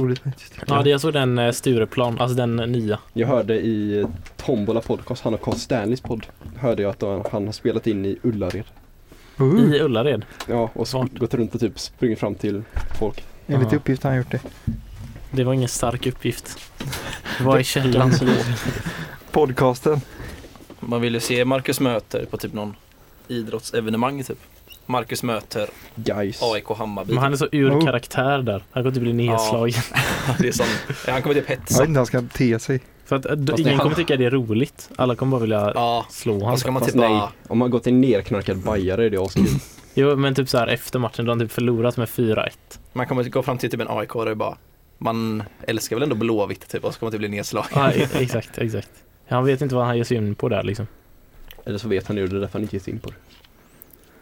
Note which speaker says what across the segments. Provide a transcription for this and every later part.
Speaker 1: roligt faktiskt.
Speaker 2: Ja, det, jag såg den eh, Stureplan, alltså den nya.
Speaker 3: Jag hörde i Tombola podcast, han och Carl Stanleys podd, hörde jag att han- han har spelat in i Ullared.
Speaker 1: Uh,
Speaker 2: I Ullared.
Speaker 3: Ja, och så
Speaker 2: Smart.
Speaker 3: gått runt och typ sprungit fram till folk.
Speaker 1: enligt
Speaker 2: Aha.
Speaker 1: uppgift har han gjort det.
Speaker 2: Det var ingen stark uppgift. Vad är källan?
Speaker 1: Podcasten.
Speaker 4: Man vill ju se Marcus möter på typ någon idrottsevenemang typ. Marcus möter
Speaker 3: Guys.
Speaker 4: AIK Hammarby.
Speaker 2: Men han är så ur karaktär där. Han kommer typ bli nedslagen.
Speaker 4: typ. Det är sån, Ja, han kommer typ
Speaker 1: Jag vet
Speaker 4: hetsa.
Speaker 1: inte hur han ska te sig.
Speaker 2: Så att, eh, d-
Speaker 3: Fast det-
Speaker 2: ingen kommer tycka det är roligt. Alla kommer bara vilja
Speaker 4: Ja,
Speaker 2: slå
Speaker 4: och
Speaker 2: honom.
Speaker 4: så kan man
Speaker 3: Fast
Speaker 4: typ
Speaker 3: nej,
Speaker 4: bara...
Speaker 3: om man gått en nerknarkad bajare är det askul.
Speaker 2: Jo, men typ så här efter matchen, då har han typ förlorat med 4-1.
Speaker 4: Man kommer gå fram till typ en AIK och bara... Man älskar väl ändå Blåvitt typ och så kommer man typ bli nedslagen.
Speaker 2: Ja, e- exakt, exakt. Han vet inte vad han ger sig in på där liksom.
Speaker 3: Eller så vet han ju det, det är därför han inte gick in på det.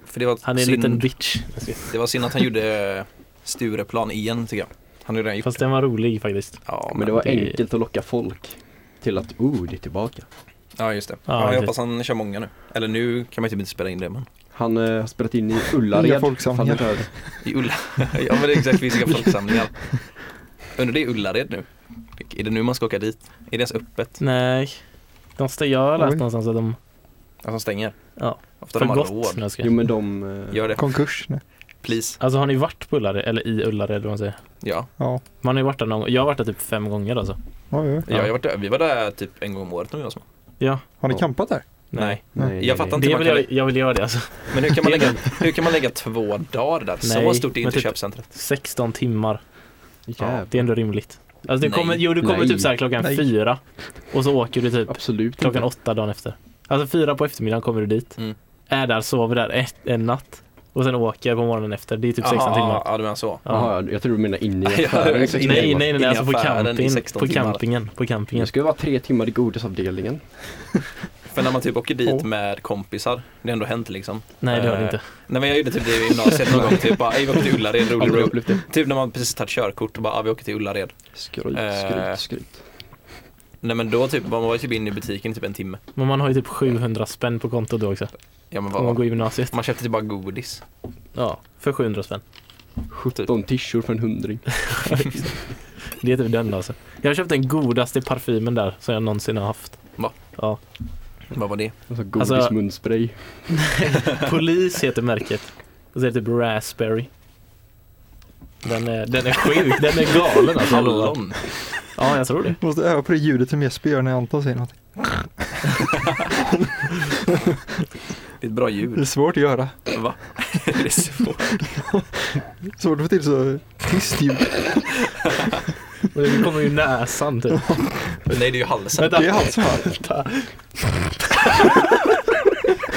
Speaker 4: För det var
Speaker 2: Han är en
Speaker 4: synd.
Speaker 2: liten bitch.
Speaker 4: Det var synd att han gjorde eh, Stureplan igen tycker jag. Han har ju redan gjort
Speaker 2: Fast
Speaker 4: det.
Speaker 2: den var rolig faktiskt.
Speaker 4: Ja,
Speaker 3: Men det var
Speaker 2: det-
Speaker 3: enkelt att locka folk till att, oh, det är tillbaka.
Speaker 4: ja just det.
Speaker 2: Ja,
Speaker 4: Ja, jag
Speaker 2: precis.
Speaker 4: hoppas han kör många nu. Eller nu kan man ju typ inte spela in det men.
Speaker 3: Han eh, har spelat in i
Speaker 1: Inga
Speaker 3: Ullared. Fan,
Speaker 1: folksamlingar.
Speaker 3: det hörde.
Speaker 4: I Ulla... ja men det är exakt, vi ska folksamlingar. Undrar det är Ullared nu. Är det nu man ska åka dit? Är det ens öppet?
Speaker 2: Nej. De stä- jag har läst
Speaker 1: Oj.
Speaker 2: någonstans att de
Speaker 4: Att Alltså, de stänger?
Speaker 2: Ja.
Speaker 4: Ofta
Speaker 2: för
Speaker 4: de har
Speaker 2: gott
Speaker 4: råd.
Speaker 2: nu ska.
Speaker 3: Jo men de, eh,
Speaker 4: Gör det,
Speaker 1: Konkurs. Nej.
Speaker 4: please.
Speaker 2: Alltså har ni varit på Ullared, eller i Ullared eller vad man säger?
Speaker 4: Ja.
Speaker 1: Ja.
Speaker 2: Man har ju varit där någon gång. Jag har varit där typ fem gånger alltså.
Speaker 1: Ja, ja.
Speaker 4: ja. Jag har varit där. Vi var där typ en gång om året när vi var små.
Speaker 1: Har ni
Speaker 3: Ja.
Speaker 1: campat där?
Speaker 4: Nej.
Speaker 3: nej,
Speaker 4: Jag fattar inte hur
Speaker 2: Det
Speaker 4: man
Speaker 2: vill
Speaker 4: kan...
Speaker 2: jag, jag vill göra det alltså.
Speaker 4: Men hur kan man lägga, hur kan man lägga två dagar där? Så
Speaker 2: Nej,
Speaker 4: stort är
Speaker 2: men
Speaker 4: inte
Speaker 2: typ-
Speaker 4: köpcentret.
Speaker 2: 16 timmar.
Speaker 3: Jävlar.
Speaker 4: typ
Speaker 2: Det är ändå rimligt. Alltså du
Speaker 4: Nej.
Speaker 2: kommer, jo du kommer
Speaker 3: Nej.
Speaker 2: typ såhär klockan
Speaker 1: Nej.
Speaker 2: fyra. Och så åker du typ
Speaker 3: Absolut
Speaker 2: klockan
Speaker 3: inte.
Speaker 2: åtta dagen efter. Alltså fyra på eftermiddagen kommer du dit.
Speaker 4: Mm.
Speaker 2: Är där, sover där ett, en natt. Och sen åker på morgonen efter. Det är typ 16
Speaker 4: Jaha,
Speaker 2: timmar.
Speaker 4: Ah, Ja, du menar så.
Speaker 2: Ja.
Speaker 3: Jaha, jag tror du menar inne i
Speaker 4: Ja,
Speaker 3: affären.
Speaker 2: Nej,
Speaker 4: exakt. inne
Speaker 2: nej,
Speaker 4: i-
Speaker 2: nej,
Speaker 4: inne
Speaker 2: nej,
Speaker 4: i
Speaker 2: alltså på
Speaker 4: affären i
Speaker 2: camping,
Speaker 4: 16
Speaker 2: på
Speaker 4: timmar.
Speaker 2: campingen, på campingen.
Speaker 3: Det ska ju vara tre timmar i godisavdelningen.
Speaker 4: För när man typ åker dit
Speaker 1: Ja.
Speaker 4: med kompisar, det har ändå hänt liksom.
Speaker 2: Nej, det har det
Speaker 4: Eh,
Speaker 2: inte.
Speaker 4: Nej men jag gjorde typ det i gymnasiet någon gång, typ bara, "Ey, vi åker till Ullared,
Speaker 3: Har
Speaker 4: rolig
Speaker 3: du
Speaker 4: rolig.
Speaker 3: upplevt det?
Speaker 4: Typ när man precis tagit körkort och bara, "Ah, vi åker till Ullared.
Speaker 3: Skryt,
Speaker 4: Eh.
Speaker 3: skryt, skryt.
Speaker 4: Nej men då typ, man var ju typ inne i butiken i typ en timme.
Speaker 2: Men man har ju typ 700 spänn på kontot då också.
Speaker 4: Ja men
Speaker 2: Om man
Speaker 4: vad,
Speaker 2: går i gymnasiet.
Speaker 4: man köpte typ bara godis.
Speaker 2: Ja, för 700 spänn.
Speaker 3: 17 tishor för en hundring.
Speaker 2: Det är typ den alltså. Jag har köpt den godaste parfymen där som jag någonsin har haft.
Speaker 4: Va?
Speaker 2: Ja.
Speaker 4: Vad var det?
Speaker 3: Alltså godismunspray.
Speaker 2: Polis heter märket. Och så är det typ Raspberry. Den är, den är sjuk, den är galen alltså. jag lovar.
Speaker 4: Hallon?
Speaker 2: Ja, jag tror det.
Speaker 1: Måste öva på det ljudet som Jesper gör när Anton säger någonting.
Speaker 4: Det är ett bra
Speaker 1: Det är
Speaker 4: ljud.
Speaker 1: svårt att göra.
Speaker 4: Va? det är svårt.
Speaker 1: Svårt att få till så tyst ljud.
Speaker 2: Och det kommer ju näsan typ.
Speaker 4: Nej det är ju halsen.
Speaker 1: Det är han som hör.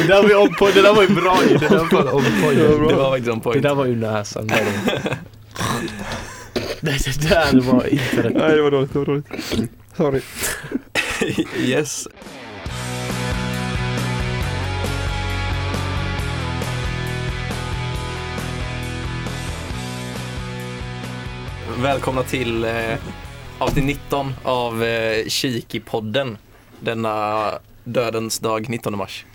Speaker 2: Det där var ju on point, det där var ju bra ju. Det där var fan on
Speaker 4: Det
Speaker 2: point.
Speaker 4: var faktiskt en
Speaker 2: Det
Speaker 4: point.
Speaker 2: där var ju näsan. Det, det där var inte rätt.
Speaker 1: Nej, det var dåligt. Det var dåligt. Sorry.
Speaker 4: yes. Välkomna till eh, avsnitt 19 av eh, Kiki-podden. Denna dödens dag 19 mars.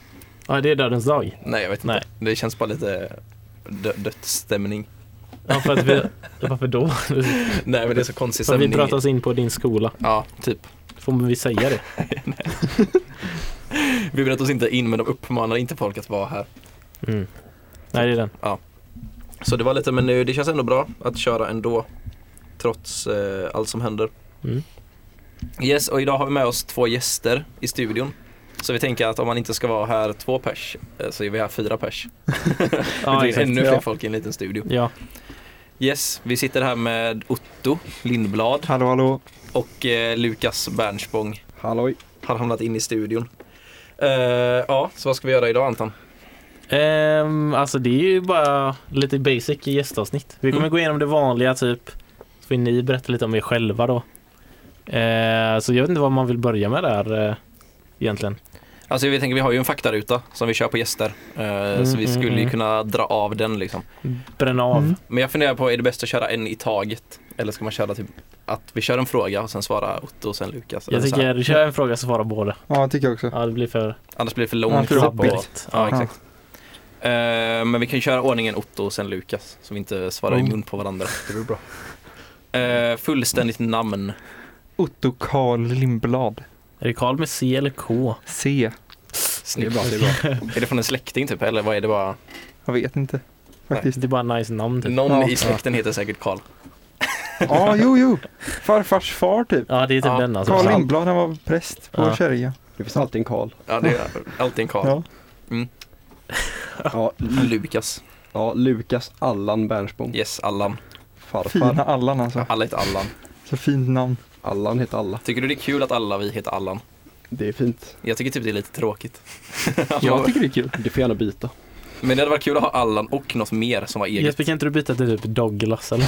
Speaker 2: Ja, det är dödens dag.
Speaker 4: Nej, jag vet inte.
Speaker 2: Nej.
Speaker 4: Det känns bara lite dö- dödsstämning.
Speaker 2: Ja, för att vi, varför då?
Speaker 4: Nej, men det är så konstig
Speaker 2: För att vi
Speaker 4: stämning.
Speaker 2: pratar oss in på din skola.
Speaker 4: Ja, typ.
Speaker 2: Får vi säga det?
Speaker 4: Vi bröt oss inte in, men de uppmanar inte folk att vara här.
Speaker 2: Mm. Nej, det är den.
Speaker 4: Så det var lite, men nu, det känns ändå bra att köra ändå. Trots eh, allt som händer.
Speaker 2: Mm.
Speaker 4: Yes, och idag har vi med oss två gäster i studion. Så vi tänker att om man inte ska vara här två pers, eh, så är vi här fyra pers. det
Speaker 2: Ja,
Speaker 4: blir
Speaker 2: exakt.
Speaker 4: ännu fler
Speaker 1: Ja.
Speaker 4: folk i en liten studio.
Speaker 2: Ja,
Speaker 4: Yes, vi sitter här med Otto Lindblad
Speaker 1: Hallå, hallå.
Speaker 4: och eh, Lukas Bernspång
Speaker 3: Halloj.
Speaker 4: har hamnat in i studion. Eh, ja, så vad ska vi göra idag Anton?
Speaker 2: Ehm, alltså det är ju bara lite basic gästavsnitt. Vi kommer
Speaker 4: Mm.
Speaker 2: gå igenom det vanliga typ. Så får ni berätta lite om er själva då. Ehm, så jag vet inte vad man vill börja med där eh, egentligen.
Speaker 4: Alltså vi tänker, vi har ju en faktaruta som vi kör på gäster. Eh, så vi
Speaker 2: mm,
Speaker 4: skulle ju
Speaker 2: mm.
Speaker 4: kunna dra av den liksom.
Speaker 2: Bränna av.
Speaker 1: Mm.
Speaker 4: Men jag funderar på, är det bäst att köra en i taget? Eller ska man köra typ att vi kör en fråga och sen svarar Otto och sen Lukas?
Speaker 2: Jag
Speaker 4: Eller så här.
Speaker 2: tycker, kör en fråga så svarar båda.
Speaker 1: Ja, det tycker jag också.
Speaker 2: Ja, det blir för
Speaker 4: Annars blir det för
Speaker 1: Ja,
Speaker 4: långt.
Speaker 1: för
Speaker 4: på-
Speaker 1: jobbigt.
Speaker 2: tappigt.
Speaker 4: Ja,
Speaker 2: Ja.
Speaker 4: exakt. Eh, men vi kan ju köra ordningen Otto och sen Lukas, så vi inte svarar i mun på varandra.
Speaker 3: Det blir bra.
Speaker 4: Eh, fullständigt namn.
Speaker 1: Otto Karl Lindblad.
Speaker 2: Är det Karl med C eller K?
Speaker 1: C.
Speaker 3: Det är bra, det är bra.
Speaker 4: Är det från en släkting typ eller vad är det bara?
Speaker 1: Jag vet inte. Faktiskt.
Speaker 2: Det är bara nice namn typ.
Speaker 4: Någon
Speaker 1: Ja.
Speaker 4: i släkten heter säkert Karl.
Speaker 1: Ja, ah, jo, jo. Farfars far typ.
Speaker 2: Ja, det är typ
Speaker 4: Ja,
Speaker 2: den alltså.
Speaker 1: Karl Lindblad, han var präst på
Speaker 2: Ja.
Speaker 1: Kärja.
Speaker 3: Det finns alltid en Karl.
Speaker 4: Ja, det är alltid en Karl.
Speaker 1: Ja.
Speaker 3: Ja, Lu-
Speaker 4: Lukas.
Speaker 3: ja Lukas Allan Bernsbom.
Speaker 4: Yes, Allan.
Speaker 1: Fina
Speaker 3: Farfar.
Speaker 1: Allan alltså.
Speaker 4: Alla heter Allan.
Speaker 1: Så fint namn.
Speaker 3: Allan heter alla.
Speaker 4: Tycker du det är kul att alla vi heter Allan?
Speaker 3: Det är fint.
Speaker 4: Jag tycker typ det är lite tråkigt. Alltså,
Speaker 1: Jag tycker det är kul.
Speaker 3: Du får gärna byta.
Speaker 4: Men det hade varit kul att ha Allan och något mer som var eget.
Speaker 2: Jesper, kan inte du byta till typ Douglas eller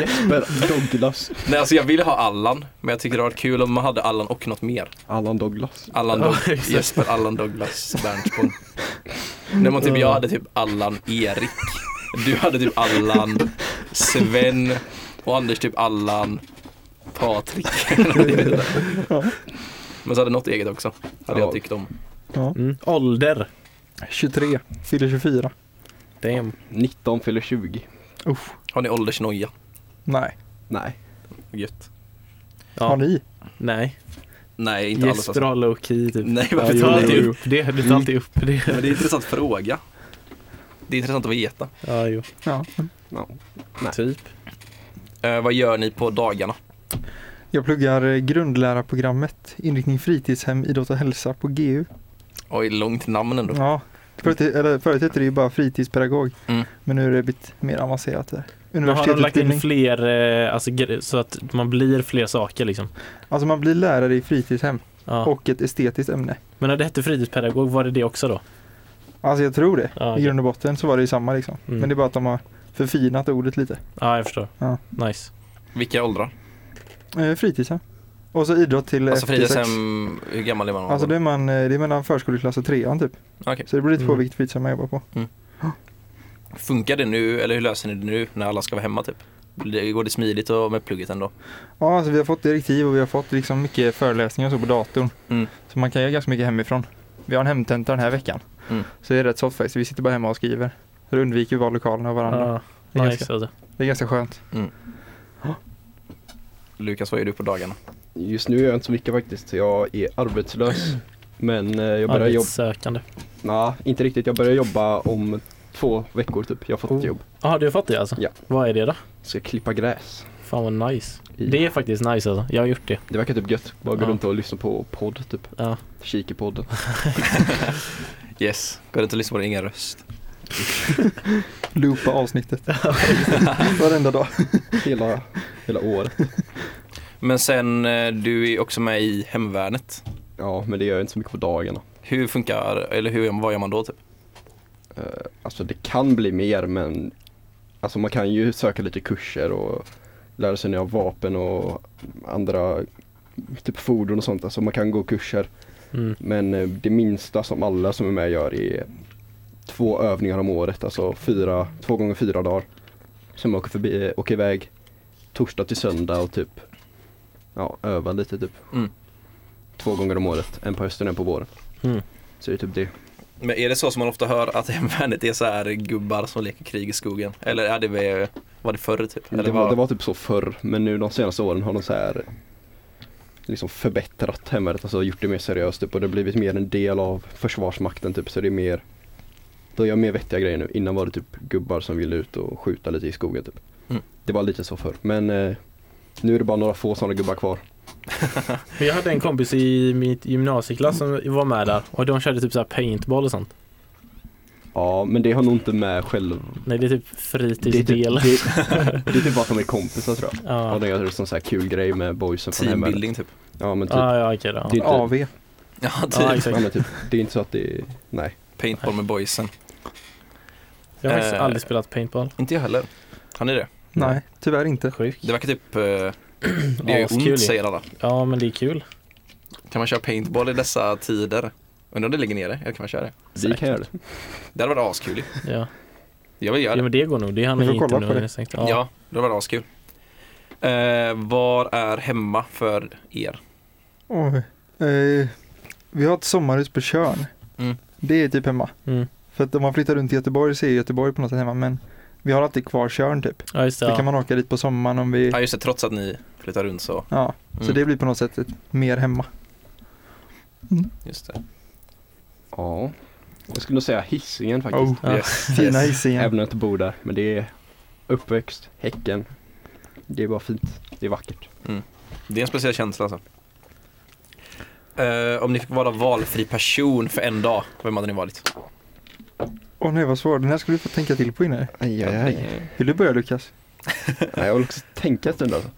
Speaker 3: Jesper Douglas.
Speaker 4: Nej, alltså jag ville ha Allan, men jag tycker det hade varit kul om man hade Allan och något mer.
Speaker 3: Allan Douglas.
Speaker 4: Allan
Speaker 2: Ja,
Speaker 4: Doug-
Speaker 2: exakt.
Speaker 4: Jesper Allan Douglas Bernsborn. När man typ, jag hade typ Allan Erik. Du hade typ Allan Sven och Anders typ Allan Patrik.
Speaker 1: Ja.
Speaker 4: Men så hade något eget också. Hade
Speaker 3: Ja.
Speaker 4: jag tyckt om.
Speaker 1: Ja.
Speaker 2: mm. Ålder.
Speaker 1: 23, fyller 24.
Speaker 2: Damn.
Speaker 3: 19 fyller 20.
Speaker 1: Uff.
Speaker 4: Har ni åldersnoja?
Speaker 1: Nej,
Speaker 3: Nej.
Speaker 4: Gött.
Speaker 1: har
Speaker 2: Ja,
Speaker 1: ni?
Speaker 2: nej.
Speaker 4: Nej, inte alls
Speaker 2: Jesper
Speaker 4: alltså.
Speaker 2: har low key typ.
Speaker 4: Nej, varför
Speaker 2: Du
Speaker 4: tar
Speaker 2: tar
Speaker 4: du
Speaker 3: jo,
Speaker 2: alltid
Speaker 3: jo.
Speaker 2: upp det. Du tar alltid upp det.
Speaker 4: Men det är en intressant fråga. Det är intressant att veta.
Speaker 2: Ja, jo.
Speaker 1: Ja.
Speaker 3: Ja.
Speaker 2: Typ.
Speaker 4: Eh, vad gör ni på dagarna?
Speaker 1: Jag pluggar eh, grundlärarprogrammet, inriktning fritidshem, idrott och hälsa på GU.
Speaker 4: Oj, långt namn ändå.
Speaker 1: Ja. Förut, eller, förut hette det ju bara fritidspedagog,
Speaker 4: Mm.
Speaker 1: men nu är det blivit mer avancerat där.
Speaker 2: Men har de lagt in
Speaker 1: Universitetsutbildning.
Speaker 2: fler, eh, alltså gre- så att man blir fler saker liksom?
Speaker 1: Alltså man blir lärare i fritidshem
Speaker 2: Ja.
Speaker 1: och ett estetiskt ämne.
Speaker 2: Men när det hette fritidspedagog, var det det också då?
Speaker 1: Alltså jag tror det.
Speaker 2: Ja, okej.
Speaker 1: I grund och botten så var det ju samma liksom.
Speaker 2: Mm.
Speaker 1: Men det är bara att de har förfinat ordet lite.
Speaker 2: Ja, jag förstår.
Speaker 1: Ja.
Speaker 2: Nice.
Speaker 4: Vilka åldrar?
Speaker 1: Eh, fritidshem. Och så idrott till
Speaker 4: Alltså
Speaker 1: efter sex.
Speaker 4: fritidshem, hur gammal är man?
Speaker 1: Alltså det är, man, eh, det är mellan förskoleklass och trean typ.
Speaker 4: Okej.
Speaker 1: Så det beror lite på
Speaker 2: Mm.
Speaker 1: vilket fritidshem man jobbar på.
Speaker 4: Funkar det nu, eller hur löser ni det nu när alla ska vara hemma typ? Det- Går det smidigt och med plugget ändå?
Speaker 1: Ja, alltså vi har fått direktiv och vi har fått liksom mycket föreläsningar och så på datorn.
Speaker 4: Mm.
Speaker 1: Så man kan göra ganska mycket hemifrån. Vi har en hemtenta den här veckan.
Speaker 4: Mm.
Speaker 1: Så det är rätt soft faktiskt. Vi sitter bara hemma och skriver. Så då undviker vi bara lokalerna och varandra.
Speaker 2: Ja,
Speaker 1: Det är
Speaker 2: nice
Speaker 1: ganska-
Speaker 2: alltså.
Speaker 1: Det är ganska skönt.
Speaker 4: Lukas, vad gör du på dagarna?
Speaker 3: Just nu gör jag inte så mycket faktiskt. Jag är arbetslös. Men eh, jag börjar jobba.
Speaker 2: Arbetssökande.
Speaker 3: Nej, inte riktigt. Jag börjar jobba om två veckor typ. Jag har fått ett
Speaker 2: Oh.
Speaker 3: jobb.
Speaker 2: Jaha, du har fått det alltså?
Speaker 3: Ja.
Speaker 2: Vad är det då?
Speaker 3: Ska klippa gräs.
Speaker 2: Fan vad nice.
Speaker 3: I-
Speaker 2: Det är faktiskt nice alltså. Jag har gjort det.
Speaker 3: Det verkar typ gött. Bara gå
Speaker 2: Ja.
Speaker 3: runt och lyssna på podd typ.
Speaker 2: Ja.
Speaker 3: Kik i podden.
Speaker 4: Yes, går det inte att lyssna på din egen röst?
Speaker 1: Loopa avsnittet. Varenda dag.
Speaker 3: Hela, hela året.
Speaker 4: Men sen, eh, du är också med i Hemvärnet.
Speaker 3: Ja, men det gör jag inte så mycket på dagarna.
Speaker 4: Hur funkar, eller hur, vad gör man då typ?
Speaker 3: Eh, Alltså det kan bli mer men Alltså man kan ju söka lite kurser och lära sig nya vapen och andra typ fordon och sånt. Alltså man kan gå kurser.
Speaker 2: Mm.
Speaker 3: Men eh, det minsta som alla som är med gör är två övningar om året. Alltså fyra, två gånger fyra dagar. Sen man åker, förbi, eh, åker iväg torsdag till söndag och typ ja, övar lite typ.
Speaker 4: Mm.
Speaker 3: Två gånger om året. En på hösten och en på våren.
Speaker 2: Mm.
Speaker 3: Så det är typ det.
Speaker 4: Men är det så som man ofta hör att Hemvärnet är så här gubbar som leker krig i skogen? Eller är det, väl- var det förr typ? Eller
Speaker 3: Det var,
Speaker 4: vad-
Speaker 3: det var typ så förr, men nu de senaste åren har de så här liksom förbättrat hemvärnet, alltså gjort det mer seriöst typ, och det har blivit mer en del av försvarsmakten typ så det är mer De gör mer vettiga grejer nu, innan var det typ gubbar som ville ut och skjuta lite i skogen typ
Speaker 4: Mm.
Speaker 3: Det var lite så förr, men eh, nu är det bara några få sådana gubbar kvar
Speaker 2: Men jag hade en kompis i mitt gymnasieklass som var med där och de körde typ så här paintball och sånt.
Speaker 3: Ja, men det har nog inte med själv
Speaker 2: Nej, det är typ
Speaker 3: typ, det,
Speaker 2: fritidsdel.
Speaker 3: det är typ bara att de är kompisar tror jag Ja,
Speaker 2: Ja,
Speaker 3: de gör det som så här kul grej med boysen från hemvärnet
Speaker 4: Teambuilding typ.
Speaker 3: Ja men typ,
Speaker 2: ja, Ah, ja okej då.
Speaker 3: Det är inte-
Speaker 1: AV.
Speaker 4: Ja,
Speaker 2: Ja,
Speaker 4: typ.
Speaker 3: ja,
Speaker 2: exakt.
Speaker 3: men typ det är inte så att det är, nej
Speaker 4: Paintball med boysen.
Speaker 2: Jag har faktiskt
Speaker 4: Eh,
Speaker 2: aldrig spelat paintball.
Speaker 4: Inte jag heller. Har ni det?
Speaker 1: Nej, tyvärr inte.
Speaker 2: Sjukt.
Speaker 4: Det verkar typ,
Speaker 3: Mm,
Speaker 4: eh, det är
Speaker 2: Askul ju.
Speaker 4: ont säger alla.
Speaker 2: Ja, men det är kul.
Speaker 4: Kan man köra paintball i dessa tider? Undrar om det ligger nere, eller kan man köra det?
Speaker 3: Vi kan göra det.
Speaker 4: Det hade varit askul ju.
Speaker 2: Ja.
Speaker 4: Jag vill göra
Speaker 2: ja,
Speaker 4: det.
Speaker 2: men det går nog. Det handlar
Speaker 1: Vi får
Speaker 2: inte
Speaker 1: kolla på
Speaker 2: nu.
Speaker 1: det.
Speaker 2: stängt.
Speaker 4: Ja, det hade varit askul. Eh, var är hemma för er?
Speaker 1: Oj. Eh, vi har ett sommarhus på Tjörn.
Speaker 4: Mm.
Speaker 1: Det är typ hemma.
Speaker 2: Mm.
Speaker 1: För att om man flyttar runt i Göteborg så är Göteborg på något sätt hemma. Men Vi har alltid kvar körn typ.
Speaker 2: Ja, just det.
Speaker 1: Så kan
Speaker 2: Ja.
Speaker 1: man åka dit på sommaren om vi,
Speaker 4: Ja just det, trots att ni flyttar runt så.
Speaker 1: ja. Så
Speaker 4: Mm.
Speaker 1: det blir på något sätt ett, mer hemma.
Speaker 4: Just det.
Speaker 3: Ja. Jag skulle nog säga Hisingen faktiskt.
Speaker 1: Oh,
Speaker 2: Ja.
Speaker 4: Yes.
Speaker 1: fina
Speaker 4: Yes.
Speaker 1: Hisingen.
Speaker 3: Även om jag inte bor där. Men det är uppväxt, Häcken. Det är bara fint. Det är vackert.
Speaker 4: Det är en speciell känsla alltså. Eh, om ni fick vara valfri person för en dag, vem hade ni varit?
Speaker 1: Åh nej vad svår, den här skulle du få tänka till på innan.
Speaker 3: Aj,
Speaker 1: Vill du börja Lukas?
Speaker 3: Nej, jag vill också tänka en stund alltså.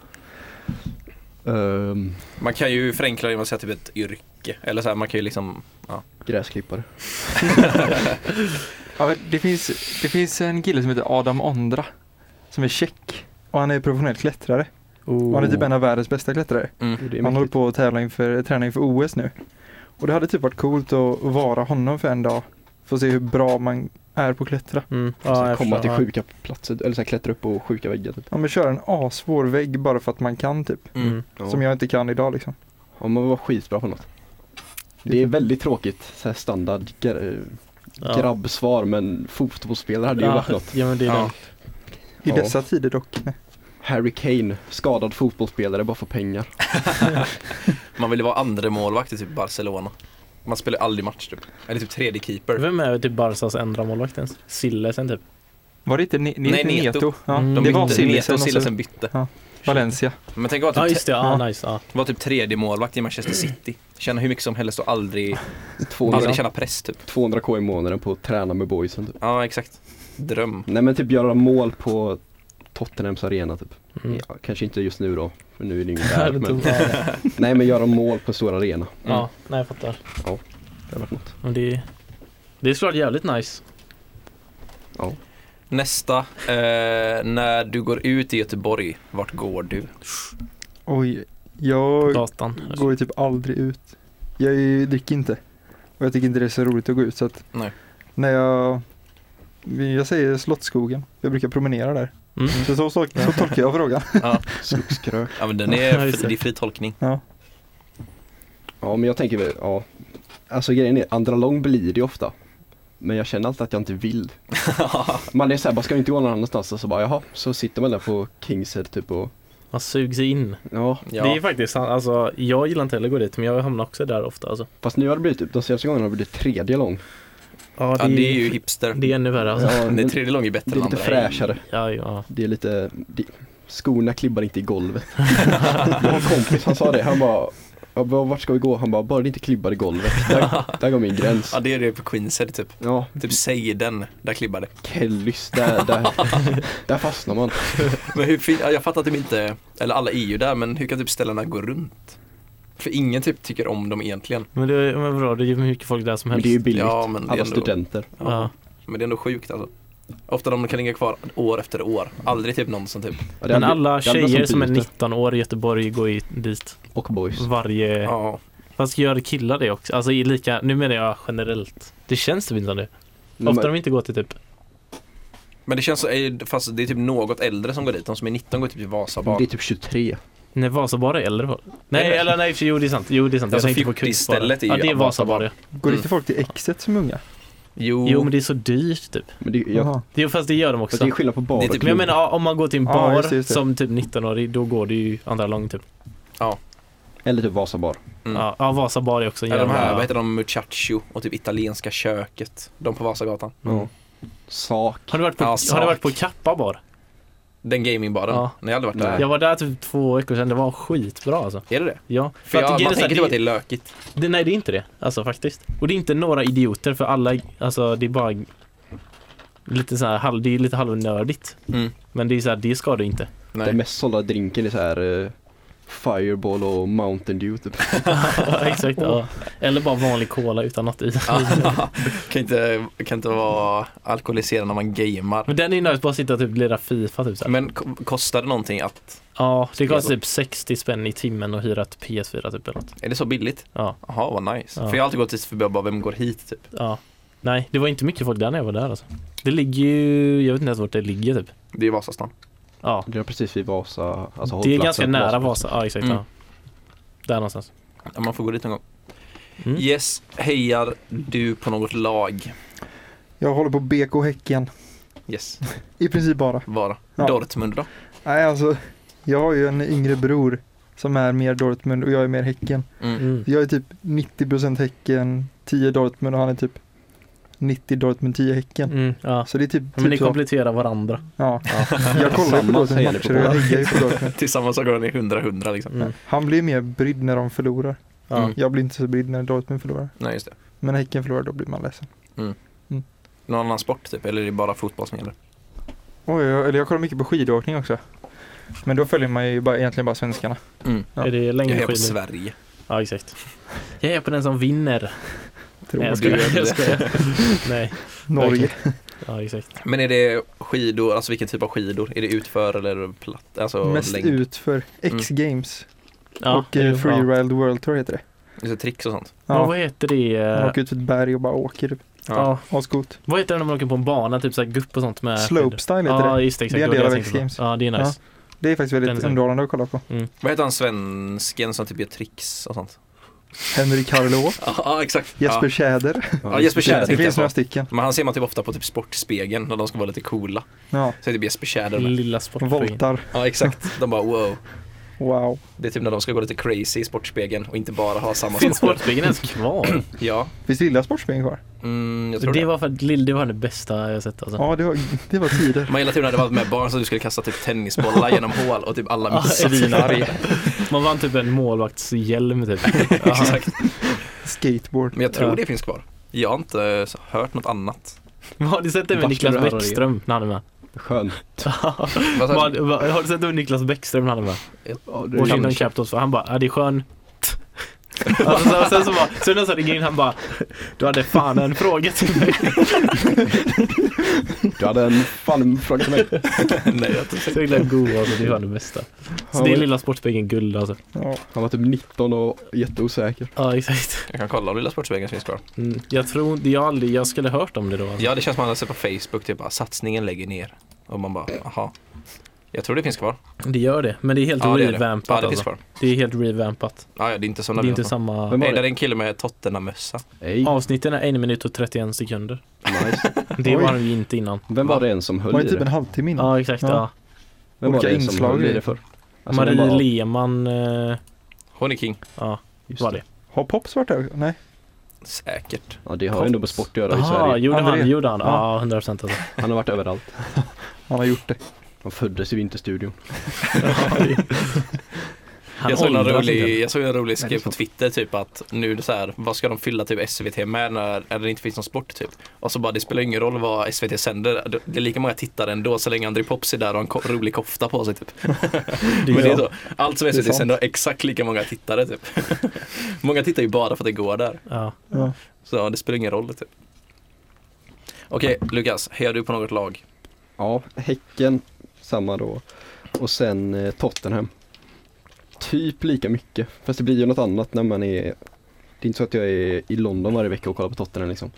Speaker 3: Ehm,
Speaker 4: Man kan ju förenkla det genom att säga typ ett yrke. Eller så här, man kan ju liksom, ja.
Speaker 3: gräsklippare.
Speaker 1: Ja, det, finns, det finns en kille som heter Adam Ondra som är tjeck och han är professionell klättrare. Och han är typ en av världens bästa klättrare.
Speaker 4: mm,
Speaker 3: Oh, Det är
Speaker 1: Han håller
Speaker 3: mäktigt.
Speaker 1: på att tävla inför, träna inför OS nu. Och det hade typ varit coolt att vara honom för en dag. Få se hur bra man är på att klättra.
Speaker 2: Mm.
Speaker 3: Så
Speaker 2: Ja, jag
Speaker 3: komma
Speaker 2: förstår.
Speaker 3: till
Speaker 2: Ja.
Speaker 3: sjuka platser, eller så här, klättra upp på sjuka väggar typ.
Speaker 1: Ja men köra en assvår vägg bara för att man kan typ.
Speaker 4: Mm.
Speaker 1: Som jag inte kan idag liksom.
Speaker 3: Om man var skitbra på något. Det är väldigt tråkigt, så här standard gra-
Speaker 2: Ja.
Speaker 3: grabbsvar men fotbollsspelare hade ju
Speaker 2: ja.
Speaker 3: varit något.
Speaker 2: Ja, men det är
Speaker 4: Ja.
Speaker 2: den.
Speaker 1: I
Speaker 3: Ja.
Speaker 1: dessa tider dock. Nej.
Speaker 3: Harry Kane, skadad fotbollsspelare bara för pengar.
Speaker 4: Man vill ju vara andra målvakt i typ Barcelona. Man spelar aldrig match typ. Eller typ tredje keeper.
Speaker 2: Vem är typ Barsas andra målvakt ens? Sillesen typ.
Speaker 1: Var det inte ne- ne-
Speaker 4: Nej,
Speaker 1: Nej,
Speaker 4: Neto.
Speaker 1: Neto? Ja,
Speaker 2: Mm.
Speaker 4: De
Speaker 1: Det var
Speaker 4: bytte, Neto
Speaker 1: Sillisen
Speaker 4: och
Speaker 1: och så
Speaker 4: Sillesen bytte.
Speaker 1: Valencia.
Speaker 4: Men tänk att
Speaker 2: Ja
Speaker 4: vara typ,
Speaker 2: just det, ja,
Speaker 1: Ja.
Speaker 2: nice. Ja.
Speaker 4: vara typ tredje målvakt i Manchester City. Tjäna hur mycket som helst och aldrig,
Speaker 3: 200,
Speaker 4: aldrig känna press typ.
Speaker 3: 200 k i månaden på att träna med boysen typ.
Speaker 4: Ja exakt. Dröm.
Speaker 3: Nej men typ göra mål på Tottenhams arena typ.
Speaker 2: Mm.
Speaker 3: Ja, kanske inte just nu då, för nu är det ingen
Speaker 2: Ja,
Speaker 3: där.
Speaker 2: det
Speaker 3: men,
Speaker 2: tog- ja.
Speaker 3: nej men göra mål på en stor arena.
Speaker 4: Mm.
Speaker 2: ja, nej jag fattar.
Speaker 3: Det hade varit något.
Speaker 2: Men det, det är såklart jävligt nice.
Speaker 4: Nästa. Eh, när du går ut i Göteborg, vart går du?
Speaker 1: Oj,
Speaker 2: På
Speaker 1: jag
Speaker 2: gatan.
Speaker 1: går ju typ aldrig ut. Jag är ju- dricker inte. Och jag tycker inte det är så roligt att gå ut så att
Speaker 4: Nej.
Speaker 1: när jag jag säger Slottsskogen. Jag brukar promenera där.
Speaker 2: Mm.
Speaker 1: Så, så, så, så tolkar jag frågan.
Speaker 3: Skogskrök.
Speaker 4: Ja men den
Speaker 2: Ja,
Speaker 4: är,
Speaker 2: just
Speaker 4: fri,
Speaker 2: det.
Speaker 4: det är fri tolkning.
Speaker 1: Ja.
Speaker 3: Ja men jag tänker väl, ja. Alltså grejen är, andra lång blir det ju ofta. Men jag känner alltid att jag inte vill. Man är såhär, bara ska vi inte gå någon annanstans? Och så bara jaha, så sitter man där på Kingshead typ och
Speaker 2: Man sugs in.
Speaker 3: ja.
Speaker 4: Ja.
Speaker 2: Det är faktiskt sant. Alltså, jag gillar inte heller att gå dit men jag hamnar också där ofta alltså.
Speaker 3: Fast nu har det blivit typ, de senaste gångerna har det blivit tredje lång.
Speaker 2: Ja
Speaker 4: ja, det är ju hipster.
Speaker 2: Det är ännu värre alltså.
Speaker 3: Ja,
Speaker 4: Det är
Speaker 3: men
Speaker 4: tredje lång är bättre
Speaker 3: det är
Speaker 4: än
Speaker 3: lite
Speaker 4: andra.
Speaker 3: fräschare.
Speaker 2: Ja, ja.
Speaker 3: Det är lite, det, skorna klibbar inte i golvet. Jag har en kompis, han sa det, han bara "Ja, var- vart ska vi gå? Han bara, bara det inte klibbar i golvet. Där, där går min gräns.
Speaker 4: Ja det är det på Queenshead typ.
Speaker 3: Ja,
Speaker 4: Typ säg den, där klibbar det.
Speaker 3: Kellys, där, där, där fastnar man.
Speaker 4: Men hur fin- ja, jag fattar typ inte, eller alla EU där, men hur kan typ ställena gå runt? För ingen typ tycker om dem egentligen.
Speaker 2: Men det är men bra, det är ju mycket folk där som
Speaker 3: Men
Speaker 2: helst.
Speaker 3: det är ju billigt.
Speaker 4: Ja men det är
Speaker 3: Alla
Speaker 2: Alltså, typ
Speaker 4: ändå,
Speaker 3: studenter.
Speaker 2: ja.
Speaker 4: men det är ändå sjukt alltså. Ofta de kan ligga kvar år efter år. Aldrig typ någon som typ,
Speaker 3: Ja, det
Speaker 2: Men
Speaker 3: hade-
Speaker 2: alla
Speaker 3: det hade varit
Speaker 2: tjejer som är
Speaker 3: byte.
Speaker 2: 19 år i Göteborg går ju dit
Speaker 3: Och boys.
Speaker 2: varje...
Speaker 4: ja.
Speaker 2: Fast gör killar det också? Alltså i lika... Nu menar jag generellt. Det känns typ inte som det. Ofta de inte går till typ...
Speaker 4: Men det känns så, eh, fast det är typ något äldre som går dit. De som är 19 går typ till
Speaker 3: Men Det
Speaker 4: Vasabar.
Speaker 3: är typ 23.
Speaker 2: Nej, Vasabar är äldre folk. Nej,
Speaker 4: Eller?
Speaker 2: eller nej, för- jo det är sant. Jo det är sant. Jag
Speaker 4: Alltså,
Speaker 2: tänkte på Kungsbara.
Speaker 4: fjortisstället är
Speaker 2: Ja,
Speaker 4: ju
Speaker 2: det är Vasabar ja.
Speaker 1: Går inte folk till exet som unga?
Speaker 4: Jo,
Speaker 2: Jo men det är så dyrt typ.
Speaker 3: Men det, jag,
Speaker 1: Jaha.
Speaker 2: Det, fast det gör de
Speaker 3: fast det
Speaker 2: också.
Speaker 3: är skillnad på bar
Speaker 4: Det är
Speaker 3: och
Speaker 4: typ-
Speaker 2: Men jag menar ja, om man går till en
Speaker 1: Ja,
Speaker 2: bar
Speaker 1: just det, just det.
Speaker 2: som typ 19-årig då går det ju andra lång typ.
Speaker 3: Eller typ Vasabar.
Speaker 4: Mm.
Speaker 2: Ja, ja Vasabar är också en
Speaker 4: Eller de här,
Speaker 2: jävla-
Speaker 4: vad heter de, Muchacho och typ Italienska köket. De på Vasagatan.
Speaker 2: Mm.
Speaker 3: Sak.
Speaker 2: Har du varit på,
Speaker 4: Ja,
Speaker 2: har
Speaker 4: sak.
Speaker 2: du varit på Kappa bar?
Speaker 4: Den gamingbaren.
Speaker 2: Ja.
Speaker 4: Nej, jag har aldrig varit
Speaker 3: Nej.
Speaker 4: där.
Speaker 2: Jag var där typ två veckor sedan, det var skitbra alltså.
Speaker 4: Är det det?
Speaker 2: Ja.
Speaker 4: För
Speaker 2: att
Speaker 4: jag,
Speaker 2: grejen
Speaker 4: man
Speaker 2: är så här,
Speaker 4: tänker typ att
Speaker 2: det-
Speaker 4: det är lökigt.
Speaker 2: Det, nej det är inte det, alltså faktiskt. Och det är inte några idioter för alla, alltså det är bara lite så här, halv- det är lite halvnördigt.
Speaker 4: Mm.
Speaker 2: Men det är så här, det ska du inte.
Speaker 3: Den
Speaker 4: Nej.
Speaker 3: mest sålda drinken är så här eh, Fireball och Mountain Dew typ.
Speaker 2: Exakt, ja. Eller bara vanlig cola utan något i.
Speaker 4: kan, inte, kan inte vara alkoholiserad när man gamer.
Speaker 2: Men den är ju nice, bara sitta och typ lira FIFA typ så här.
Speaker 4: Men ko- kostar det någonting att,
Speaker 2: Ja, det kostar typ 60 spänn i timmen och hyra ett PS4 typ eller något.
Speaker 4: är det så billigt?
Speaker 2: Ja,
Speaker 4: Jaha, vad nice.
Speaker 2: Ja.
Speaker 4: För jag har alltid gått dit förbi och bara, vem går hit typ?
Speaker 2: ja. Nej, det var inte mycket folk där när jag var där alltså. Det ligger ju, jag vet inte ens vart det ligger typ.
Speaker 4: Det är Vasastan.
Speaker 2: Ja,
Speaker 3: Det är precis vid Vasa, alltså
Speaker 2: det är
Speaker 3: hållplatsen
Speaker 2: ganska
Speaker 3: på
Speaker 2: nära
Speaker 3: Vasaplan.
Speaker 2: Vasa. Ja, exakt.
Speaker 4: Mm.
Speaker 2: Ja. Där någonstans.
Speaker 4: Ja, man får gå dit någon gång.
Speaker 2: Mm.
Speaker 4: Yes, hejar du på något lag?
Speaker 1: Jag håller på BK Häcken.
Speaker 4: Yes,
Speaker 1: I princip bara.
Speaker 4: bara.
Speaker 1: Ja.
Speaker 4: Dortmund då?
Speaker 1: Nej, alltså. Jag har ju en yngre bror som är mer Dortmund och jag är mer Häcken.
Speaker 4: Mm.
Speaker 2: Mm.
Speaker 1: Jag är typ 90% Häcken, 10 Dortmund och han är typ 90 Dortmund, 10 Häcken.
Speaker 2: Mm, ja.
Speaker 1: Så det är typ,
Speaker 2: Men ni
Speaker 1: typ så.
Speaker 2: kompletterar varandra.
Speaker 1: Ja. Jag kollar ju på
Speaker 3: Samma
Speaker 1: Dortmunds
Speaker 3: säger ni
Speaker 1: matcher
Speaker 3: på
Speaker 1: och jag
Speaker 3: båda.
Speaker 1: hejar ju på Dortmund.
Speaker 4: Tillsammans så går ni 100-100 liksom.
Speaker 2: Mm.
Speaker 1: Han blir mer brydd när de förlorar.
Speaker 2: Ja.
Speaker 4: Mm.
Speaker 1: Jag blir inte så brydd när Dortmund förlorar.
Speaker 4: Nej, just det.
Speaker 1: Men när Häcken förlorar då blir man ledsen.
Speaker 4: Någon annan sport typ, eller är det bara fotboll som gäller?
Speaker 1: Oj, jag, eller jag kollar mycket på skidåkning också. Men då följer man ju bara, egentligen bara svenskarna.
Speaker 4: Mm.
Speaker 1: Ja.
Speaker 2: Är det
Speaker 4: Jag
Speaker 2: längre
Speaker 4: är på
Speaker 2: skidor?
Speaker 4: Sverige.
Speaker 2: Ja, exakt. Jag är på den som vinner.
Speaker 1: Tror
Speaker 2: Nej, jag
Speaker 1: jag.
Speaker 2: skojar.
Speaker 4: du.
Speaker 2: Jag skojar. Nej,
Speaker 1: Norge.
Speaker 2: ja exakt.
Speaker 4: Men är det skidor, alltså vilken typ av skidor? Är det utför eller platt? Alltså
Speaker 1: Mest
Speaker 4: längd?
Speaker 1: ut för X Games och eh, Free
Speaker 2: Mm. ja.
Speaker 1: Wild World Tour heter det.
Speaker 4: Just det, tricks och sånt.
Speaker 2: Men
Speaker 1: Ja,
Speaker 2: vad heter det?
Speaker 1: man
Speaker 2: eh,
Speaker 1: åker ut för ett berg och bara åker. typ.
Speaker 2: Ja.
Speaker 1: Ascoolt.
Speaker 2: Vad heter det när man åker på en bana, typ såhär gupp och sånt med skidor?
Speaker 1: Slopestyle heter
Speaker 2: Ja,
Speaker 1: det.
Speaker 2: just det, exakt.
Speaker 1: Det är en
Speaker 2: var
Speaker 1: del av
Speaker 2: jag tänkte på.
Speaker 1: X-Games.
Speaker 2: Ja, det är nice.
Speaker 1: Det är faktiskt
Speaker 2: Den är
Speaker 1: väldigt
Speaker 2: säker.
Speaker 1: underhållande att kolla på.
Speaker 4: Vad heter han svensken som typ gör tricks och sånt?
Speaker 1: Henrik Harlow,
Speaker 4: Ja, ah, exakt.
Speaker 1: Jesper Tjäder.
Speaker 4: Ja, Jesper Tjäder
Speaker 1: Det
Speaker 4: tänkte jag
Speaker 1: finns
Speaker 4: på.
Speaker 1: några stycken.
Speaker 4: Men han ser man typ ofta på typ Sportspegeln när de ska vara lite coola.
Speaker 1: Ja,
Speaker 4: Så är det typ Jesper Tjäder med.
Speaker 2: Lilla sportfrågan.
Speaker 1: voltar.
Speaker 4: Ja exakt, de bara wow.
Speaker 1: Wow.
Speaker 4: Det är typ när de ska gå lite crazy i Sportspegeln och inte bara ha samma
Speaker 2: Finns
Speaker 4: sport.
Speaker 2: Sportspegeln ens kvar?
Speaker 4: Ja,
Speaker 1: Finns det lilla Sportspegeln kvar?
Speaker 4: mm, jag tror det.
Speaker 2: Det var, för, det var det bästa jag sett alltså.
Speaker 1: Ja, det var, det var tider.
Speaker 4: Man gillar typ när det var med barn så du skulle kasta typ tennisbollar genom hål och typ alla missade.
Speaker 2: Svinarg. Man vann typ en målvaktshjälm typ.
Speaker 4: Exakt.
Speaker 1: Skateboard.
Speaker 4: Men jag tror
Speaker 2: Ja.
Speaker 4: det finns kvar. Jag har inte eh, hört något annat.
Speaker 2: Har du sett det med Niklas
Speaker 3: Bachelor.
Speaker 2: Bäckström när han är med?
Speaker 3: Skön.
Speaker 4: Vad sa
Speaker 2: Man,
Speaker 4: du?
Speaker 2: va- har du sett det med Niklas Bäckström när han är med?
Speaker 3: Ja,
Speaker 4: är-
Speaker 2: Washington Capitals, för han bara, ja det är skön alltså, sen, sen så bara, sen när jag ringer in han bara, du hade fan en fråga till mig.
Speaker 3: Du hade en fan fråga till mig.
Speaker 4: Nej, jag tror-
Speaker 2: Så himla god alltså, det är fan det bästa. Så det är lilla Sportspegeln guld alltså.
Speaker 1: Ja.
Speaker 3: Han var typ 19 och jätteosäker.
Speaker 2: Ja exakt.
Speaker 4: jag kan kolla om Lilla Sportspegeln finns kvar.
Speaker 2: Mm. Jag tror inte, jag aldrig, jag skulle hört om det då. Alltså.
Speaker 4: Ja, det känns som att man läser på Facebook typ bara satsningen lägger ner. Och man bara, aha. Jag tror det finns kvar.
Speaker 2: Det gör det, men det är helt
Speaker 4: Ja, det är det.
Speaker 2: revampat
Speaker 4: Ja, det finns
Speaker 2: alltså.
Speaker 4: kvar.
Speaker 2: Det är helt revampat.
Speaker 4: Ja, ja, det är inte
Speaker 2: Det
Speaker 4: sådana
Speaker 2: är
Speaker 4: vi
Speaker 2: inte
Speaker 4: har.
Speaker 2: samma.
Speaker 3: Vem
Speaker 4: Nej,
Speaker 3: var
Speaker 4: där är
Speaker 3: det?
Speaker 4: en kille med Tottenham-mössa.
Speaker 3: Nej.
Speaker 2: Avsnitten är en minut och 31 sekunder.
Speaker 3: Nice.
Speaker 2: Det
Speaker 1: Oj.
Speaker 2: var han ju inte innan.
Speaker 3: Vem var det en som
Speaker 1: Var
Speaker 3: höll
Speaker 1: det
Speaker 3: i
Speaker 1: typ en
Speaker 3: det?
Speaker 1: halvtimme innan?
Speaker 2: Ja exakt.
Speaker 1: Ja.
Speaker 2: Ja.
Speaker 3: Vem var
Speaker 1: Olika
Speaker 3: det en som
Speaker 1: inslag
Speaker 3: höll
Speaker 1: i
Speaker 3: i
Speaker 1: det.
Speaker 3: Alltså, det för?
Speaker 2: Marie
Speaker 3: den bara-
Speaker 2: Lehmann eh,
Speaker 4: Hon är king.
Speaker 2: ja,
Speaker 3: Just
Speaker 2: var det.
Speaker 1: Har Pops varit där också? Nej.
Speaker 4: Säkert.
Speaker 3: Ja det har ju ändå med sport att göra i
Speaker 2: Jaha,
Speaker 3: Sverige.
Speaker 2: gjorde han?
Speaker 1: André.
Speaker 2: Gjorde han?
Speaker 1: Ja.
Speaker 2: Ja, 100% alltså.
Speaker 3: Han har varit överallt.
Speaker 1: Han har gjort det.
Speaker 3: Han föddes i Vinterstudion.
Speaker 2: Han
Speaker 4: jag, såg en
Speaker 2: åldras
Speaker 4: rolig,
Speaker 2: inte.
Speaker 4: jag såg en rolig skrev på
Speaker 3: sant.
Speaker 4: Twitter typ att nu så här, vad ska de fylla typ SVT med när, när det inte finns någon sport typ? Och så bara, det spelar ingen roll vad SVT sänder, det är lika många tittare ändå så länge André Pops är där och har en ko- rolig kofta på sig typ. Men det är så, allt som
Speaker 1: Det är
Speaker 4: SVT sänder
Speaker 1: sant.
Speaker 4: har exakt lika många tittare typ. många tittar ju bara för att det går där.
Speaker 2: Ja.
Speaker 1: Ja.
Speaker 4: Så ja, det spelar ingen roll typ. Okej, Lukas, hejar du på något lag?
Speaker 3: Ja, Häcken, samma då. Och sen eh, Tottenham. Typ lika mycket, fast det blir ju något annat när man är Det är inte så att jag är i London varje vecka och kollar på Tottenham liksom.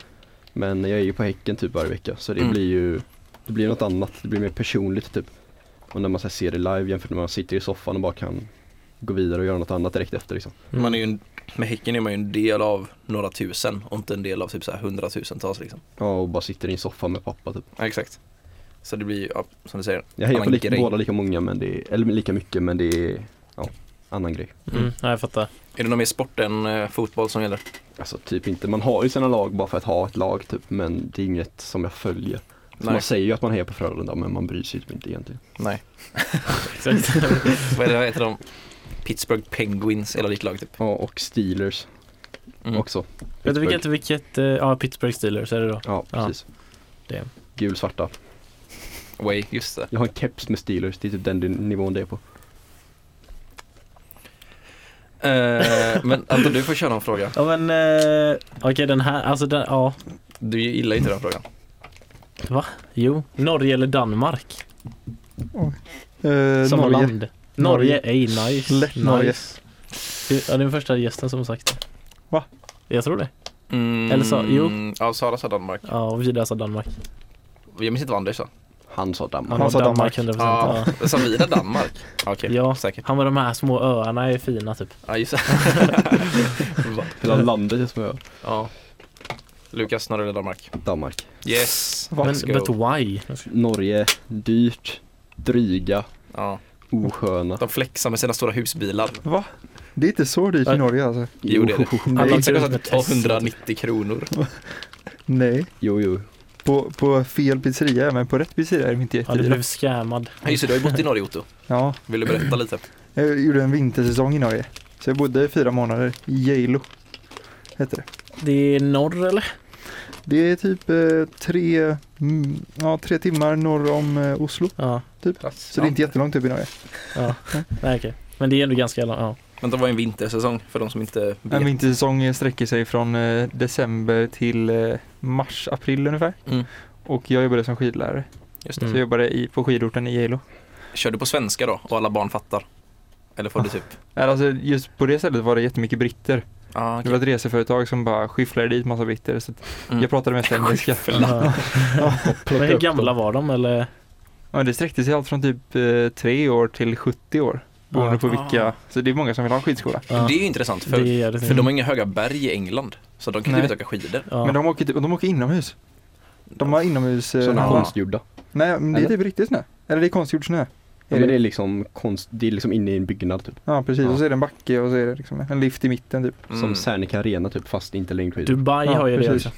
Speaker 3: Men jag är ju på Häcken typ varje vecka så det
Speaker 4: Mm.
Speaker 3: blir ju Det blir något annat, det blir mer personligt typ. Och när man så här, ser det live jämfört med när man sitter i soffan och bara kan gå vidare och göra något annat direkt efter liksom.
Speaker 2: Mm.
Speaker 4: Man är ju en, med Häcken är man ju en del av några tusen och inte en del av typ så här hundratusentals liksom.
Speaker 3: Ja, och bara sitter i en soffa med pappa typ.
Speaker 4: Ja, exakt. Så det blir ju, ja, som du säger,
Speaker 3: Jag hejar på
Speaker 4: annan
Speaker 3: lika,
Speaker 4: grej.
Speaker 3: båda lika många men det är, eller lika mycket men det är, ja, annan grej.
Speaker 2: Mm. Ja, jag fattar.
Speaker 4: Är det någon mer sport än eh, fotboll som gäller?
Speaker 3: Alltså typ inte, man har ju sina lag bara för att ha ett lag typ men det är inget som jag följer. Så
Speaker 4: Nej.
Speaker 3: Man säger ju att man hejar på Frölunda men man bryr sig typ inte egentligen.
Speaker 4: Nej.
Speaker 2: Exakt.
Speaker 4: Vad är det, vad heter de? Pittsburgh Penguins, eller ditt lag typ.
Speaker 3: Ja och Steelers
Speaker 4: Mm.
Speaker 3: också.
Speaker 2: Vet du
Speaker 3: Pittsburgh.
Speaker 2: vilket, vilket, eh, ja Pittsburgh Steelers är det då.
Speaker 3: Ja
Speaker 2: Ja.
Speaker 3: precis.
Speaker 2: Det.
Speaker 3: Gul-svarta.
Speaker 4: Way, just det.
Speaker 3: Jag har en keps med Steelers, det är typ den din- nivån det är på.
Speaker 4: Eh, men Anton, du får köra någon fråga.
Speaker 2: Ja men, eh, okej den här, alltså den, ja,
Speaker 4: Du gillar ju inte den frågan.
Speaker 2: jo. Norge eller Danmark?
Speaker 1: Eh,
Speaker 2: Som
Speaker 1: Norge.
Speaker 2: land. Norge,
Speaker 1: Norge.
Speaker 2: ey nice.
Speaker 1: Lätt
Speaker 2: nice.
Speaker 1: Norge.
Speaker 2: Ja, det är den första gästen som har sagt det.
Speaker 1: Va?
Speaker 2: Jag tror det.
Speaker 4: Mm,
Speaker 2: Eller så- jo.
Speaker 4: Ja, Sara sa Danmark.
Speaker 2: Ja, och Vida sa Danmark.
Speaker 4: Jag minns inte vad Anders sa.
Speaker 3: Han sa Danmark.
Speaker 1: Han
Speaker 2: Ja,
Speaker 1: sa Danmark.
Speaker 2: 100%.
Speaker 4: Ja,
Speaker 2: Ja.
Speaker 4: sa vi där Danmark? Okej,
Speaker 2: Ja.
Speaker 4: säkert.
Speaker 2: Han var de här små öarna är fina typ.
Speaker 4: Ja, just det. Va?
Speaker 3: Hela landet är som jag.
Speaker 4: ja. Lukas, Norge eller Danmark?
Speaker 3: Danmark.
Speaker 4: Yes.
Speaker 1: Va?
Speaker 2: Men
Speaker 4: Let's
Speaker 2: but
Speaker 4: go.
Speaker 2: why?
Speaker 3: Norge, dyrt, dryga,
Speaker 4: Ja.
Speaker 3: osköna.
Speaker 4: De flexar med sina stora husbilar.
Speaker 1: Va? Det är inte så dyrt i
Speaker 2: Ja.
Speaker 1: Norge alltså?
Speaker 4: Jo, det är det.
Speaker 2: Alla
Speaker 4: Alla
Speaker 1: Nej.
Speaker 2: åker runt
Speaker 4: kostar
Speaker 2: med
Speaker 4: typ
Speaker 2: Tesla, typ.
Speaker 4: 290 kronor.
Speaker 1: Nej.
Speaker 3: Jo, jo.
Speaker 1: På, på fel pizzeria, men på rätt pizzeria är de inte
Speaker 2: Ja, du
Speaker 1: jättedyra.
Speaker 2: blev scammad.
Speaker 4: Ja, Just det, du har ju bott i Norge Otto.
Speaker 1: Ja,
Speaker 4: Vill du berätta lite?
Speaker 1: jag gjorde en vintersäsong i Norge. Så jag bodde i fyra månader i Geilo. Heter det.
Speaker 2: Det är norr eller?
Speaker 1: Det är typ eh, tre, mm, ja, tre timmar norr om eh, Oslo.
Speaker 2: Ja.
Speaker 1: Så det är inte jättelångt upp i Norge.
Speaker 2: ja. Nej, okej. Men det är ändå ganska långt. Ja.
Speaker 4: Men det var ju en vintersäsong för de som inte vet.
Speaker 1: En vintersäsong eh, sträcker sig från eh, december till eh, mars, april ungefär.
Speaker 4: Mm.
Speaker 1: Och jag jobbade som skidlärare.
Speaker 4: Just
Speaker 1: Så jag jobbade i, på skidorten i Geilo.
Speaker 4: Kör du på svenska då och alla barn fattar? Eller får du typ?
Speaker 1: Nej, Alltså just på det stället var det jättemycket britter.
Speaker 4: Ah,
Speaker 1: Det var ett reseföretag som bara skyfflade dit massa britter. Så att
Speaker 4: Mm.
Speaker 1: jag pratade mest engelska.
Speaker 2: Ja. Men hur
Speaker 3: upp
Speaker 2: gamla
Speaker 3: dem.
Speaker 2: var de eller?
Speaker 1: Ja, det sträckte sig allt från typ eh, 3 år till 70 år. Beroende
Speaker 2: Ja.
Speaker 1: på vilka.
Speaker 4: Ah.
Speaker 1: Så det är många som vill ha skidskola.
Speaker 2: Ja.
Speaker 4: Det är ju intressant för,
Speaker 2: Det är det.
Speaker 4: för de har inga höga berg i England. Så de kan ju
Speaker 1: Nej.
Speaker 4: inte åka skidor.
Speaker 2: Ja.
Speaker 1: Men de åker, typ- de åker inomhus. De har inomhus... eh,
Speaker 3: Sådana
Speaker 1: hallar.
Speaker 3: konstgjorda.
Speaker 1: Nej, men det är
Speaker 3: Eller?
Speaker 1: typ riktigt snö. Eller det är konstgjord snö.
Speaker 3: Ja, men det är liksom konst, det är liksom inne i en byggnad typ.
Speaker 1: Ja, precis.
Speaker 3: Ja.
Speaker 1: Och så är det en backe och så är det liksom en lift i mitten typ.
Speaker 4: Mm.
Speaker 3: Som Serneke Arena typ fast inte längdskidor.
Speaker 2: Dubai
Speaker 1: Ja,
Speaker 2: har ju
Speaker 1: precis.
Speaker 2: det. också.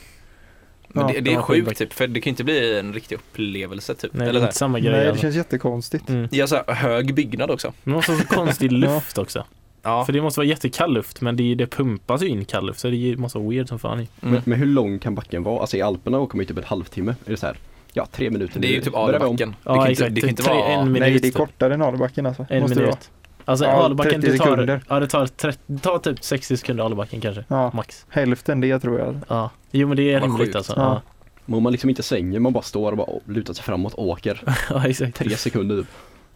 Speaker 4: Men
Speaker 1: Ja,
Speaker 4: det,
Speaker 2: de
Speaker 4: det är
Speaker 2: har
Speaker 4: sjukt
Speaker 2: skidback.
Speaker 4: typ, för det kan ju inte bli en riktig upplevelse typ.
Speaker 2: Nej, det
Speaker 4: Eller
Speaker 2: är
Speaker 4: så
Speaker 2: inte
Speaker 4: här.
Speaker 2: samma grej.
Speaker 1: Nej, det
Speaker 2: alltså.
Speaker 1: känns jättekonstigt.
Speaker 2: Mm.
Speaker 4: Ja, så här, hög byggnad också.
Speaker 2: Men också så konstig luft också.
Speaker 4: Ja.
Speaker 2: För det måste vara jättekall luft men det, är- det pumpas ju in kall luft så det måste vara weird som fan. i.
Speaker 4: Mm.
Speaker 3: Men, men hur lång kan backen vara? Alltså i Alperna åker man ju typ en halvtimme. Är det så här? Ja, tre minuter.
Speaker 4: Det är ju typ
Speaker 3: Börjar vi om.
Speaker 4: Adelbacken.
Speaker 2: Ja,
Speaker 4: det kan inte,
Speaker 2: exakt.
Speaker 4: det kan inte
Speaker 2: Tre-
Speaker 4: vara...
Speaker 2: en minut.
Speaker 1: Nej, det är
Speaker 2: typ.
Speaker 1: kortare än Adelbacken alltså.
Speaker 2: En
Speaker 1: Måste det vara.
Speaker 2: minut. Alltså
Speaker 1: Ja,
Speaker 2: Albacken
Speaker 1: 30
Speaker 2: det tar,
Speaker 1: sekunder.
Speaker 2: ja, det tar, 30, det tar typ 60 sekunder Albacken kanske.
Speaker 1: Ja,
Speaker 2: Max.
Speaker 1: hälften det tror jag.
Speaker 2: Ja. Jo men det är
Speaker 4: Vad
Speaker 2: rimligt
Speaker 4: sjukt.
Speaker 2: alltså. Ja.
Speaker 1: Ja.
Speaker 3: Men om man liksom inte svänger, man bara står och bara lutar sig framåt och åker.
Speaker 2: ja exakt.
Speaker 3: Tre sekunder typ.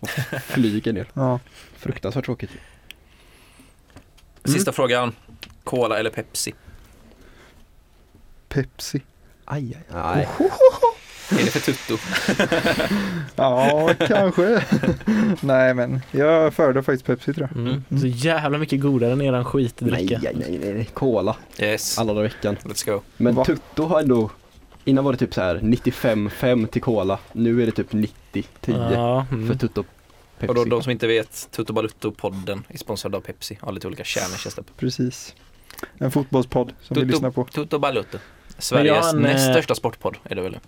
Speaker 3: Och flyger ner.
Speaker 1: Ja.
Speaker 3: Fruktansvärt tråkigt.
Speaker 4: Sista
Speaker 2: Mm.
Speaker 4: frågan. Cola eller Pepsi?
Speaker 1: Pepsi.
Speaker 3: Aj, aj, aj.
Speaker 4: Är det för tutto?
Speaker 1: Ja, kanske. Nej, men jag föredrar faktiskt Pepsi tror jag.
Speaker 2: Mm. Så jävla mycket godare än eran
Speaker 3: nej,
Speaker 2: skitdricka.
Speaker 3: nej, nej, nej, nej. Cola.
Speaker 4: Yes.
Speaker 3: Alla dagar i veckan.
Speaker 4: Let's go.
Speaker 3: Men
Speaker 1: Va?
Speaker 3: Tutto har ändå Innan var det typ så här 95-5 till Cola. Nu är det typ 90-10
Speaker 2: Ja,
Speaker 3: för
Speaker 2: mm.
Speaker 3: Tutto Pepsi.
Speaker 4: Och då, de som inte vet, Tutto Balutto-podden är sponsrad av Pepsi. Har lite olika kärntjänster.
Speaker 1: Precis. En fotbollspodd som vi
Speaker 4: Tutto-
Speaker 1: lyssnar på.
Speaker 4: Tutto Balutto.
Speaker 2: Men jag har
Speaker 4: Sveriges
Speaker 2: en,
Speaker 4: näst
Speaker 2: eh,
Speaker 4: största sportpodd är det väl?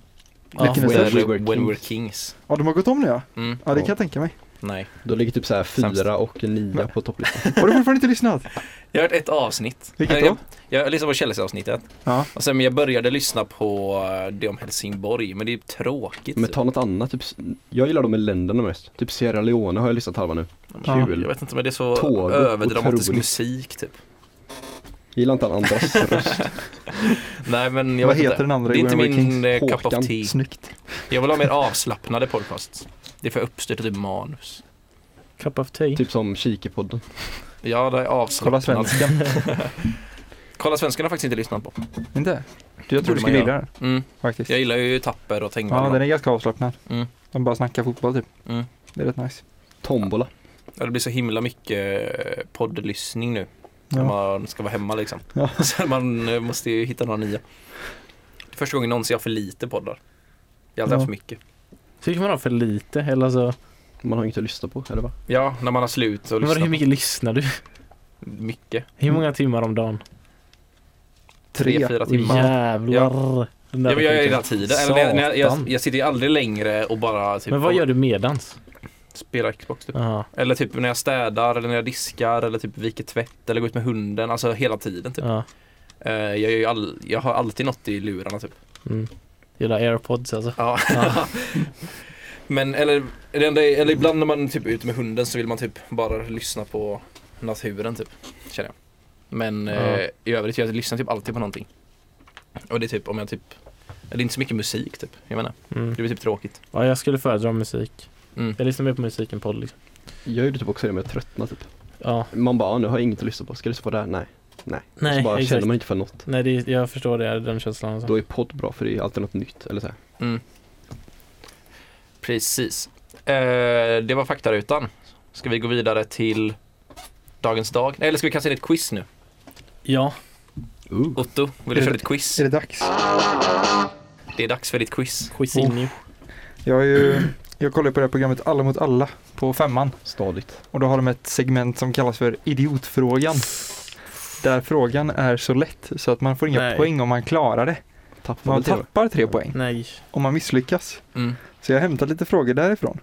Speaker 2: Ja,
Speaker 1: Vilken är
Speaker 4: When,
Speaker 1: störst?
Speaker 4: we
Speaker 3: When
Speaker 4: were,
Speaker 3: we were
Speaker 4: when we were kings.
Speaker 1: Ja, de har gått om nu ja.
Speaker 4: Mm,
Speaker 1: Ja, det kan jag tänka mig.
Speaker 4: nej.
Speaker 3: Då ligger typ så här 4 och 9
Speaker 1: Men-
Speaker 3: på topplistan.
Speaker 1: Har du fortfarande inte lyssnat?
Speaker 4: Jag har hört ett avsnitt.
Speaker 1: Vilket
Speaker 4: jag,
Speaker 1: då?
Speaker 4: jag, jag lyssnade på Chelsea-avsnittet.
Speaker 1: Ja.
Speaker 4: Och sen men jag började lyssna på eh, det om Helsingborg, men det är tråkigt.
Speaker 3: Men ta något annat, typ, jag gillar de med länderna mest. Typ Sierra Leone har jag lyssnat halva nu.
Speaker 1: Ja.
Speaker 3: Kul.
Speaker 4: Jag vet inte, men det är så
Speaker 3: Tåg,
Speaker 4: överdramatisk
Speaker 3: otroligt.
Speaker 4: musik typ.
Speaker 3: Jag gillar inte han andras röst.
Speaker 4: Nej men jag
Speaker 1: Vad
Speaker 4: vet
Speaker 1: heter
Speaker 4: inte.
Speaker 1: den andra
Speaker 4: Det är
Speaker 1: i
Speaker 4: inte
Speaker 1: When We Were
Speaker 4: min eh, cup
Speaker 3: Håkan.
Speaker 4: of tea.
Speaker 1: Snyggt.
Speaker 4: Jag vill ha mer avslappnade podcasts. Det är för uppstyrt och typ manus.
Speaker 2: Cup of tea.
Speaker 3: Typ som Kikipodden.
Speaker 4: Ja, det är
Speaker 1: Kolla
Speaker 4: avslappnat.
Speaker 1: svenskan.
Speaker 4: Kolla svenskarna har jag faktiskt inte lyssnat på.
Speaker 1: inte? Du, jag tror du
Speaker 4: Borde man
Speaker 1: skulle gilla
Speaker 4: göra.
Speaker 1: den
Speaker 4: Mm.
Speaker 1: faktiskt.
Speaker 4: Jag gillar ju Tapper och Tengvall.
Speaker 1: Ja, den är ganska avslappnad.
Speaker 4: Mm.
Speaker 1: De bara snackar fotboll typ.
Speaker 4: Mm.
Speaker 1: Det är rätt nice.
Speaker 3: Tombola.
Speaker 4: Ja, det blir så himla mycket eh, poddlyssning nu. När
Speaker 1: Ja.
Speaker 4: man ska vara hemma liksom.
Speaker 1: Ja.
Speaker 4: Så man eh, måste ju hitta några nya. Det är första gången någonsin jag har för lite poddar. Jag har alltid
Speaker 1: Ja.
Speaker 4: haft för mycket.
Speaker 2: Tycker man har för lite eller så.
Speaker 3: Man har inget att lyssna på, eller va?
Speaker 4: Ja, när man har slut och
Speaker 2: Men vadå,
Speaker 4: lyssnar
Speaker 2: hur
Speaker 4: mycket?
Speaker 2: mycket lyssnar du?
Speaker 4: mycket.
Speaker 2: Hur många timmar om dagen?
Speaker 4: Tre,
Speaker 1: Tre.
Speaker 4: fyra
Speaker 2: Åh,
Speaker 4: timmar.
Speaker 2: jävlar. Den där
Speaker 4: Ja, men jag gör det hela
Speaker 2: skiten.
Speaker 4: tiden. Eller, när jag, när jag, jag, typ
Speaker 2: Satan.
Speaker 4: jag sitter ju aldrig längre och bara typ,
Speaker 2: Men vad gör du medans?
Speaker 4: spelar Xbox typ.
Speaker 2: Jaha.
Speaker 4: Eller typ när jag städar eller när jag diskar eller typ viker tvätt eller går ut med hunden. Alltså hela tiden typ.
Speaker 2: Ja.
Speaker 4: Eh, Jag, gör ju all, jag har alltid något i lurarna typ.
Speaker 2: Mm. Gillar airpods alltså.
Speaker 4: Ja.
Speaker 2: Ja.
Speaker 4: Men eller, det enda- eller ibland när man typ är ute med hunden så vill man typ bara lyssna på naturen typ. Känner jag. Men eh,
Speaker 2: Ja.
Speaker 4: i övrigt, jag lyssnar typ alltid på någonting. Och det är typ om jag typ, det är inte så mycket musik typ. Jag menar,
Speaker 2: Mm.
Speaker 4: det blir typ tråkigt.
Speaker 2: Ja, jag skulle föredra musik.
Speaker 4: Mm.
Speaker 2: Jag lyssnar mer på musik än podd liksom.
Speaker 3: Jag gjorde typ också det med att tröttna typ.
Speaker 2: Ja,
Speaker 3: Man bara, ah, nu har jag inget att lyssna på. Ska jag lyssna på det här? Nej. Nej. Och
Speaker 2: Nej,
Speaker 3: så bara
Speaker 2: exakt.
Speaker 3: känner man inte för något.
Speaker 2: nej det, är- jag förstår det, den känslan alltså.
Speaker 3: Då är podd bra för det är alltid något nytt, eller så här.
Speaker 4: Mm. Precis. Eh, det var faktarutan. Ska vi gå vidare till dagens dag? Eller ska vi kasta in ett quiz nu?
Speaker 2: Ja,
Speaker 3: Ooh.
Speaker 4: Otto, vill
Speaker 1: Är
Speaker 4: du
Speaker 1: det-
Speaker 4: köra ditt quiz?
Speaker 1: Är det dags?
Speaker 4: Det är dags för ditt quiz.
Speaker 2: Quizinho.
Speaker 1: Jag, är ju, jag kollar på det här programmet Alla mot alla på femman.
Speaker 3: Stadigt.
Speaker 1: Och då har de ett segment som kallas för idiotfrågan. Där frågan är så lätt så att man får inga
Speaker 2: Nej.
Speaker 1: poäng om man klarar det.
Speaker 3: Tappar
Speaker 1: Man
Speaker 3: väl tre.
Speaker 1: tappar tre poäng
Speaker 2: Nej.
Speaker 1: om man misslyckas.
Speaker 4: Mm.
Speaker 1: Så jag har hämtat lite frågor därifrån.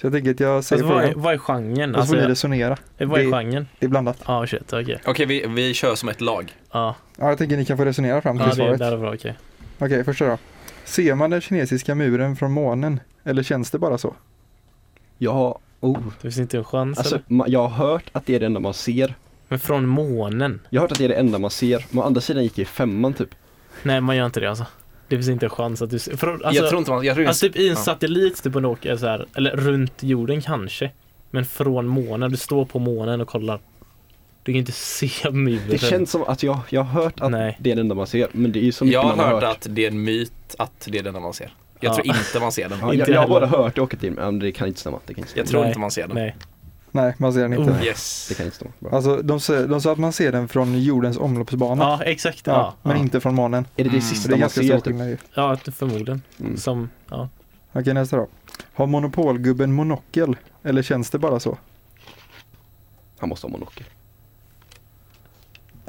Speaker 1: Så jag tänker att jag säger
Speaker 2: Alltså, vad, är,
Speaker 1: frågan
Speaker 2: vad är genren?
Speaker 1: och så
Speaker 2: Alltså,
Speaker 1: får ni resonera.
Speaker 2: vad är
Speaker 1: det-
Speaker 2: genren?
Speaker 1: Det är blandat.
Speaker 2: Ja, shit, okej.
Speaker 4: Okej, vi, vi kör som ett lag.
Speaker 2: Ja,
Speaker 1: Ja, jag tänker att ni kan få resonera fram till
Speaker 2: ja det,
Speaker 1: svaret.
Speaker 2: det är bra, okej.
Speaker 1: Okej, första då. Ser man den kinesiska muren från månen? Eller känns det bara så?
Speaker 3: Jag har, oh.
Speaker 2: Det finns inte en chans
Speaker 3: Alltså,
Speaker 2: eller?
Speaker 3: ma- jag har hört att det är det enda man ser.
Speaker 2: Men från månen?
Speaker 3: Jag har hört att det är det enda man ser. Men å andra sidan gick jag i femman typ.
Speaker 2: Nej, man gör inte det alltså. Det finns inte en chans att du ser. Från, alltså,
Speaker 4: jag tror inte man... Jag tror
Speaker 2: alltså typ i en
Speaker 4: ja.
Speaker 2: satellit typ, och åker så här, eller runt jorden kanske. Men från månen, du står på månen och kollar. Du kan inte se muren.
Speaker 3: Det känns som att jag, jag har hört att
Speaker 2: Nej.
Speaker 3: det är det enda man ser. Men det är ju så mycket
Speaker 4: jag har
Speaker 3: man har
Speaker 4: hört att det är en myt att det är den man ser. Jag
Speaker 2: Ja.
Speaker 4: tror inte man ser den.
Speaker 3: Ja, jag,
Speaker 2: Inte
Speaker 3: jag har
Speaker 2: heller.
Speaker 3: bara hört det och åkt till, men det kan inte stämma. Det kan inte stämma.
Speaker 4: Jag tror
Speaker 2: Nej.
Speaker 4: inte man ser den.
Speaker 2: Nej.
Speaker 1: Nej, man ser den inte.
Speaker 2: Oh. tror-
Speaker 4: Yes.
Speaker 3: Det kan inte stämma. Bra.
Speaker 1: Alltså, de, ser, de sa att man ser den från jordens omloppsbana.
Speaker 2: Ja, exakt.
Speaker 1: Ja,
Speaker 2: Ja,
Speaker 1: men
Speaker 2: ja.
Speaker 1: inte från månen.
Speaker 3: Är det det
Speaker 4: Mm.
Speaker 1: Så
Speaker 3: sista
Speaker 1: det är
Speaker 3: man
Speaker 1: ganska
Speaker 3: ser?
Speaker 1: stor
Speaker 3: Typ?
Speaker 1: skillnad ju.
Speaker 2: ja förmodligen.
Speaker 3: Mm.
Speaker 2: Som, ja.
Speaker 1: Okej, nästa då. Har monopolgubben monokel? Eller känns det bara så?
Speaker 3: Han måste ha monokel.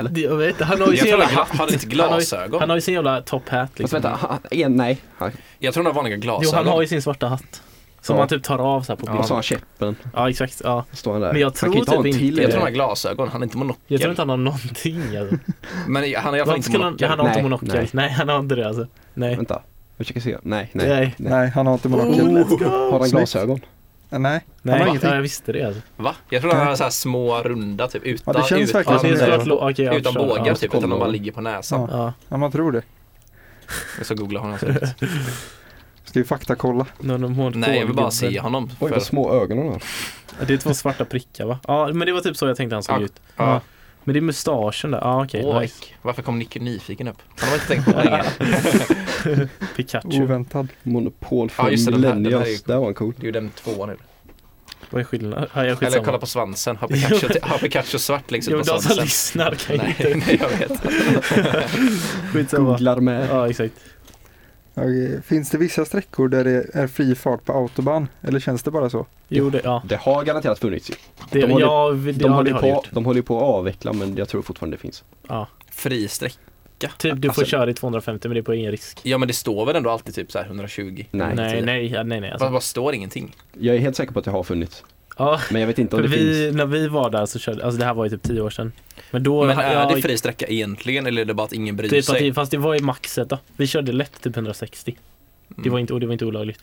Speaker 2: Det- Jag vet, han har ju
Speaker 4: Jag
Speaker 2: sin
Speaker 4: tror
Speaker 2: jävla
Speaker 4: han
Speaker 2: hatt.
Speaker 4: hade lite
Speaker 2: Han har ju-
Speaker 4: glasögon.
Speaker 2: Han har ju sin jävla top hat
Speaker 3: Fast
Speaker 2: liksom.
Speaker 3: vänta, han, en, nej. Han,
Speaker 4: Jag tror han har vanliga
Speaker 2: Jo, han har
Speaker 4: glasögon.
Speaker 2: ju sin svarta hatt. Som
Speaker 3: Ja.
Speaker 2: han typ tar av så här på
Speaker 4: Ja.
Speaker 2: bild.
Speaker 3: och
Speaker 2: Ja,
Speaker 3: så har han käppen.
Speaker 2: exakt. Ja.
Speaker 3: Står han där.
Speaker 2: Men jag
Speaker 3: han
Speaker 2: tror
Speaker 3: kan ju inte ha en
Speaker 2: typ
Speaker 3: till
Speaker 2: inte-
Speaker 4: Jag
Speaker 3: i
Speaker 4: tror han
Speaker 3: det.
Speaker 4: har glasögon, han är inte monokel.
Speaker 2: Jag tror inte han har någonting alltså.
Speaker 4: Men han har i alla fall
Speaker 2: Varför
Speaker 4: inte
Speaker 2: skulle han,
Speaker 4: monokel.
Speaker 2: han har inte
Speaker 3: Nej,
Speaker 2: monokel. Nej.
Speaker 3: nej.
Speaker 2: han har inte det alltså. Nej.
Speaker 3: Vänta, jag försöker se. Nej,
Speaker 2: Nej.
Speaker 3: nej.
Speaker 2: Nej.
Speaker 1: Nej, han har inte monokel.
Speaker 2: Oh, let's go!
Speaker 3: Har han
Speaker 1: Snyggt.
Speaker 3: glasögon?
Speaker 1: Nej,
Speaker 2: Nej,
Speaker 1: han har
Speaker 2: ja,
Speaker 1: ingenting.
Speaker 2: jag visste det alltså.
Speaker 4: Va? Jag tror han har så här små runda typ utan,
Speaker 1: Ja, det känns
Speaker 4: utan,
Speaker 1: verkligen
Speaker 2: Alltså,
Speaker 1: som
Speaker 2: det är
Speaker 1: det.
Speaker 2: såklart lo- okej, jag
Speaker 4: utan
Speaker 2: förstår.
Speaker 4: bågar
Speaker 2: Ja.
Speaker 4: typ, utan de bara ligger på näsan.
Speaker 1: Ja.
Speaker 2: Ja,
Speaker 1: Ja, man tror det.
Speaker 4: Jag ska googla hur han ser ut.
Speaker 1: Ska ju faktakolla.
Speaker 2: någon av monopolgubben.
Speaker 4: Nej, jag vill bara se honom.
Speaker 3: Oj,
Speaker 4: För,
Speaker 3: vad små ögon han har.
Speaker 2: Ja, Det är två svarta prickar va? Ja, men det var typ så jag tänkte han såg
Speaker 4: Ja.
Speaker 2: ut.
Speaker 4: ja.
Speaker 2: Men det är mustaschen där. Ja, okej.
Speaker 4: Oj,
Speaker 2: nice.
Speaker 4: varför kom Nick nyfiken upp? Han har inte tänkt på det länge.
Speaker 2: Pikachu.
Speaker 1: Oväntad.
Speaker 3: Monopol för
Speaker 4: Ja, just det, den här- den här är ju-
Speaker 3: millennials. Där var han cool.
Speaker 4: Det är ju den tvåan nu.
Speaker 2: Vad är skillnaden? Ja, jag
Speaker 4: Eller kolla
Speaker 2: skitsamma.
Speaker 4: på svansen. Har Pikachu, har Pikachu svart längst
Speaker 2: Jo,
Speaker 4: ut på
Speaker 2: men de som
Speaker 4: svansen?
Speaker 2: lyssnar kan ju
Speaker 4: Nej,
Speaker 2: inte.
Speaker 4: nej, jag vet.
Speaker 2: Skitsamma.
Speaker 3: Googlar med.
Speaker 2: Ja, exakt.
Speaker 1: Okej, Finns det vissa sträckor där det är fri fart på autobahn? Eller känns det bara så?
Speaker 2: Jo, det, ja.
Speaker 3: Det har garanterat funnits ju.
Speaker 2: Det,
Speaker 3: De
Speaker 2: de
Speaker 3: håller-
Speaker 2: ja, vi- det,
Speaker 3: De
Speaker 2: ja,
Speaker 3: håller
Speaker 2: det
Speaker 3: ju
Speaker 2: har det
Speaker 3: på,
Speaker 2: gjort.
Speaker 3: de håller ju på att avveckla men jag tror fortfarande det finns.
Speaker 2: Ja.
Speaker 4: Fri streck.
Speaker 2: Typ du får
Speaker 3: Alltså-
Speaker 2: köra i 250 men det är på ingen risk.
Speaker 4: Ja, men det står väl ändå alltid typ så här 120?
Speaker 3: Nej.
Speaker 2: Nej, nej, ja, nej, nej.
Speaker 4: Alltså, det
Speaker 2: Alltså.
Speaker 4: bara står ingenting.
Speaker 3: Jag är helt säker på att det har funnits.
Speaker 2: Ja,
Speaker 3: Men jag vet inte om
Speaker 2: för
Speaker 3: det
Speaker 2: vi,
Speaker 3: finns.
Speaker 2: när vi var där så körde, alltså det här var ju typ 10 år sedan. Men då,
Speaker 4: Men är
Speaker 2: ja,
Speaker 4: det fri sträcka egentligen eller är det bara att ingen bryr
Speaker 2: typ att
Speaker 4: sig?
Speaker 2: det, fast det var ju maxet då. Vi körde lätt typ 160. Det
Speaker 4: Mm.
Speaker 2: var inte, och det var inte olagligt.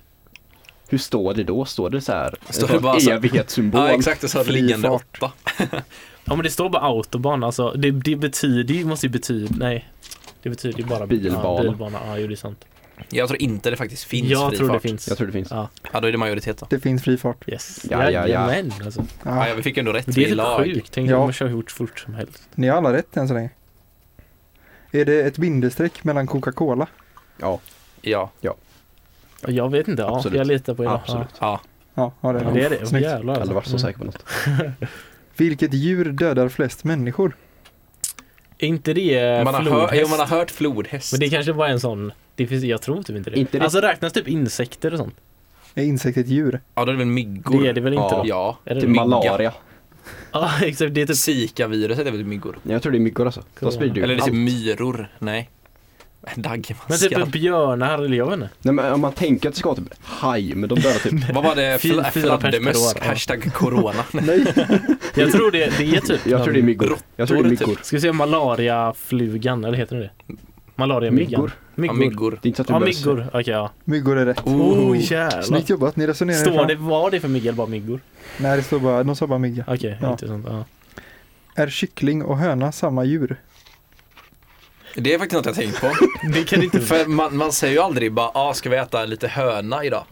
Speaker 3: Hur står det då? Står det så här?
Speaker 4: Står
Speaker 3: en
Speaker 4: det bara så-
Speaker 3: evighetssymbol?
Speaker 4: Ja, exakt. Det sa
Speaker 3: Fri
Speaker 4: liggande
Speaker 3: fart.
Speaker 4: åtta.
Speaker 2: Ja men det står bara autobahn alltså. Det, det betyder ju, måste ju betyda, nej. Det betyder ju bara Ja,
Speaker 3: Bilbana.
Speaker 2: bilbana. ja jo det är sant.
Speaker 4: Jag tror inte det faktiskt finns
Speaker 2: jag
Speaker 4: fri
Speaker 2: tror
Speaker 4: fart.
Speaker 2: det finns.
Speaker 3: Jag tror det finns.
Speaker 2: Ja,
Speaker 4: Ja, då är det majoritet då.
Speaker 1: Det finns fri fart.
Speaker 2: yes.
Speaker 3: Ja, ja, ja.
Speaker 2: Jajamän, alltså.
Speaker 4: Ja,
Speaker 1: Ja,
Speaker 4: ja, vi fick ändå rätt.
Speaker 2: Men det
Speaker 4: Vi är
Speaker 2: är
Speaker 4: lag.
Speaker 2: typ sjukt. Tänk
Speaker 1: Ja.
Speaker 2: om man kör hur fort som helst.
Speaker 1: ni har alla rätt än så länge. Är det ett bindestreck mellan Coca-Cola?
Speaker 3: Ja,
Speaker 4: Ja.
Speaker 2: Och jag vet inte, ja,
Speaker 3: Absolut.
Speaker 2: jag litar på er.
Speaker 3: absolut.
Speaker 2: Eh,
Speaker 4: ja.
Speaker 1: Ja, ja det
Speaker 2: Ja.
Speaker 1: är
Speaker 2: Ja, det är det.
Speaker 1: Snyggt.
Speaker 2: Jävlar
Speaker 3: Jag
Speaker 2: alltså.
Speaker 3: hade varit så
Speaker 2: Mm.
Speaker 3: säker på något.
Speaker 1: Vilket djur dödar flest människor?
Speaker 2: Är inte det
Speaker 4: Man, har hör,
Speaker 2: flodhäst?
Speaker 4: jo, man har hört flodhäst.
Speaker 2: Men det kanske bara är en sån, det finns, jag tror typ inte det.
Speaker 3: Inte det.
Speaker 2: Alltså räknas typ insekter och sånt?
Speaker 1: Är insekt ett djur?
Speaker 4: Ja, då är det väl myggor?
Speaker 2: Det är det väl inte
Speaker 4: ja.
Speaker 2: då?
Speaker 4: Ja.
Speaker 2: Är det
Speaker 3: Typ
Speaker 2: det?
Speaker 4: mygga.
Speaker 3: malaria.
Speaker 2: Ja exakt, det är typ
Speaker 4: Zika-viruset är väl myggor?
Speaker 3: Nej, Jag tror det är myggor alltså. De
Speaker 2: Corona.
Speaker 3: sprider ju
Speaker 4: Eller det är
Speaker 3: allt.
Speaker 4: typ myror? Nej.
Speaker 2: Men typ
Speaker 4: Daggmaskar.
Speaker 2: en björnar eller jag vet inte.
Speaker 3: Nej men om man tänker att det ska vara typ haj, men de dödar typ.
Speaker 4: Vad var det?
Speaker 2: Fy-
Speaker 4: Fla-
Speaker 2: fyra pers per
Speaker 4: Fladdermöss?
Speaker 2: år, ja.
Speaker 4: Hashtag corona.
Speaker 1: Nej.
Speaker 2: Jag tror det, det är typ
Speaker 3: Jag tror det är myggor. Jag tror det är
Speaker 4: Råttor, typ.
Speaker 3: myggor.
Speaker 2: Ska vi se malariaflugan, eller heter den det? Malariamyggan?
Speaker 3: Myggor. Typ
Speaker 4: Ja, myggor.
Speaker 3: Det är inte så att du
Speaker 2: Ja
Speaker 3: behöver-
Speaker 2: myggor, okej ja.
Speaker 1: Myggor är rätt.
Speaker 2: Oh jävlar.
Speaker 1: Snyggt jobbat, ni resonerar er
Speaker 2: Står
Speaker 1: fram.
Speaker 2: det, var det för mygg eller bara myggor?
Speaker 1: Nej, det står bara, de sa bara mygga.
Speaker 2: Okej,
Speaker 1: Ja.
Speaker 2: intressant. Ja.
Speaker 1: Är kyckling och höna samma djur?
Speaker 4: Det är faktiskt något jag tänkt på.
Speaker 2: Det kan inte
Speaker 4: För man, man säger ju aldrig bara, ah, ska vi äta lite höna idag?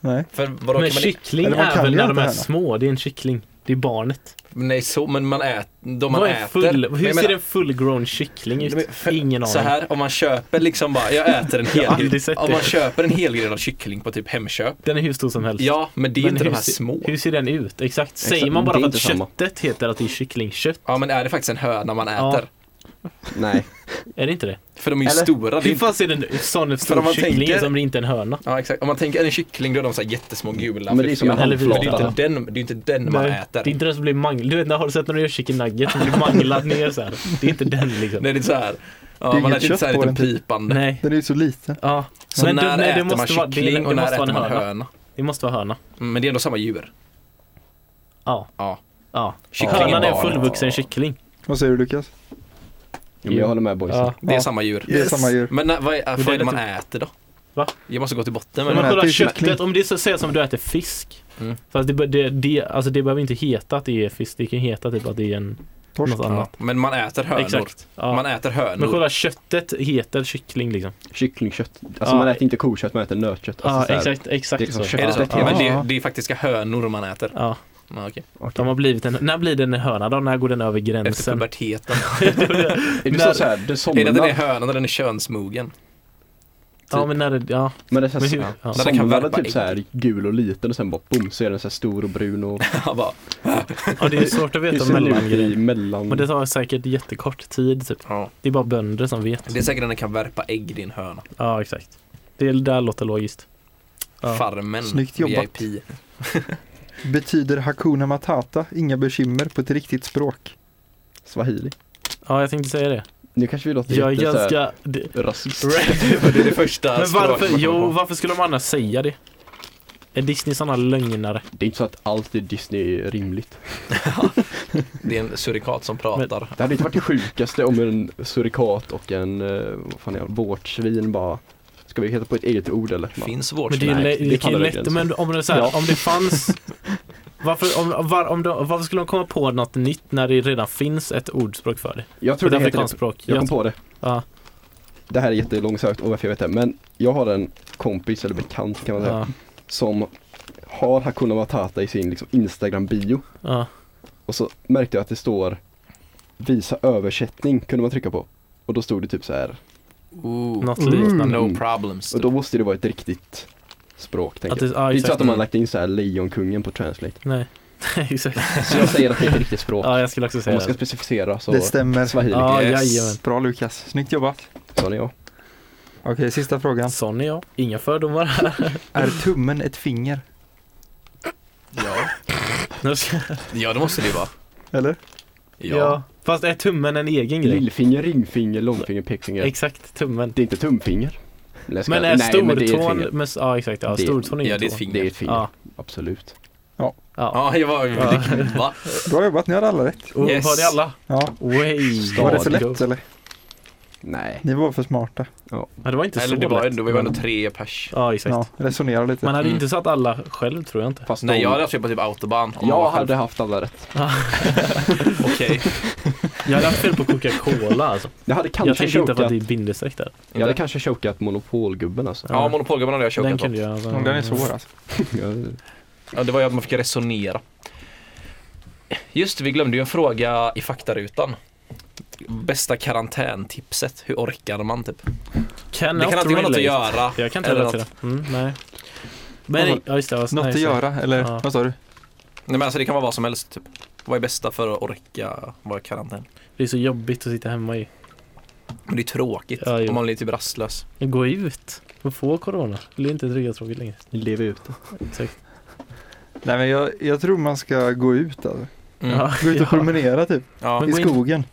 Speaker 1: Nej.
Speaker 4: För vadå,
Speaker 2: Men
Speaker 4: kan man,
Speaker 2: kyckling
Speaker 1: eller man
Speaker 2: är
Speaker 1: kan
Speaker 2: väl
Speaker 1: ju
Speaker 2: när
Speaker 1: inte
Speaker 2: de är
Speaker 1: höra.
Speaker 2: små, det är en kyckling. Det är barnet.
Speaker 4: nej så, men man äter, de man
Speaker 2: Vad är
Speaker 4: äter.
Speaker 2: full,
Speaker 4: Men
Speaker 2: hur
Speaker 4: jag
Speaker 2: ser
Speaker 4: menar,
Speaker 2: en full-grown kyckling
Speaker 4: Men
Speaker 2: ut?
Speaker 4: för-
Speaker 2: Ingen aning.
Speaker 4: Så här, om man köper liksom bara, jag äter en
Speaker 2: Jag har aldrig
Speaker 4: helgrillad,
Speaker 2: sett
Speaker 4: om
Speaker 2: det.
Speaker 4: man köper en helgrillad kyckling på typ Hemköp.
Speaker 2: Den är hur stor som helst.
Speaker 4: Ja, men det är
Speaker 2: Men
Speaker 4: inte
Speaker 2: hur
Speaker 4: de här
Speaker 2: ser-
Speaker 4: små.
Speaker 2: Hur ser den ut? Exakt. Säger
Speaker 3: Exakt,
Speaker 2: man bara
Speaker 3: det är
Speaker 2: för att
Speaker 3: inte samma.
Speaker 2: köttet heter att det är kycklingkött?
Speaker 4: Ja men är det faktiskt en höna man
Speaker 2: Ja.
Speaker 4: äter?
Speaker 3: Nej.
Speaker 2: Är det inte det?
Speaker 4: För de är ju
Speaker 2: Eller?
Speaker 4: stora. Det är
Speaker 2: Hur
Speaker 4: inte...
Speaker 2: fan ser en sån
Speaker 4: För om
Speaker 2: stor
Speaker 4: man
Speaker 2: kyckling ut
Speaker 4: tänker-
Speaker 2: som det inte är en höna?
Speaker 4: Ja exakt, om man tänker en kyckling då är de så här jättesmå gula.
Speaker 3: Men det är som en
Speaker 4: fluffiga.
Speaker 2: Eller vi-
Speaker 4: Men det är
Speaker 3: handflata.
Speaker 4: inte den, det är ju inte den man
Speaker 2: Nej,
Speaker 4: äter.
Speaker 2: Det är inte den som blir manglad. Du vet, när har du sett när du gör chicken nuggets som blir manglad ner så här? Det är inte den liksom.
Speaker 4: Nej, det är så här. Ja,
Speaker 1: Det är
Speaker 4: man
Speaker 1: inget
Speaker 4: äter inte
Speaker 1: kött
Speaker 4: så här
Speaker 1: på
Speaker 4: lite
Speaker 1: den, typ.
Speaker 4: pipande.
Speaker 2: Nej.
Speaker 1: Den är ju så liten.
Speaker 2: Ja.
Speaker 4: Så
Speaker 2: Men det-
Speaker 4: när
Speaker 2: nej, det
Speaker 4: äter man
Speaker 2: måste vara- det-
Speaker 4: kyckling
Speaker 2: det
Speaker 4: och när
Speaker 2: måste vara
Speaker 4: äter
Speaker 2: en
Speaker 4: man
Speaker 2: höna.
Speaker 4: höna?
Speaker 2: Det måste vara höna.
Speaker 4: Mm, Men det är ändå samma djur.
Speaker 2: Ja.
Speaker 4: Ja.
Speaker 2: Ja.
Speaker 4: Kyckling
Speaker 2: Hönan är
Speaker 4: barn.
Speaker 2: en fullvuxen kyckling.
Speaker 1: Vad säger du Lukas?
Speaker 3: Jo, men jag håller med boysen.
Speaker 2: Ja.
Speaker 4: Det är
Speaker 1: Ja.
Speaker 4: samma djur.
Speaker 1: Det är samma djur.
Speaker 4: Men när, vad är,
Speaker 2: det
Speaker 4: vad är
Speaker 2: är
Speaker 4: det man
Speaker 2: lite-
Speaker 4: äter då?
Speaker 2: Va?
Speaker 4: Jag måste gå till botten med
Speaker 2: Men
Speaker 1: Men
Speaker 4: det.
Speaker 2: man
Speaker 1: äter
Speaker 2: kollar
Speaker 1: ju kyckling.
Speaker 2: köttet, om det är så, säger som du äter fisk.
Speaker 4: Mm.
Speaker 2: Fast det, be- det, det, alltså det behöver inte heta att det är fisk, det kan ju heta typ att det är en,
Speaker 1: Torsk.
Speaker 2: något
Speaker 4: Ja.
Speaker 2: annat.
Speaker 4: Men man äter hönor.
Speaker 2: Exakt. Ja.
Speaker 4: Man äter
Speaker 2: Men
Speaker 4: hönor.
Speaker 2: själva köttet heter kyckling liksom.
Speaker 3: Kycklingkött. Alltså
Speaker 2: Ja.
Speaker 3: man äter inte kokött, man äter nötkött. Alltså,
Speaker 2: Ja,
Speaker 3: så här-
Speaker 2: exakt, exakt
Speaker 3: det är liksom
Speaker 2: så.
Speaker 3: kött.
Speaker 4: Är det så?
Speaker 3: Ja.
Speaker 4: Men det,
Speaker 1: Ja.
Speaker 4: det är faktiska hönor man äter.
Speaker 2: Ja,
Speaker 4: Ja, okej.
Speaker 2: de har blivit en, när blir den en höna då? När går den över
Speaker 4: Efter
Speaker 2: gränsen?
Speaker 4: puberteten.
Speaker 3: Är det
Speaker 2: När-
Speaker 3: så, så här, det
Speaker 4: Är det att den är
Speaker 3: somnar.
Speaker 4: höna när den är könsmogen?
Speaker 2: Ja men när det, ja.
Speaker 3: Men det är så
Speaker 2: Men
Speaker 3: här,
Speaker 2: hur,
Speaker 3: ja.
Speaker 2: ja.
Speaker 4: När den kan
Speaker 3: somnar den
Speaker 4: värpa
Speaker 3: typ så här gul och liten och sen bara boom så är den så här stor och brun och
Speaker 4: Ja, bara,
Speaker 2: ja det är svårt att
Speaker 3: Hur
Speaker 2: veta
Speaker 3: ser den ut
Speaker 2: mellangrejer.
Speaker 3: i mellan.
Speaker 2: Men det tar säkert jättekort tid typ.
Speaker 4: ja.
Speaker 2: Det är bara bönder som vet.
Speaker 4: Det är säkert när den kan värpa ägg din höna.
Speaker 2: Ja exakt. Det där låter logiskt. Ja.
Speaker 4: Farmen.
Speaker 1: Snyggt jobbat.
Speaker 4: VIP.
Speaker 1: Betyder Hakuna Matata inga bekymmer på ett riktigt språk?
Speaker 3: Swahili.
Speaker 2: ja jag tänkte säga det.
Speaker 3: Nu kanske vi låter
Speaker 2: Jag är
Speaker 3: jätte så här
Speaker 2: ganska... det-
Speaker 3: rasist.
Speaker 4: Det är det
Speaker 2: Men
Speaker 4: första
Speaker 2: varför,
Speaker 4: språket man kommer
Speaker 2: jo,
Speaker 4: på.
Speaker 2: varför skulle de annars säga det? Är Disney såna lögnare?
Speaker 3: Det är inte så att allt i Disney är rimligt.
Speaker 4: Det är en surikat som pratar.
Speaker 3: Det hade inte varit det sjukaste om en surikat och en, eh, vad fan är det, vårtsvin bara Ska vi hitta på ett eget ord eller? Bara,
Speaker 4: Finns
Speaker 2: Men det är ju
Speaker 4: vårdsnäck?
Speaker 2: lä- det
Speaker 3: det
Speaker 2: kan ju
Speaker 3: faller
Speaker 2: lätt,
Speaker 3: gränsen.
Speaker 2: men om det, är så här,
Speaker 3: Ja.
Speaker 2: om det fanns Varför, om, var, om de, varför skulle de komma på något nytt när det redan finns ett ordspråk för det?
Speaker 3: Jag tror
Speaker 2: Ett
Speaker 3: det heter det.
Speaker 2: afrikanskt språk.
Speaker 3: Jag
Speaker 2: Jag
Speaker 3: kom
Speaker 2: tror-
Speaker 3: på det.
Speaker 2: Ja,
Speaker 3: Det här är jättelångsökt och varför jag vet det. Men jag har en kompis, eller bekant kan man säga,
Speaker 2: ja,
Speaker 3: som har Hakuna Matata i sin liksom, Instagram-bio.
Speaker 2: ja.
Speaker 3: Och så märkte jag att det står Visa översättning kunde man trycka på. Och då stod det typ så här.
Speaker 4: Ooh.
Speaker 2: Något
Speaker 1: Mm.
Speaker 2: liknande.
Speaker 4: No problems.
Speaker 3: Och då måste det vara ett riktigt språk
Speaker 2: Att
Speaker 3: tänker
Speaker 2: det,
Speaker 3: jag.
Speaker 2: ja,
Speaker 3: Det är inte så
Speaker 2: exakt.
Speaker 3: att de har lagt in så här Lejonkungen på translate.
Speaker 2: Nej, exakt.
Speaker 3: Så jag säger att det är ett riktigt språk.
Speaker 2: Ja, jag skulle också
Speaker 3: Om
Speaker 2: säga
Speaker 3: man ska
Speaker 2: det.
Speaker 3: specificera så
Speaker 1: Det stämmer.
Speaker 3: Swahili.
Speaker 2: Ja,
Speaker 4: Yes.
Speaker 2: jajamän.
Speaker 1: Bra Lukas, snyggt jobbat.
Speaker 3: Sa ni ja.
Speaker 1: Okej, sista frågan.
Speaker 2: Sån är jag. Inga fördomar här.
Speaker 1: Är tummen ett finger?
Speaker 4: Ja.
Speaker 2: Nu ska-
Speaker 4: ja, det måste det ju vara.
Speaker 1: Eller?
Speaker 4: Ja.
Speaker 2: ja. Fast är tummen en egen grej?
Speaker 3: Lillfinger, ringfinger, långfinger, pekfinger.
Speaker 2: Exakt, tummen.
Speaker 3: Det är inte tumfinger. Nej, jag skojar.
Speaker 2: Men är
Speaker 3: Nej, men det är ett
Speaker 2: stortån,
Speaker 3: finger.
Speaker 2: men, ja exakt, ja,
Speaker 3: Det-
Speaker 2: stortån är ju
Speaker 4: Ja,
Speaker 2: en
Speaker 4: det är ett
Speaker 2: tå.
Speaker 4: finger.
Speaker 3: Det är ett finger.
Speaker 2: Ja,
Speaker 3: Absolut.
Speaker 2: ja.
Speaker 4: Ja, jag var... det- Va?
Speaker 1: Bra jobbat, ni hade alla rätt.
Speaker 2: Och
Speaker 4: Yes.
Speaker 2: Var det alla?
Speaker 1: Ja.
Speaker 2: Way!
Speaker 1: Var det för lätt eller?
Speaker 3: Nej.
Speaker 1: Ni var för smarta.
Speaker 2: Ja, det var inte
Speaker 4: Eller
Speaker 2: så
Speaker 4: det var,
Speaker 2: lätt.
Speaker 4: det var ju ändå tre pers.
Speaker 2: Ja, exakt.
Speaker 1: Ja, resonera lite.
Speaker 2: Man hade
Speaker 4: Mm.
Speaker 2: inte satt alla själv tror jag inte.
Speaker 3: Fast
Speaker 4: Nej,
Speaker 3: de-
Speaker 4: jag hade haft på typ autobahn. om man
Speaker 3: jag
Speaker 4: var själv.
Speaker 3: hade haft alla rätt.
Speaker 4: Okej.
Speaker 2: Jag hade haft fel på Coca-Cola alltså.
Speaker 3: Jag hade
Speaker 2: Jag
Speaker 3: kanske
Speaker 2: tänkte inte på att
Speaker 3: chokat,
Speaker 2: det är bindestreck där.
Speaker 3: jag hade kanske chokat monopolgubben alltså.
Speaker 4: Ja, monopolgubben hade jag
Speaker 2: Den
Speaker 4: chokat på.
Speaker 2: kunde jag.
Speaker 1: Mm, Den är svår alltså.
Speaker 3: Jag-
Speaker 4: Ja, det var ju att man fick resonera. Just det, vi glömde ju en fråga i faktarutan. Bästa karantäntipset, hur orkar man typ?
Speaker 2: Cannot
Speaker 4: Det kan alltid vara något att
Speaker 2: relate.
Speaker 4: göra.
Speaker 2: Jag kan inte
Speaker 4: eller
Speaker 2: relatera. Mm, nej. Men,
Speaker 1: Något-
Speaker 2: ja just det. Alltså,
Speaker 1: Något
Speaker 2: nej,
Speaker 1: att
Speaker 2: så-
Speaker 1: göra, eller
Speaker 2: Ja.
Speaker 1: vad sa du?
Speaker 4: Nej men alltså det kan vara vad som helst typ. Vad är bästa för att orka vara i karantän?
Speaker 2: Det är så jobbigt att sitta hemma i.
Speaker 4: Men det är tråkigt
Speaker 2: Ja, jo.
Speaker 4: om man blir typ rastlös.
Speaker 2: Gå ut och få corona. Det är inte trygga tråkigt längre.
Speaker 3: Lever ute.
Speaker 2: Exakt.
Speaker 1: Nej men jag, jag tror man ska gå ut alltså.
Speaker 4: Mm.
Speaker 2: Ja,
Speaker 1: Gå ut och
Speaker 2: ja.
Speaker 1: promenera typ.
Speaker 4: Ja.
Speaker 1: I
Speaker 2: gå in-
Speaker 1: skogen.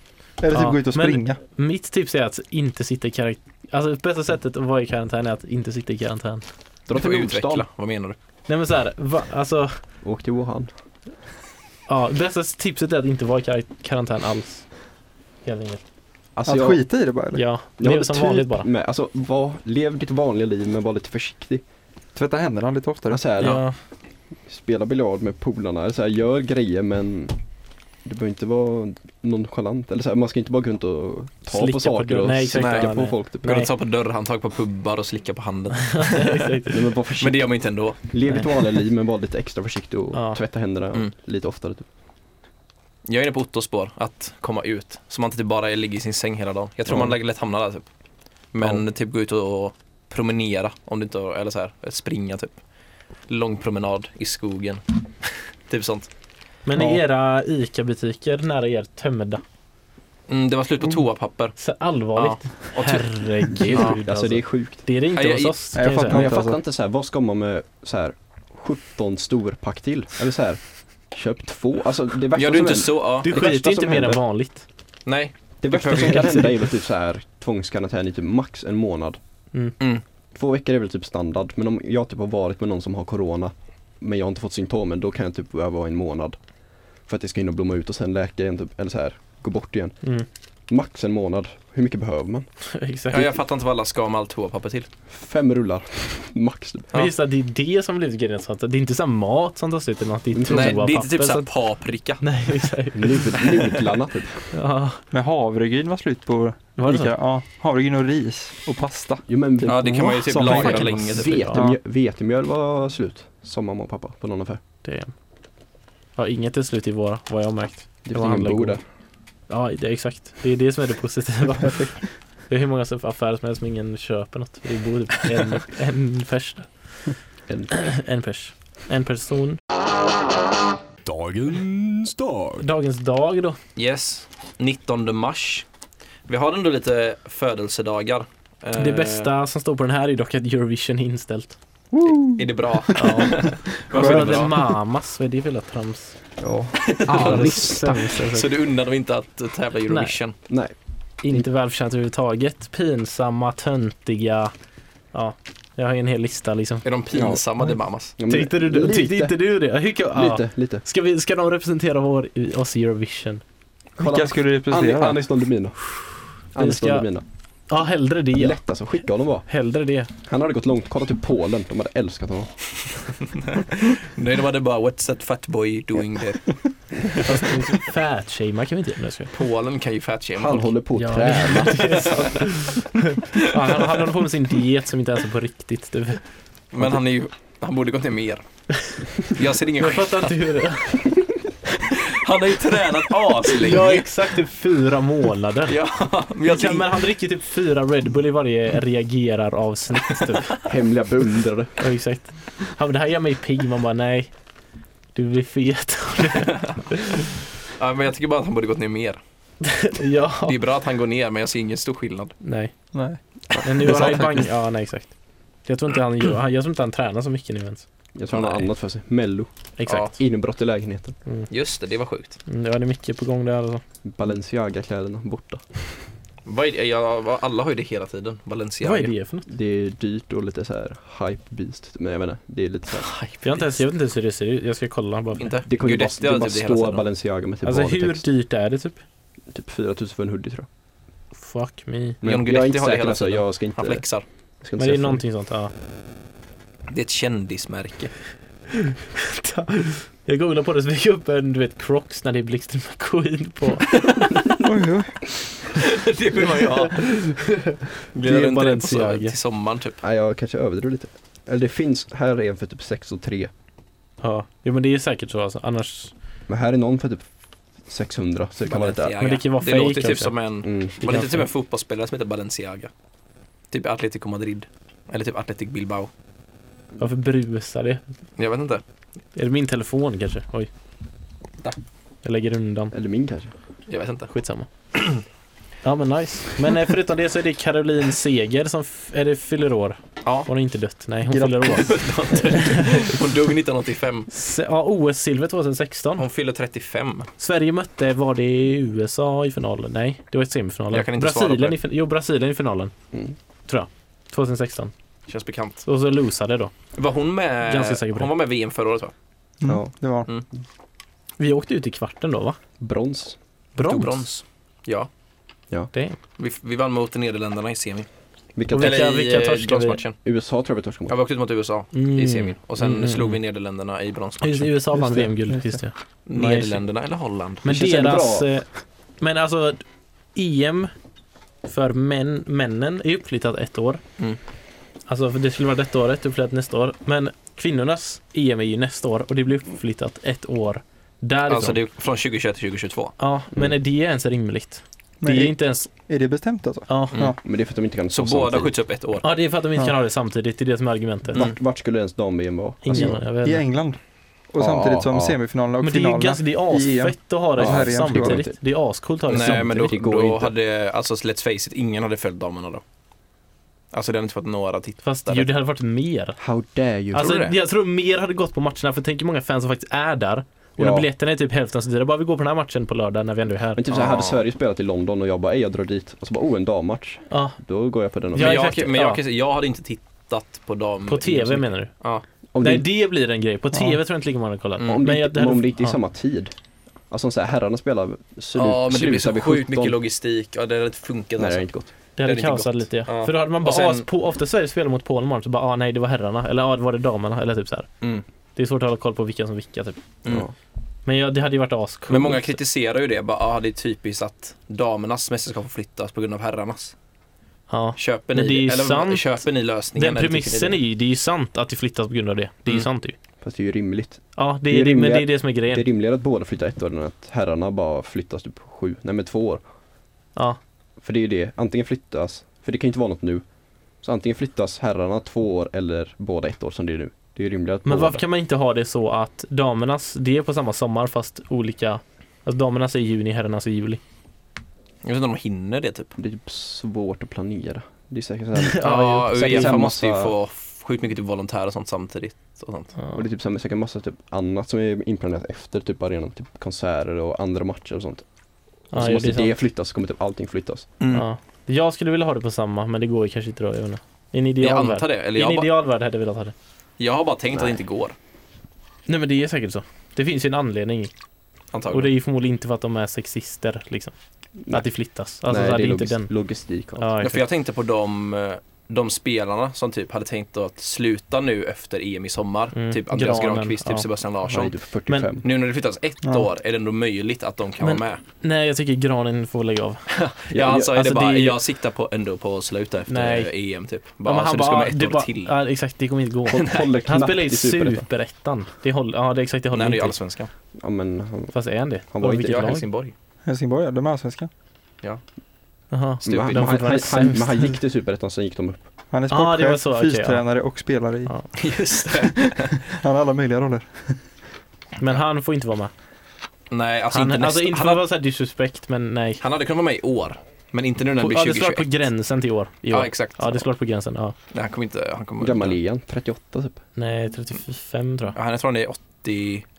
Speaker 1: Eller typ
Speaker 2: Ja,
Speaker 1: gå ut och
Speaker 2: men-
Speaker 1: springa.
Speaker 2: Mitt tips är att inte sitta i karantän. Alltså det bästa sättet att vara i karantän är att inte sitta i karantän.
Speaker 3: Dra
Speaker 4: Du får
Speaker 3: till Nordstan.
Speaker 4: utveckla, vad menar du?
Speaker 2: Nej men såhär, va, alltså
Speaker 3: Åk till Wuhan.
Speaker 2: Ja, bästa tipset är att inte vara i kar- karantän alls. Helt enkelt.
Speaker 3: Alltså
Speaker 1: att
Speaker 3: jag,
Speaker 1: skita i det bara eller?
Speaker 2: Ja,
Speaker 3: jag
Speaker 2: lev
Speaker 3: hade
Speaker 2: som
Speaker 3: typ
Speaker 2: vanligt bara.
Speaker 3: Med, alltså var, lev ditt vanliga liv men var lite försiktig.
Speaker 1: Tvätta händerna lite oftare.
Speaker 3: Alltså, här,
Speaker 2: Ja,
Speaker 3: Spela biljard med polarna, eller så här, gör grejer men du behöver inte vara nonchalant. Eller så här, man ska inte bara gå runt och ta
Speaker 2: Slicka på
Speaker 3: på saker
Speaker 2: dörren.
Speaker 3: och
Speaker 2: Nej, exakt.
Speaker 3: slicka
Speaker 2: Nej,
Speaker 3: på
Speaker 2: nej.
Speaker 3: folk. Typ.
Speaker 4: Går du och tar på dörrhandtag på pubbar och slicka på handen?
Speaker 2: exakt.
Speaker 3: Nej, men var försiktig.
Speaker 4: Men det gör man ju inte ändå.
Speaker 3: Lev ditt vanliga liv men var lite extra försiktig och
Speaker 2: Ja.
Speaker 3: tvätta händerna
Speaker 4: Mm.
Speaker 3: lite oftare. Typ.
Speaker 4: Jag är inne på Ottos spår, att komma ut. Så man inte typ bara ligger i sin säng hela dagen. Jag tror
Speaker 3: Ja.
Speaker 4: man lätt hamnar där typ. Men typ gå ut och promenera om du inte, eller så här, springa typ. Lång promenad i skogen. typ sånt.
Speaker 2: Men
Speaker 1: Ja.
Speaker 2: är era ICA-butiker nära er tömda?
Speaker 4: Mm, det var slut på toapapper.
Speaker 2: Så allvarligt.
Speaker 4: Och ty-
Speaker 2: Oh. Herregud
Speaker 4: Ja,
Speaker 2: alltså.
Speaker 3: Alltså det är sjukt.
Speaker 2: Det är det
Speaker 4: Ja,
Speaker 2: inte
Speaker 4: jag-
Speaker 2: hos oss.
Speaker 1: jag
Speaker 2: kan jag
Speaker 1: fattar.
Speaker 2: säga.
Speaker 3: Men jag
Speaker 1: Alltså.
Speaker 3: fattar inte så här, vad ska man med så här 17 storpack till? Eller så här, köp två. Alltså det värsta
Speaker 4: Gör du
Speaker 3: som
Speaker 4: inte
Speaker 3: händer,
Speaker 4: så? Ja.
Speaker 2: Du
Speaker 3: Det värsta
Speaker 2: skiter inte
Speaker 3: som
Speaker 2: mer än
Speaker 3: händer-
Speaker 2: vanligt.
Speaker 4: Nej.
Speaker 3: det värsta
Speaker 4: behöver
Speaker 3: som
Speaker 4: ju
Speaker 3: kan
Speaker 4: inte-
Speaker 3: hända är väl typ så här tvångskarantän i typ max en månad.
Speaker 4: Mm.
Speaker 3: Två veckor är väl typ standard, men om jag typ har varit med någon som har corona men jag har inte fått symptomen, då kan jag typ behöva vara en månad. För att det ska hinna blomma ut och sen läka igen typ, eller så här, gå bort igen.
Speaker 2: Mm.
Speaker 3: Max en månad, hur mycket behöver man?
Speaker 2: Exakt.
Speaker 4: Ja, jag fattar inte vad alla ska med allt toapapper till.
Speaker 3: Fem rullar, max. typ.
Speaker 2: Men just att det är det som blir lite grejen. så att Det är inte så här mat som tas ut eller något. Det är
Speaker 4: Nej, det är
Speaker 2: toapapper
Speaker 4: inte typ såhär
Speaker 2: som-
Speaker 4: paprika.
Speaker 2: Nej, exakt.
Speaker 3: Nud- Nudlarna typ.
Speaker 2: Ja,
Speaker 1: Men havregryn var slut på
Speaker 2: var det
Speaker 1: lika,
Speaker 2: så?
Speaker 1: ja, havregryn och ris och pasta.
Speaker 3: Jo men
Speaker 4: Ja, det kan man ju typ
Speaker 3: Som
Speaker 4: lagra
Speaker 3: fan.
Speaker 4: länge. Typ.
Speaker 2: Vet.
Speaker 3: Vetemjöl, vetemjöl var slut, sa mamma och pappa på någon affär.
Speaker 2: Det är... Ja, inget är slut i våra, vad jag har märkt.
Speaker 3: Det
Speaker 2: var
Speaker 3: finns ingen
Speaker 2: handla
Speaker 3: bord
Speaker 2: god.
Speaker 3: där.
Speaker 2: Ja, det är exakt. Det är det som är det positiva. Det är hur många affärer som helst som ingen köper något. Det bor typ en, en pers där.
Speaker 3: En-
Speaker 2: En pers. En person.
Speaker 5: Dagens dag.
Speaker 2: Dagens dag då.
Speaker 4: Yes. 19 mars. Vi har ändå lite födelsedagar.
Speaker 2: Det
Speaker 4: Eh,
Speaker 2: bästa som står på den här är dock att Eurovision är inställt.
Speaker 4: Är det bra?
Speaker 2: Ja.
Speaker 4: Varför är
Speaker 2: det
Speaker 4: det bra?
Speaker 2: Mamas, vad är det för jävla trams?
Speaker 3: Ja.
Speaker 2: Ja, det är
Speaker 3: Arista.
Speaker 2: sämst, alltså.
Speaker 4: Så du unnar dem inte att tävla i Eurovision?
Speaker 3: Nej,
Speaker 2: Inte välförtjänt överhuvudtaget. Pinsamma, töntiga. Ja, jag har en hel lista liksom.
Speaker 4: Är de pinsamma, det mamas?
Speaker 3: ja, men
Speaker 2: Tyckte, du,
Speaker 3: lite,
Speaker 2: tyckte inte du det? Hur kan- ja.
Speaker 3: Lite, lite.
Speaker 2: Ska, vi, ska de representera vår, oss i Eurovision?
Speaker 1: Vilka skulle du
Speaker 3: Anni-
Speaker 1: representera?
Speaker 3: Anis Don Demina. Anis
Speaker 2: ska-
Speaker 3: Don Demina.
Speaker 2: Ja, hellre det.
Speaker 3: Lätt alltså, skicka honom bara.
Speaker 2: Hellre det.
Speaker 3: Han hade gått långt, kolla till Polen, de hade älskat honom.
Speaker 4: Nej, det var det bara What's that fat boy doing there?
Speaker 2: Fast fatshamea kan vi inte göra. Nej, jag skojar.
Speaker 4: Polen kan ju fatshama
Speaker 3: Han
Speaker 4: folk.
Speaker 3: håller på att
Speaker 2: Ja,
Speaker 3: träna.
Speaker 2: det är sant. ja, han, han håller på med sin diet som inte ens är på riktigt. Du.
Speaker 4: Men han är ju, han borde gått ner mer. Jag ser ingen
Speaker 2: Jag
Speaker 4: skillnad.
Speaker 2: fattar inte hur det är.
Speaker 4: Han har ju tränat aslänge.
Speaker 2: Ja, exakt typ fyra månader.
Speaker 4: Alltså, Ja, men jag
Speaker 2: Ja,
Speaker 4: tänker,
Speaker 2: men han dricker typ fyra Red Bull i varje reagerar-avsnitt. Typ.
Speaker 3: Hemliga beundrare.
Speaker 2: Ja, exakt. Ja, men det här gör mig pigg. Man bara nej. Du blir fet.
Speaker 4: ja, men jag tycker bara att han borde gått ner mer.
Speaker 2: ja.
Speaker 4: Det är bra att han går ner, men jag ser ingen stor skillnad.
Speaker 2: Nej.
Speaker 1: Nej.
Speaker 2: Men nu har han ju bang... Ja, nej exakt. Jag tror inte han, gör- jag tror inte han tränar så mycket nu ens.
Speaker 3: Jag tror han har
Speaker 4: Nej.
Speaker 3: annat för sig. Mello.
Speaker 2: Exakt.
Speaker 3: Inbrott i lägenheten.
Speaker 4: Just det, det var sjukt.
Speaker 2: Mm, Ja, det är mycket på gång där alltså.
Speaker 3: Balenciaga-kläderna borta.
Speaker 4: Vad är det? Ja, vad- alla har ju det hela tiden. Balenciaga.
Speaker 2: Vad är det för något?
Speaker 3: Det är dyrt och lite så här hype beast. Men jag vet inte, det är lite så här.
Speaker 2: Jag, har inte ens, jag vet inte ens hur det ser ut. Jag ska kolla bara. för-
Speaker 4: Inte?
Speaker 3: Det kommer ju
Speaker 4: Gud,
Speaker 3: bara,
Speaker 4: SD
Speaker 3: det
Speaker 4: har
Speaker 3: bara
Speaker 4: typ hela
Speaker 3: stå
Speaker 4: tiden.
Speaker 3: Balenciaga med typ
Speaker 2: Alltså hur
Speaker 3: varutext.
Speaker 2: dyrt är det typ?
Speaker 3: Typ 4000 för en hoodie tror jag.
Speaker 2: Fuck me.
Speaker 3: Men jag,
Speaker 4: John
Speaker 3: jag är
Speaker 4: Guidetti
Speaker 3: inte
Speaker 4: har det
Speaker 3: säker
Speaker 4: hela
Speaker 3: alltså,
Speaker 4: tiden.
Speaker 3: jag ska inte,
Speaker 4: Han
Speaker 3: jag
Speaker 4: flexar.
Speaker 2: Men det
Speaker 3: ska inte
Speaker 2: är
Speaker 3: säga för
Speaker 2: någonting sånt, ja.
Speaker 4: Det är ett kändismärke.
Speaker 2: Jag googlade på det så fick jag upp en, du vet, Crocs när det är Blixten McQueen på.
Speaker 1: Oj, oj.
Speaker 4: det vill man ju ha.
Speaker 2: Det är
Speaker 4: Blir det inte det på så,
Speaker 2: Balenciaga.
Speaker 4: till sommaren typ?
Speaker 3: Nej jag kanske överdrev lite. Eller det finns, här är en för typ 6 och 3.
Speaker 2: Ja, jo men det är säkert så alltså. Annars,
Speaker 3: Men här är någon för typ 600 så det kan vara lite
Speaker 2: Men det kan ju vara
Speaker 4: det
Speaker 2: fake
Speaker 4: låter typ
Speaker 2: kanske.
Speaker 4: som
Speaker 3: mm.
Speaker 4: en, var det inte
Speaker 2: kanske.
Speaker 4: typ en fotbollsspelare som heter Balenciaga? Typ Atletico Madrid. Eller typ Atletic Bilbao.
Speaker 2: varför brusar det?
Speaker 4: Jag vet inte.
Speaker 2: Är det min telefon kanske? Oj.
Speaker 4: Da.
Speaker 2: Jag lägger undan.
Speaker 3: Eller min kanske.
Speaker 4: Jag vet inte.
Speaker 2: Skitsamma. Ja men nice. Men eh, förutom det så är det Caroline Seger som f- är det fyller år.
Speaker 4: Ja.
Speaker 2: Hon är inte dött, nej hon
Speaker 1: Grattis.
Speaker 2: fyller år.
Speaker 4: Hon dog 1985.
Speaker 2: Se- Ja, OS-silver 2016.
Speaker 4: Hon fyller 35.
Speaker 2: Sverige mötte, var det USA i finalen? Nej, det var i semifinalen.
Speaker 4: Jag kan inte svara på
Speaker 2: Brasilien
Speaker 4: det.
Speaker 2: i fin- Jo, Brasilien i finalen.
Speaker 3: Mm.
Speaker 2: Tror jag. 2016.
Speaker 4: Känns bekant.
Speaker 2: Och så losade då.
Speaker 4: Var hon med?
Speaker 2: Ganska säker på det.
Speaker 4: Hon var med i VM förra året va?
Speaker 1: Mm,
Speaker 3: Ja.
Speaker 1: det var
Speaker 2: Vi åkte ut i kvarten då va?
Speaker 3: Brons.
Speaker 2: Brons.
Speaker 4: Tog brons. Ja.
Speaker 2: Det.
Speaker 4: Vi, vi vann mot Nederländerna i semin.
Speaker 3: Vilka
Speaker 2: Och vilka-
Speaker 4: Eller i
Speaker 2: vilka
Speaker 4: eh,
Speaker 2: torskade vi?
Speaker 4: bronsmatchen.
Speaker 3: USA tror jag vi torskar
Speaker 4: Ja,
Speaker 3: mot.
Speaker 4: vi åkte ut mot USA
Speaker 2: Mm.
Speaker 4: i semin. Och sen
Speaker 2: Mm, mm,
Speaker 4: slog vi
Speaker 2: mm.
Speaker 4: Nederländerna i
Speaker 2: Just,
Speaker 4: bronsmatchen.
Speaker 2: USA
Speaker 1: Just
Speaker 2: vann
Speaker 1: det,
Speaker 2: VM-guld,
Speaker 1: just
Speaker 2: just det.
Speaker 4: Nederländerna eller Holland?
Speaker 2: Men
Speaker 3: Det känns ändå
Speaker 2: deras...
Speaker 3: bra.
Speaker 2: eh, Men alltså, EM för män, männen är uppflyttat ett år.
Speaker 4: Mm.
Speaker 2: Alltså för det skulle vara detta året, uppflyttat nästa år. Men kvinnornas EM är ju nästa år och det blir uppflyttat ett år därifrån.
Speaker 4: Alltså det är från 2021 till 2022.
Speaker 2: Ja, men
Speaker 3: Mm.
Speaker 2: är det ens rimligt?
Speaker 1: Men
Speaker 2: det är
Speaker 1: är,
Speaker 2: inte ens...
Speaker 1: är det bestämt alltså?
Speaker 2: Ja.
Speaker 4: Mm.
Speaker 1: Ja.
Speaker 3: Men det är för att de inte kan
Speaker 4: Så
Speaker 3: stå
Speaker 4: båda
Speaker 3: samtidigt.
Speaker 4: skjuts upp ett år.
Speaker 2: ja, det är för att de inte
Speaker 1: Ja.
Speaker 2: kan ha det samtidigt. Det är det som är argumentet.
Speaker 4: Mm.
Speaker 3: Vart skulle ens dam-VM vara?
Speaker 2: Ingen,
Speaker 3: Alltså,
Speaker 2: jag vet
Speaker 1: I
Speaker 2: inte.
Speaker 1: England? Och
Speaker 3: Ja,
Speaker 1: samtidigt som
Speaker 3: ja.
Speaker 1: semifinalerna och
Speaker 2: Men det är ju
Speaker 1: finalerna.
Speaker 2: ganska, det är
Speaker 1: i EM.
Speaker 2: asfett att ha det
Speaker 1: Ja, här är en
Speaker 2: samtidigt.
Speaker 1: förlorare.
Speaker 2: Det är ascoolt att ha det
Speaker 4: Nej
Speaker 2: samtidigt.
Speaker 4: men då,
Speaker 3: det går
Speaker 4: då
Speaker 3: inte.
Speaker 4: hade, alltså let's face it, ingen hade följt damerna då. Alltså det hade inte fått några tittare.
Speaker 2: Fast ju, det hade varit mer.
Speaker 3: How dare you?
Speaker 2: Alltså,
Speaker 4: du det?
Speaker 2: jag tror mer hade gått på matcherna, för tänk hur många fans som faktiskt är där. Och när
Speaker 3: Ja.
Speaker 2: biljetterna är typ hälften så dyra, bara vi går på den här matchen på lördag när vi ändå är här.
Speaker 3: men typ såhär, hade
Speaker 4: Ja.
Speaker 3: Sverige spelat i London och jag bara, ej jag drar dit. Och så bara, oh en dammatch.
Speaker 2: Ja,
Speaker 3: Då går jag på den.
Speaker 2: Ja,
Speaker 4: men jag,
Speaker 2: exakt,
Speaker 4: men jag,
Speaker 2: ja.
Speaker 4: kan säga, jag hade inte tittat på dam.
Speaker 2: på
Speaker 4: liksom.
Speaker 2: TV menar du?
Speaker 4: Ja.
Speaker 3: om
Speaker 2: Nej
Speaker 3: det,
Speaker 2: det blir en grej, på TV tror jag inte lika många kollar.
Speaker 4: Mm.
Speaker 3: om det,
Speaker 2: men
Speaker 3: inte-
Speaker 2: jag- det
Speaker 3: men
Speaker 2: hade-
Speaker 3: om det inte är
Speaker 2: ja.
Speaker 3: samma tid. Alltså om så här, herrarna spelar slut,
Speaker 4: ja men det blir
Speaker 3: slutar
Speaker 4: så
Speaker 3: vid
Speaker 4: sjukt
Speaker 3: 17.
Speaker 4: mycket logistik. Ja, det hade inte funkat
Speaker 3: Nej det
Speaker 4: alltså.
Speaker 3: är inte gott.
Speaker 2: Det hade
Speaker 4: Det hade inte
Speaker 2: kaosat
Speaker 4: gått.
Speaker 2: lite ja.
Speaker 4: Ja.
Speaker 2: För då hade man bara,
Speaker 4: Och sen-
Speaker 2: ah, på, ofta Sverige spelar mot Polen imorgon, så bara, ah nej det var herrarna, eller ah, var det damerna, eller typ så här.
Speaker 4: Mm.
Speaker 2: Det är svårt att hålla koll på vilka som vilka typ.
Speaker 4: Mm.
Speaker 3: Ja.
Speaker 2: Men ja, det hade ju varit ascoolt.
Speaker 4: Men många kritiserar ju det. Bara, ah, det är typiskt att damernas mästerskap får flyttas på grund av herrarnas.
Speaker 2: Ja.
Speaker 4: Köper
Speaker 2: Men
Speaker 4: ni,
Speaker 2: det är ju
Speaker 4: eller,
Speaker 2: sant.
Speaker 4: köper ni lösningen?
Speaker 2: Den
Speaker 4: eller tycker
Speaker 2: premissen
Speaker 4: ni
Speaker 2: är ju, det är ju sant att det flyttas på grund av det. Det är ju
Speaker 4: Mm.
Speaker 2: sant ju.
Speaker 3: Fast det är ju rimligt.
Speaker 2: Ja, det
Speaker 3: Det
Speaker 2: är,
Speaker 3: är
Speaker 2: det, men
Speaker 3: rimliga-
Speaker 2: det är det som är grejen.
Speaker 3: Det är rimligare att båda flyttar ett år än att herrarna bara flyttas typ sju, nej men två år.
Speaker 2: Ja.
Speaker 3: För det är ju det, antingen flyttas, för det kan ju inte vara något nu. Så antingen flyttas herrarna två år eller båda ett år som det är nu. Det är ju rimligare att
Speaker 2: Men
Speaker 3: båda.
Speaker 2: varför kan man inte ha det så att damernas, det är på samma sommar fast olika Alltså damernas är i juni, herrarnas är i juli.
Speaker 4: det? Jag vet inte om de hinner det typ.
Speaker 3: Det är typ svårt att planera. Det är säkert såhär,
Speaker 2: Ja,
Speaker 4: Ja,
Speaker 3: jo. Säkert
Speaker 4: Uefa
Speaker 3: en
Speaker 4: måste ju
Speaker 3: massa-
Speaker 4: få sjukt mycket typ volontärer och sånt samtidigt. Och sånt.
Speaker 3: och det är typ såhär, säkert massa typ annat som är inplanerat efter typ arenan. Typ konserter och andra matcher och sånt.
Speaker 2: Ja,
Speaker 3: så
Speaker 2: ja,
Speaker 3: måste
Speaker 2: det är
Speaker 3: det,
Speaker 2: sant.
Speaker 3: flyttas så kommer typ allting flyttas.
Speaker 1: Mm.
Speaker 2: Ja. Jag skulle vilja ha det på samma, men det går ju kanske inte då. Jag vet inte. I en
Speaker 4: Jag
Speaker 2: idealvärld.
Speaker 4: antar det. Eller
Speaker 2: I en
Speaker 4: jag, bara,
Speaker 2: idealvärld hade jag velat ha det.
Speaker 4: jag har bara tänkt att det
Speaker 3: Nej.
Speaker 4: inte går.
Speaker 2: Nej men det är säkert så. Det finns ju en anledning. Och det är
Speaker 4: Antagligen.
Speaker 2: ju förmodligen inte för att de är sexister liksom. Att det flyttas. Alltså så
Speaker 3: nej,
Speaker 2: här, det
Speaker 3: det är
Speaker 2: är inte
Speaker 3: logis-
Speaker 2: den.
Speaker 3: logistik. och allt.
Speaker 2: Ja,
Speaker 4: ja, för
Speaker 2: exakt.
Speaker 4: jag tänkte på de, eh, de spelarna som typ hade tänkt att sluta nu efter EM i sommar.
Speaker 2: Mm.
Speaker 4: Typ Andreas
Speaker 2: Granen,
Speaker 4: Granqvist, typ
Speaker 2: ja.
Speaker 4: Sebastian
Speaker 3: Han är
Speaker 4: Larsson.
Speaker 3: typ 45.
Speaker 2: Men-
Speaker 4: Nu när det flyttas ett
Speaker 1: Ja.
Speaker 4: år är det ändå möjligt att de kan
Speaker 2: Men-
Speaker 4: vara med.
Speaker 2: Nej jag tycker granen får lägga av.
Speaker 4: Ja, alltså, är
Speaker 2: alltså,
Speaker 4: det bara,
Speaker 2: det är-
Speaker 4: jag siktar på ändå på att sluta efter
Speaker 2: Nej.
Speaker 4: EM typ.
Speaker 2: Ja,
Speaker 4: Bara,
Speaker 2: men
Speaker 4: så du ska vara ett
Speaker 2: du
Speaker 4: år
Speaker 2: bara-
Speaker 4: till.
Speaker 2: Ja exakt, det kommer inte gå.
Speaker 3: Håll- håller
Speaker 2: Han
Speaker 3: knappt
Speaker 2: spelar
Speaker 3: i
Speaker 2: ju
Speaker 3: Superettan.
Speaker 2: superettan. Det håller, ja det är exakt, det håller
Speaker 4: Nej, det är ju
Speaker 2: inte.
Speaker 4: allsvenskan.
Speaker 3: Ja men han,
Speaker 2: Fast är han det?
Speaker 3: Han var
Speaker 2: Och
Speaker 3: inte-
Speaker 2: vilket
Speaker 4: Jag är
Speaker 2: lag?
Speaker 4: Helsingborg.
Speaker 1: Helsingborg, ja, de är allsvenska.
Speaker 2: Jaha.
Speaker 3: men han,
Speaker 4: Stupid.
Speaker 2: De
Speaker 3: han,
Speaker 2: får vara
Speaker 3: han, han,
Speaker 2: sämst.
Speaker 3: men han gick till Superettan sen gick de upp.
Speaker 1: Han är
Speaker 2: Ah, det var
Speaker 1: sportchef,
Speaker 2: så, okej,
Speaker 1: fystränare och spelare i.
Speaker 2: Ja.
Speaker 4: Just det.
Speaker 1: Han har alla möjliga roller.
Speaker 2: Men han får inte vara med.
Speaker 4: Nej, alltså
Speaker 2: han,
Speaker 4: inte, nästa,
Speaker 2: alltså inte
Speaker 4: han,
Speaker 2: för att
Speaker 4: hade,
Speaker 2: vara såhär disrespekt men nej.
Speaker 4: han hade kunnat vara med i år. Men inte nu när det
Speaker 2: På,
Speaker 4: blir
Speaker 2: ja det slår på
Speaker 4: 2021.
Speaker 2: gränsen till i år. I år.
Speaker 4: Ja, exakt.
Speaker 2: Ja det slår på gränsen, ja.
Speaker 4: Nej, han kommer inte... Han kommer
Speaker 3: Gammalligan, 38 typ.
Speaker 2: Nej 35 tror
Speaker 4: Ja, han, jag tror han är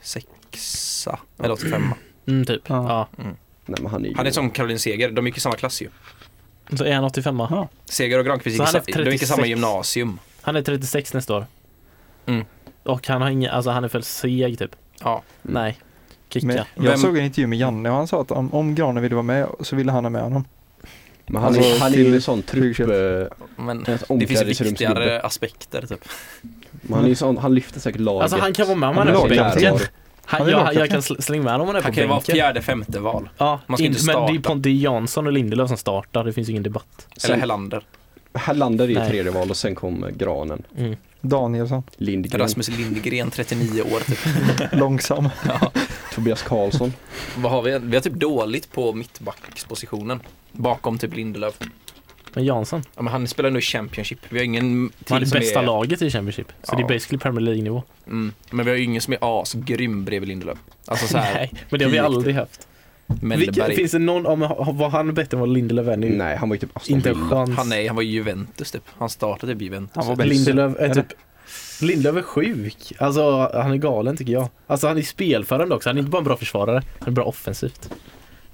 Speaker 4: 86 eller 85
Speaker 2: jag. Mm typ.
Speaker 1: Ja.
Speaker 2: Ja.
Speaker 3: Nej men han är ju...
Speaker 4: Han är som Caroline Seger, de gick i samma klass ju.
Speaker 2: Så är han 85
Speaker 1: Ja.
Speaker 4: Seger och Granqvist
Speaker 2: Så
Speaker 4: gick, i
Speaker 2: han är
Speaker 4: sa- de gick i samma
Speaker 2: 36.
Speaker 4: gymnasium.
Speaker 2: Han är 36 nästa år.
Speaker 4: Mm.
Speaker 2: Och han har ingen, alltså han är för seg typ.
Speaker 4: Ja.
Speaker 2: Nej. Kicka.
Speaker 1: Men jag
Speaker 4: Vem-
Speaker 1: såg en intervju med Janne och han sa att om, om Granen ville vara med så ville han ha med honom.
Speaker 3: Men han,
Speaker 1: Alltså,
Speaker 3: är, han är
Speaker 1: till-
Speaker 3: ju en sån trupp...
Speaker 1: till-
Speaker 3: eh,
Speaker 4: Men
Speaker 3: Ett
Speaker 4: det finns ju
Speaker 3: omklädningsrumsgubbe.
Speaker 4: viktigare aspekter typ.
Speaker 3: Men han är ju sån, han lyfter säkert laget.
Speaker 2: Alltså han kan vara med om
Speaker 1: Han
Speaker 2: han
Speaker 1: är
Speaker 2: är på
Speaker 1: lagkapten.
Speaker 2: bänken.
Speaker 1: Han
Speaker 2: Han,
Speaker 1: är
Speaker 2: jag,
Speaker 1: lagkapten.
Speaker 2: jag kan sl- slänga med honom om han är
Speaker 4: Han
Speaker 2: på
Speaker 4: kan ju vara
Speaker 2: bänken.
Speaker 4: fjärde, femte val.
Speaker 2: Ja,
Speaker 4: Man ska
Speaker 2: in,
Speaker 4: inte
Speaker 2: men det är,
Speaker 4: starta.
Speaker 2: ju- det är Jansson och Lindelöf som startar, det finns ju ingen debatt.
Speaker 4: Eller
Speaker 3: Sen,
Speaker 4: Hellander.
Speaker 3: här landar det i
Speaker 2: Nej.
Speaker 3: tredje val och sen kommer Granen,
Speaker 2: Mm.
Speaker 1: Danielsson,
Speaker 3: Lindgren,
Speaker 4: Rasmus Lindgren, 39 år typ.
Speaker 1: långsam.
Speaker 3: Tobias Karlsson.
Speaker 4: Vad har vi? Vi har typ dåligt på mittbackspositionen. Bakom typ Lindelöf.
Speaker 2: Men Jansson,
Speaker 4: Ja, men han spelar nu i Championship. Vi har ingen
Speaker 2: han är
Speaker 4: som
Speaker 2: bästa
Speaker 4: liksom är,
Speaker 2: laget i Championship. Så det är
Speaker 4: Ja.
Speaker 2: basically Premier League-nivå.
Speaker 4: Mm, men vi har ju ingen som är asgrym bredvid Lindelöf. Alltså såhär,
Speaker 2: Nej, men det har vi
Speaker 4: peak,
Speaker 2: aldrig haft. Vilka,
Speaker 4: Mellberg.
Speaker 2: finns det någon, om, var han bättre än vad Lindelöf är nu?
Speaker 3: Nej, han var ju typ Aston
Speaker 2: Inte en
Speaker 3: Villa.
Speaker 2: chans.
Speaker 4: Han, nej, han var i Juventus typ. Han startade typ i Juventus.
Speaker 1: Han var bäst.
Speaker 2: Lindelöf är
Speaker 1: Eller?
Speaker 2: typ Lindelöf är sjuk. Alltså han är galen tycker jag. Alltså han är spelförande också. Han är inte bara en bra försvarare, han är bra offensivt.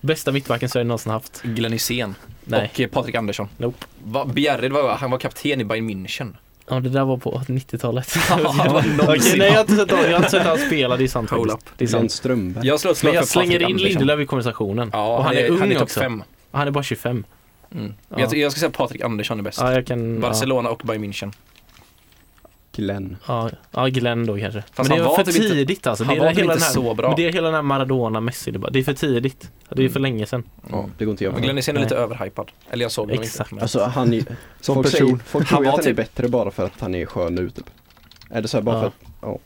Speaker 2: Bästa mittbacken Sverige någonsin haft.
Speaker 4: Glenn Hysén
Speaker 2: Nej.
Speaker 4: och eh, Patrik Andersson.
Speaker 2: Nope.
Speaker 4: Va, Bjerred var, han var kapten i Bayern München.
Speaker 2: Ja det där var på 90-talet.
Speaker 4: Ja, det var
Speaker 2: Okej,
Speaker 4: någonsin.
Speaker 2: nej jag har inte sett honom, jag har inte sett honom spela, det är sant
Speaker 4: Hold
Speaker 2: faktiskt. Det är
Speaker 3: Glenn
Speaker 2: sant.
Speaker 3: Strömberg.
Speaker 4: Jag slår ett
Speaker 2: Men
Speaker 4: slag
Speaker 2: jag
Speaker 4: för Patrik
Speaker 2: slänger in
Speaker 4: Andersson.
Speaker 2: Lindelöf i konversationen.
Speaker 4: Ja,
Speaker 2: och han är, ung
Speaker 4: han är topp
Speaker 2: också.
Speaker 4: fem.
Speaker 2: Han är bara 25.
Speaker 4: Mm.
Speaker 2: Ja.
Speaker 4: Jag, jag ska säga Patrik Andersson är bäst.
Speaker 2: Ja, jag kan...
Speaker 4: Barcelona och Bayern München.
Speaker 3: Glenn.
Speaker 2: Ja, ja, Glenn då kanske.
Speaker 4: Fast
Speaker 2: men det
Speaker 4: han
Speaker 2: är
Speaker 4: var
Speaker 2: för
Speaker 4: typ inte-
Speaker 2: tidigt alltså.
Speaker 4: han
Speaker 2: det är
Speaker 4: var
Speaker 2: hela
Speaker 4: typ inte
Speaker 2: den här,
Speaker 4: så bra.
Speaker 2: Men det är hela den här Maradona-Messi, det är bara- det är för tidigt. Det är för
Speaker 4: Mm.
Speaker 2: länge sedan.
Speaker 3: Ja, det går inte att
Speaker 4: Och
Speaker 3: göra.
Speaker 4: Glenn Hysén är lite överhypad. Eller jag såg honom
Speaker 2: Exakt.
Speaker 4: inte.
Speaker 3: Alltså han är...
Speaker 1: Som
Speaker 3: folk
Speaker 1: person.
Speaker 3: säger, folk
Speaker 4: Han
Speaker 3: tror ju
Speaker 4: var
Speaker 3: att han är
Speaker 4: typ-
Speaker 3: bättre bara för att han är skön nu typ. Är det så här bara
Speaker 2: Ja.
Speaker 3: för att,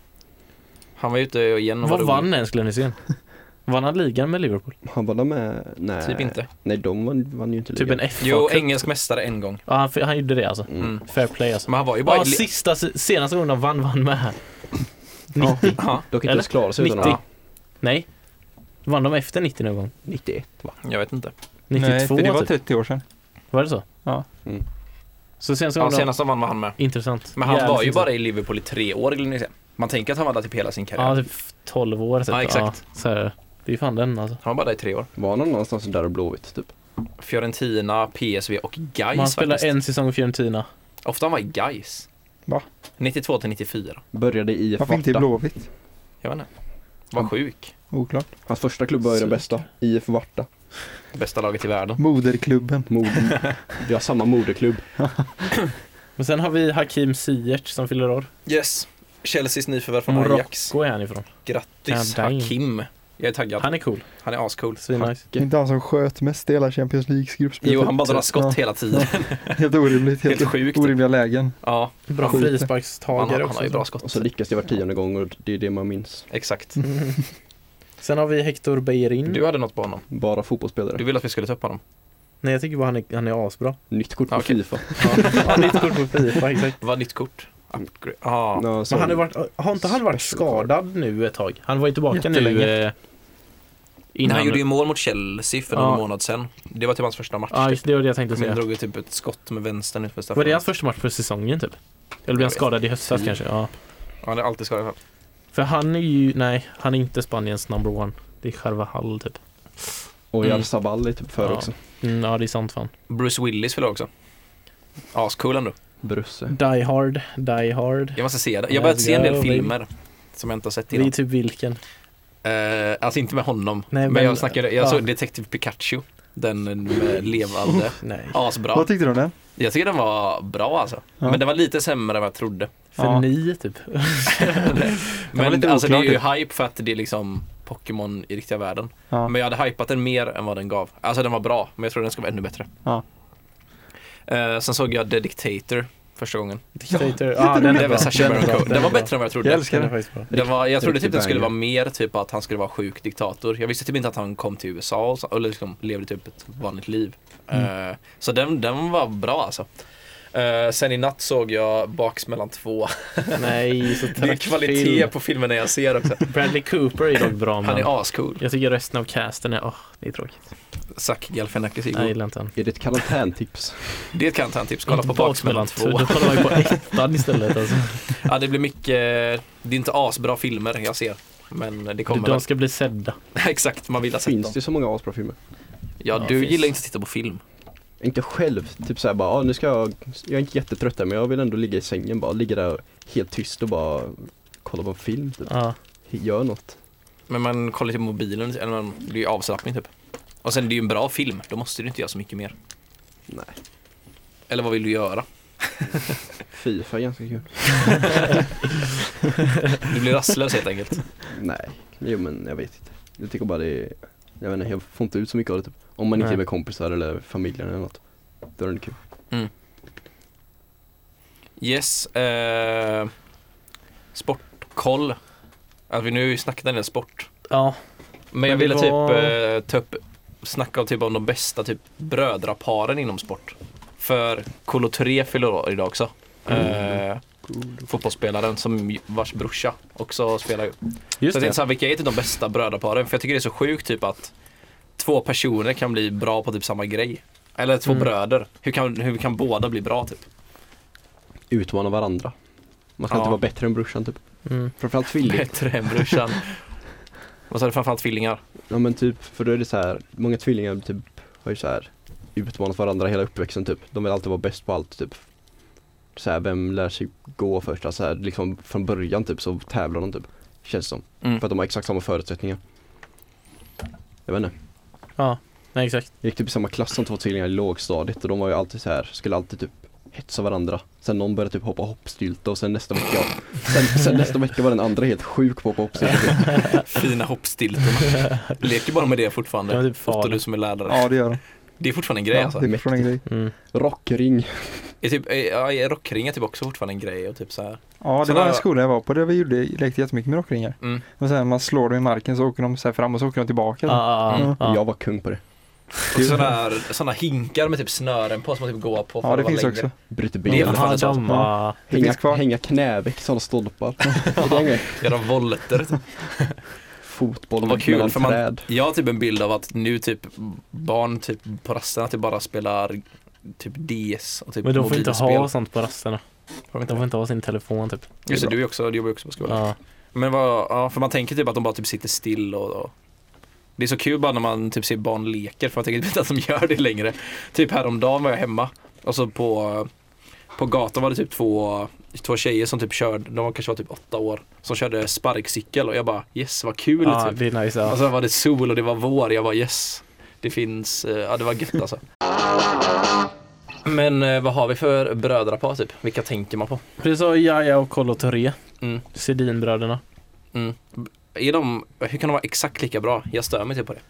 Speaker 4: Han var ute igen och
Speaker 2: Vad
Speaker 4: var
Speaker 2: vann ens Glenn Hysén? Vann han ligan med Liverpool?
Speaker 3: han var där med, nej.
Speaker 4: Typ inte.
Speaker 3: Nej, de vann, vann ju inte
Speaker 2: Typ
Speaker 3: ligan.
Speaker 2: en FA
Speaker 4: Jo,
Speaker 2: Cup.
Speaker 4: engelsk mästare en gång.
Speaker 2: Ja, han, han gjorde det alltså.
Speaker 4: Mm.
Speaker 2: Fair play alltså.
Speaker 4: Men han var ju bara
Speaker 2: Ja,
Speaker 4: i li-
Speaker 2: sista, senaste gången de vann, vann med.
Speaker 3: Ja.
Speaker 2: 90.
Speaker 4: Ja,
Speaker 3: De kan inte
Speaker 2: Eller?
Speaker 3: ens klara sig utan
Speaker 2: 90.
Speaker 3: honom.
Speaker 2: Nej. Vann de efter 90 någon gång?
Speaker 3: 91 va?
Speaker 4: jag vet inte.
Speaker 2: 92
Speaker 1: Nej, för det var
Speaker 2: typ.
Speaker 1: 30 år sedan.
Speaker 2: Var det så?
Speaker 1: Ja.
Speaker 3: Mm.
Speaker 2: Så senast gången
Speaker 4: Ja,
Speaker 2: de-
Speaker 4: senast han vann var han med.
Speaker 2: Intressant.
Speaker 4: Men han
Speaker 2: Jävligt
Speaker 4: var ju
Speaker 2: intressant.
Speaker 4: bara i Liverpool i tre år, Glenn Hysén. Man tänker att han var där typ hela sin karriär.
Speaker 2: Ja, typ 12 år typ.
Speaker 4: Ja, exakt.
Speaker 2: Ja, så här. Det är fan den alltså.
Speaker 4: Han var bara där i tre år.
Speaker 3: Var han någonstans där och blåvitt typ?
Speaker 4: Fiorentina, PSV och Gais
Speaker 2: Man spelar
Speaker 4: spelar faktiskt.
Speaker 2: en säsong i Fiorentina.
Speaker 4: Ofta han var i Gais.
Speaker 1: Va?
Speaker 4: 92 till 94.
Speaker 3: Började i IF
Speaker 1: Varför inte i
Speaker 3: Varta.
Speaker 1: Blåvitt?
Speaker 4: Jag vet inte. Var
Speaker 2: Mm.
Speaker 3: Ja.
Speaker 4: sjuk.
Speaker 1: Oklart.
Speaker 3: Hans första klubb var ju den
Speaker 2: Sök.
Speaker 3: bästa. IF Varta.
Speaker 4: Bästa laget i världen.
Speaker 1: Moderklubben.
Speaker 3: Mod... Vi har samma moderklubb.
Speaker 2: Men sen har vi Hakim Ziyech som fyller år.
Speaker 4: Yes. Chelseas nyförvärv från Ajax.
Speaker 2: Morocco är han ifrån.
Speaker 4: Grattis
Speaker 2: Ja, dang.
Speaker 4: Hakim. Jag är taggad.
Speaker 2: Han är cool.
Speaker 4: Han är ascool.
Speaker 2: Svinnice.
Speaker 1: Inte han som sköt mest i hela Champions Leagues gruppspel.
Speaker 4: Jo, han bara drar
Speaker 1: Ja.
Speaker 4: skott hela tiden.
Speaker 1: Helt orimligt. Helt,
Speaker 4: Helt sjukt. typ.
Speaker 1: Orimliga lägen.
Speaker 4: Ja,
Speaker 2: Bra
Speaker 1: Han-
Speaker 4: han, har-
Speaker 2: frisparkstagare
Speaker 4: han
Speaker 2: också.
Speaker 4: har ju bra
Speaker 3: Och
Speaker 4: skott.
Speaker 3: så lyckas det var tionde gång och det är det man minns.
Speaker 4: Exakt.
Speaker 2: Mm. Sen har vi Hector Bellerin.
Speaker 4: Du hade något på honom.
Speaker 3: Bara
Speaker 4: Du
Speaker 3: fotbollsspelare.
Speaker 4: ville att vi skulle ta upp honom.
Speaker 2: Nej, jag tycker bara han är, han är asbra.
Speaker 3: Nytt kort på
Speaker 4: Okej.
Speaker 3: Fifa.
Speaker 2: Ja, nytt kort på Fifa, exakt.
Speaker 4: Vad nytt kort? Upgrade. Ja.
Speaker 3: Ja, så-
Speaker 2: Men han har, varit, har inte han varit
Speaker 3: Special card.
Speaker 2: skadad nu ett tag? Han var ju tillbaka nu
Speaker 1: Jättelänge.
Speaker 2: eh,
Speaker 4: Innan...
Speaker 2: innan...
Speaker 4: Han gjorde ju mål mot Chelsea för
Speaker 2: Ja.
Speaker 4: någon månad sedan. Det var typ hans första match.
Speaker 2: Ja,
Speaker 4: typ.
Speaker 2: just det var det jag tänkte säga.
Speaker 4: Han drog ju typ ett skott med vänstern utför
Speaker 2: Var det
Speaker 4: straffområdet.
Speaker 2: hans första match för säsongen typ? Eller blev
Speaker 4: Jag
Speaker 2: han
Speaker 4: vet
Speaker 2: skadad i höstas
Speaker 4: Typ.
Speaker 2: kanske? Ja.
Speaker 4: Han är alltid skadad.
Speaker 2: För han är ju, nej, han är inte Spaniens number one. Det är Carvajal typ.
Speaker 3: Och
Speaker 4: Mm.
Speaker 3: Jarzabal är typ före
Speaker 2: Ja.
Speaker 3: också.
Speaker 2: Mm, ja, det är sant fan.
Speaker 4: Bruce Willis fyller också. Ascool ändå.
Speaker 3: Brusse.
Speaker 2: Die Hard, Die Hard.
Speaker 4: Jag måste se det. Jag har börjat se en
Speaker 2: Ja,
Speaker 4: del
Speaker 2: baby.
Speaker 4: filmer som jag inte har sett
Speaker 2: Det är
Speaker 4: innan.
Speaker 2: typ vilken?
Speaker 4: Eh, alltså inte med honom.
Speaker 2: Nej,
Speaker 4: men,
Speaker 2: men-
Speaker 4: jag snackade, jag
Speaker 2: ja.
Speaker 4: såg Detective Pikachu. Den med levande.
Speaker 2: Nej.
Speaker 4: Asbra.
Speaker 1: Vad tyckte du om den?
Speaker 4: Jag tycker den var bra alltså.
Speaker 1: Ja.
Speaker 4: Men den var lite sämre än vad jag trodde.
Speaker 2: För
Speaker 1: Ja.
Speaker 2: ni typ.
Speaker 1: var
Speaker 4: Men
Speaker 1: lite
Speaker 4: alltså det är ju
Speaker 1: oklar,
Speaker 4: hype för att det är liksom Pokémon i riktiga världen.
Speaker 1: Ja.
Speaker 4: Men jag hade hypat den mer än vad den gav. Alltså den var bra, men jag tror den ska vara ännu bättre.
Speaker 1: Ja.
Speaker 4: Eh, sen såg jag The Dictator första gången.
Speaker 2: Dictator. Ja,
Speaker 1: jätterolig.
Speaker 2: den
Speaker 4: Det
Speaker 2: är bra.
Speaker 4: var Sacha Baron
Speaker 2: bra.
Speaker 4: Cohen. Den var
Speaker 2: är bra.
Speaker 4: bättre än vad jag
Speaker 1: Jag
Speaker 4: trodde.
Speaker 1: älskar
Speaker 2: Den är
Speaker 1: den.
Speaker 2: faktiskt bra.
Speaker 4: Den var, jag trodde
Speaker 3: riktig
Speaker 4: typ den skulle
Speaker 3: banger.
Speaker 4: vara mer typ att han skulle vara sjuk diktator. Jag visste typ inte att han kom till USA och så, eller liksom levde typ ett vanligt liv. Eh, så den, den var bra alltså. Eh, sen i natt såg jag Baksmällan 2.
Speaker 2: Nej, så
Speaker 4: Det är
Speaker 2: trött
Speaker 4: kvalitet
Speaker 2: film.
Speaker 4: på filmerna jag ser också.
Speaker 2: Bradley Cooper är dock bra
Speaker 4: Han
Speaker 2: men
Speaker 4: är ascool.
Speaker 2: jag tycker resten av casten är, åh, det är tråkigt.
Speaker 4: Zac Galifianakis är
Speaker 2: Nej, jag
Speaker 4: god.
Speaker 2: gillar inte han.
Speaker 3: Är det ett karantäntips?
Speaker 4: Det kan jag ta en tips. Kolla på
Speaker 2: Inte
Speaker 4: Baksmällan 2.
Speaker 2: Då kollar man ju på ettan istället alltså.
Speaker 4: Ja, det blir mycket... Det är inte asbra filmer jag ser. Men det kommer
Speaker 2: De ska bli sedda.
Speaker 4: väl. Exakt, man vill ha sett
Speaker 3: Finns
Speaker 4: dem.
Speaker 3: det så många asbra filmer?
Speaker 4: Ja,
Speaker 2: Ja,
Speaker 4: du
Speaker 2: finns.
Speaker 4: gillar inte att titta på film.
Speaker 3: Inte själv, typ såhär bara, ah, nu ska jag, jag är inte jättetrött här men jag vill ändå ligga i sängen bara, ligga där helt tyst och bara kolla på en film typ.
Speaker 2: Ja.
Speaker 3: Gör något.
Speaker 4: Men man kollar till mobilen, eller man, det är ju avslappning typ. Och sen det är ju en bra film, då måste du inte göra så mycket mer.
Speaker 3: Nej.
Speaker 4: Eller vad vill du göra?
Speaker 3: Fifa är ganska kul.
Speaker 4: Du blir rastlös helt enkelt.
Speaker 3: Nej, jo men jag vet inte. Jag tycker bara det är, jag vet inte, jag får inte ut så mycket av det typ. Om man inte
Speaker 2: Nej.
Speaker 3: är med kompisar eller familjen eller något. Då är det kul.
Speaker 4: Yes, eh, sportkoll. Alltså, vi nu har ju snackat en del sport.
Speaker 2: ja.
Speaker 4: Men jag
Speaker 2: Men
Speaker 4: ville
Speaker 2: det
Speaker 4: typ
Speaker 2: var-
Speaker 4: eh, ta upp, snacka om, typ, om de bästa typ brödraparen inom sport. För Kolo 3 fyller år idag också.
Speaker 2: Mm.
Speaker 4: Eh, fotbollsspelaren som vars brorsa också spelar ju.
Speaker 2: Just
Speaker 4: Så det är
Speaker 2: det.
Speaker 4: så här, vilka är typ de bästa brödraparen? För jag tycker det är så sjukt typ att två personer kan bli bra på typ samma grej. Eller två
Speaker 2: Mm.
Speaker 4: bröder. Hur kan, hur kan båda bli bra typ?
Speaker 3: Utmana varandra. Man ska
Speaker 4: Ja.
Speaker 3: inte vara bättre än brorsan typ.
Speaker 2: Mm.
Speaker 3: Framförallt tvilling.
Speaker 4: Bättre än brorsan. Och så är det framförallt tvillingar.
Speaker 3: Ja men typ, för då är det så här, många tvillingar typ har ju så här utmanat varandra hela uppväxten typ. De vill alltid vara bäst på allt typ. Så här, vem lär sig gå först? Alltså så här, liksom från början typ så tävlar de typ. Känns det som.
Speaker 4: Mm.
Speaker 3: För att de har exakt samma förutsättningar. Jag vet inte.
Speaker 2: Ja, nej exakt.
Speaker 3: Jag gick typ i samma klass som två tvillingar i lågstadiet och de var ju alltid så här, skulle alltid typ hetsa varandra. Sen någon började typ hoppa hoppstylta och sen nästa vecka, sen, sen nästa vecka var den andra helt sjuk på att hoppa hoppstylta. typ.
Speaker 4: Fina hoppstiltorna. Leker bara med det
Speaker 2: Det var
Speaker 4: fortfarande.
Speaker 2: typ
Speaker 4: Otto,
Speaker 2: farligt.
Speaker 4: du som är lärare.
Speaker 1: Ja, det gör de.
Speaker 4: Det är fortfarande en grej
Speaker 1: Ja,
Speaker 4: alltså.
Speaker 1: det är från en grej.
Speaker 2: Mm.
Speaker 3: Rockring.
Speaker 4: Är typ, är, ja, är rockringar typ också fortfarande en grej och typ så här.
Speaker 1: Ja, det
Speaker 4: Sådana-
Speaker 1: var en skola jag var på där vi gjorde, lekte jättemycket med rockringar.
Speaker 4: Mm.
Speaker 1: Men sen när man slår dem i marken så åker de så här fram och så åker de tillbaka.
Speaker 2: Ja, ja, ja,
Speaker 1: Mm.
Speaker 2: ja.
Speaker 3: Jag var kung på det.
Speaker 4: Och sådana här, såna hinkar med typ snören på som man typ går på för
Speaker 1: Ja,
Speaker 4: att
Speaker 1: det
Speaker 4: vara
Speaker 1: finns
Speaker 4: längre.
Speaker 1: också.
Speaker 3: Bryter
Speaker 4: Det är
Speaker 3: benet.
Speaker 4: fan
Speaker 2: Jaha,
Speaker 4: det
Speaker 2: de
Speaker 1: så.
Speaker 2: var...
Speaker 1: Det
Speaker 3: Hänga,
Speaker 1: finns kvar.
Speaker 3: hänga knäveck i sådana stolpar. Det är en grej.
Speaker 4: Göra volter. typ.
Speaker 3: Fotboll
Speaker 4: Och vad kul
Speaker 3: mellan
Speaker 4: för man,
Speaker 3: träd.
Speaker 4: jag har typ en bild av att nu typ barn typ på rasterna typ bara spelar typ DS och typ
Speaker 2: Men de får inte ha
Speaker 4: mobilspel.
Speaker 2: sånt på rasterna.
Speaker 4: Får de inte
Speaker 2: De
Speaker 4: ha.
Speaker 2: får inte ha sin telefon typ.
Speaker 4: Just det, du, är också, du jobbar ju också på skolan.
Speaker 2: Ja.
Speaker 4: Men vad, ja, för man tänker typ att de bara typ sitter still och, och Det är så kul bara när man typ ser barn leker för man tänker inte att de gör det längre. Typ häromdagen var jag hemma och så på, på gatan var det typ två, två tjejer som typ körde, de kanske var typ åtta år, som körde sparkcykel och jag bara yes vad kul
Speaker 2: Ja,
Speaker 4: typ.
Speaker 2: det är nice.
Speaker 4: Och
Speaker 2: Ja.
Speaker 4: så var det sol och det var vår, jag bara yes. Det finns, eh, ja det var gött alltså. Men eh, vad har vi för brödrapar typ? Vilka tänker man på?
Speaker 2: Vi sa Jaja och Kollo Toré,
Speaker 4: Mm.
Speaker 2: Sedinbröderna.
Speaker 4: Mm. Är de, hur kan de vara exakt lika bra? Jag stör mig typ på det.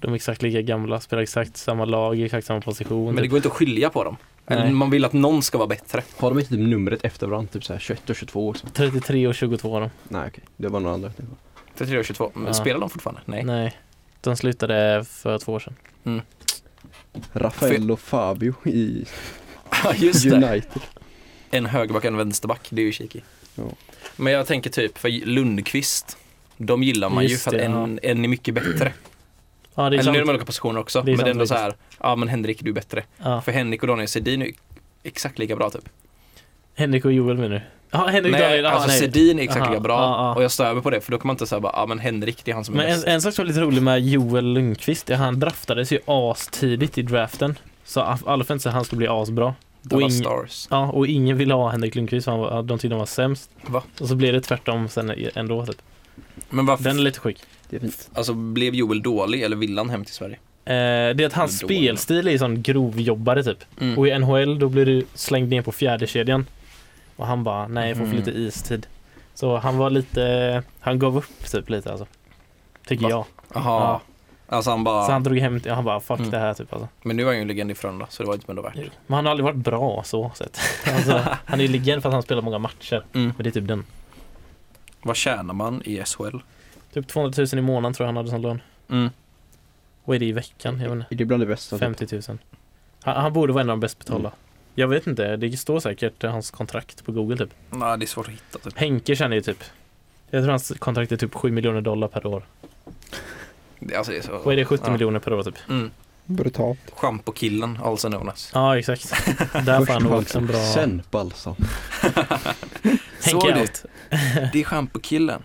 Speaker 2: De är exakt lika gamla, spelar exakt samma lag, i exakt samma position.
Speaker 4: Men det
Speaker 2: typ.
Speaker 4: går inte att skilja på dem. Eller
Speaker 2: Nej.
Speaker 4: man vill att någon ska vara bättre.
Speaker 3: Har de inte typ numret efter varandra? Typ såhär 21 och 22 också?
Speaker 2: 33 och 22 de.
Speaker 3: Nej okej, det var några andra. jag tänkte på.
Speaker 4: 33 och 22, men
Speaker 2: Ja.
Speaker 4: spelar de fortfarande? Nej.
Speaker 2: Nej. De slutade för två år sedan.
Speaker 3: Rafael och Fabio i
Speaker 4: Ja, just det.
Speaker 3: United.
Speaker 4: En högerback och en vänsterback, det är ju kiki.
Speaker 3: Ja.
Speaker 4: Men jag tänker typ för Lundqvist. De gillar man ju
Speaker 2: Just
Speaker 4: för att
Speaker 2: det,
Speaker 4: en, en är mycket bättre.
Speaker 2: Ja, det är
Speaker 4: Eller nu är
Speaker 2: sant.
Speaker 4: de olika positioner också,
Speaker 2: Det är
Speaker 4: men det
Speaker 2: sant
Speaker 4: är ändå så här, ja men Henrik du är bättre.
Speaker 2: Ja.
Speaker 4: För Henrik och Daniel Sedin är exakt lika bra typ.
Speaker 2: Henrik och Joel menar du? Ja, Henrik och
Speaker 4: Nej,
Speaker 2: Daniel.
Speaker 4: alltså
Speaker 2: nej.
Speaker 4: Sedin är exakt
Speaker 2: Aha,
Speaker 4: lika bra
Speaker 2: ja, ja.
Speaker 4: och jag stör mig på det för då kan man inte säga bara, ja men Henrik det är han som är
Speaker 2: Men en,
Speaker 4: bäst.
Speaker 2: en sak som var lite rolig med Joel Lundqvist, är att han draftades ju astidigt i draften. Så alla fans att han skulle bli asbra.
Speaker 4: Dallas
Speaker 2: ing-
Speaker 4: Stars.
Speaker 2: Ja, och ingen ville ha Henrik Lundqvist för han var, de tyckte han var sämst.
Speaker 4: Va?
Speaker 2: Och så blev det tvärtom sen ändå typ.
Speaker 4: Men varför,
Speaker 2: Den är lite sjuk.
Speaker 3: Det är fint.
Speaker 4: alltså blev Joel dålig eller ville han hem till Sverige?
Speaker 2: Eh, det är att hans
Speaker 4: Dålig.
Speaker 2: spelstil är sån grovjobbare typ.
Speaker 4: Mm.
Speaker 2: Och i NHL då blir du slängd ner på fjärde kedjan Och han bara, nej jag får för
Speaker 4: Mm.
Speaker 2: lite istid. Så han var lite, han gav upp typ lite alltså. Tycker
Speaker 4: Va?
Speaker 2: jag.
Speaker 4: Jaha. Alltså han bara,
Speaker 2: Så han drog hem, han bara fuck
Speaker 4: Mm.
Speaker 2: det här typ alltså.
Speaker 4: men nu är han ju en legend i Frölunda så det var inte ändå värt.
Speaker 2: Men han har aldrig varit bra så sett. Alltså, han är ju legend för att han spelar många matcher.
Speaker 4: Mm.
Speaker 2: Men det är typ den.
Speaker 4: Vad tjänar man i SHL?
Speaker 2: Typ 200 000 i månaden tror jag han hade som lön.
Speaker 4: Mm.
Speaker 2: Vad är det i veckan? Jag vet inte.
Speaker 3: Det är bland det
Speaker 4: typ-
Speaker 3: bästa.
Speaker 2: 50 000. Han, han borde vara en av de bäst betalda.
Speaker 4: Mm.
Speaker 2: Jag vet inte, det står säkert hans kontrakt på Google typ.
Speaker 4: Nej det är svårt att hitta typ.
Speaker 2: Henke känner ju typ jag tror hans kontrakt är typ 7 miljoner dollar per år.
Speaker 4: Det, alltså, det är så.
Speaker 2: Vad är det, 70
Speaker 4: Ja.
Speaker 2: miljoner per år typ?
Speaker 4: Mm.
Speaker 1: Brutalt.
Speaker 4: Schampokillen, also known as.
Speaker 2: Ja, exakt. Där får
Speaker 3: Först
Speaker 2: han nog
Speaker 3: balsam,
Speaker 2: också en bra...
Speaker 3: sen balsam.
Speaker 4: Så
Speaker 2: Henke
Speaker 4: är det.
Speaker 2: allt.
Speaker 4: Det är schampokillen.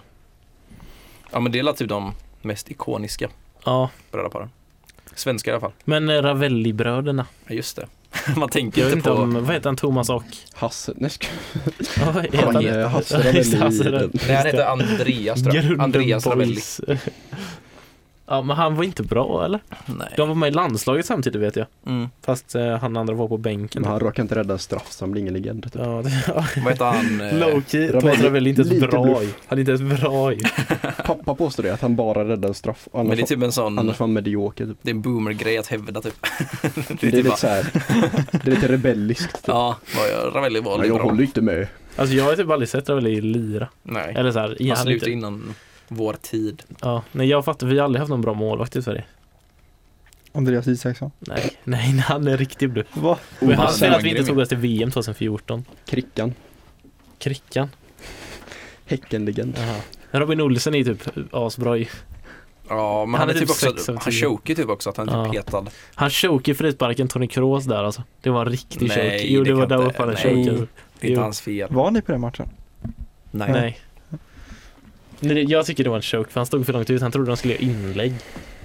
Speaker 4: Ja men det är typ de mest ikoniska
Speaker 2: Ja,
Speaker 4: brödraparen. Svenska i alla fall.
Speaker 2: men eh, Ravelli-bröderna.
Speaker 4: Ja just det. Man tänker
Speaker 2: Jag vet
Speaker 4: inte
Speaker 2: inte
Speaker 4: på...
Speaker 2: om, vad heter han, Thomas och...
Speaker 3: Hasse, nej ska
Speaker 2: Ja, vad heter
Speaker 3: han,
Speaker 2: han?
Speaker 3: eh, Hasse
Speaker 2: Just det,
Speaker 3: Ravelli
Speaker 2: Hasse
Speaker 3: i den.
Speaker 2: Ravelli.
Speaker 4: Nej han heter Andreas tror jag.
Speaker 2: Grunden
Speaker 4: Andreas Ravelli.
Speaker 2: Boys. Ja, men han var inte bra eller?
Speaker 4: Nej.
Speaker 2: De var med i landslaget samtidigt vet jag.
Speaker 4: Mm.
Speaker 2: Fast eh, han andra var på bänken.
Speaker 3: Men han råkar inte rädda en straffsamling i legend. Typ.
Speaker 2: Ja, det,
Speaker 4: Vad heter han? eh,
Speaker 2: Low-key,
Speaker 3: Ravelli,
Speaker 2: Thomas Ravelli är inte ens
Speaker 3: lite
Speaker 2: bra
Speaker 3: bluff.
Speaker 2: i. Han är inte ens bra i.
Speaker 3: Pappa påstår det, att han bara räddade en straff. Annars,
Speaker 4: Men det är typ en sån...
Speaker 3: annars var han medioker. Typ.
Speaker 4: Det är en boomer-grej att hävda typ. det är
Speaker 3: Det är
Speaker 4: typ
Speaker 3: lite
Speaker 4: bara,
Speaker 3: såhär, det är lite rebelliskt. Typ.
Speaker 4: ja, vad gör Ravelli var
Speaker 3: Men
Speaker 4: lite
Speaker 3: jag
Speaker 4: bra.
Speaker 3: håller inte med.
Speaker 2: Alltså jag har typ aldrig sett Ravelli lira.
Speaker 4: Nej,
Speaker 2: Eller såhär,
Speaker 4: han
Speaker 2: han typ
Speaker 4: slutade
Speaker 2: inte.
Speaker 4: innan vår tid.
Speaker 2: Ja, nej jag fattar, vi har aldrig haft någon bra målvakt i Sverige.
Speaker 1: Andreas Isaksson.
Speaker 2: Nej, nej, han är riktigt bluff.
Speaker 1: Va?
Speaker 2: Men han
Speaker 4: Oh, han
Speaker 2: säger
Speaker 4: var
Speaker 2: att vi inte
Speaker 4: grym.
Speaker 2: tog oss till VM 2014.
Speaker 3: Krickan,
Speaker 2: Krickan.
Speaker 3: Häckenlegend.
Speaker 2: Jaha. Robin Olsen är typ asbra i.
Speaker 4: Ja,
Speaker 2: Han
Speaker 4: men han,
Speaker 2: är
Speaker 4: är typ
Speaker 2: typ sex
Speaker 4: också,
Speaker 2: av
Speaker 4: han
Speaker 2: tio.
Speaker 4: chokar typ också att han är typ
Speaker 2: Ja.
Speaker 4: petad.
Speaker 2: Han choke i frisparken, Tony Kroos där alltså. Det var en riktig
Speaker 4: Nej,
Speaker 2: choke. Jo,
Speaker 4: det
Speaker 2: det, var
Speaker 4: kan
Speaker 2: där
Speaker 4: inte-
Speaker 2: uppe han
Speaker 4: nej.
Speaker 2: chokade.
Speaker 4: Det är inte
Speaker 2: Jo.
Speaker 4: hans fel.
Speaker 1: Var ni på den matchen?
Speaker 2: Nej.
Speaker 4: Nej.
Speaker 2: Nej. det- Jag tycker det var en choke, för han stod för långt ut. Han trodde de skulle göra inlägg.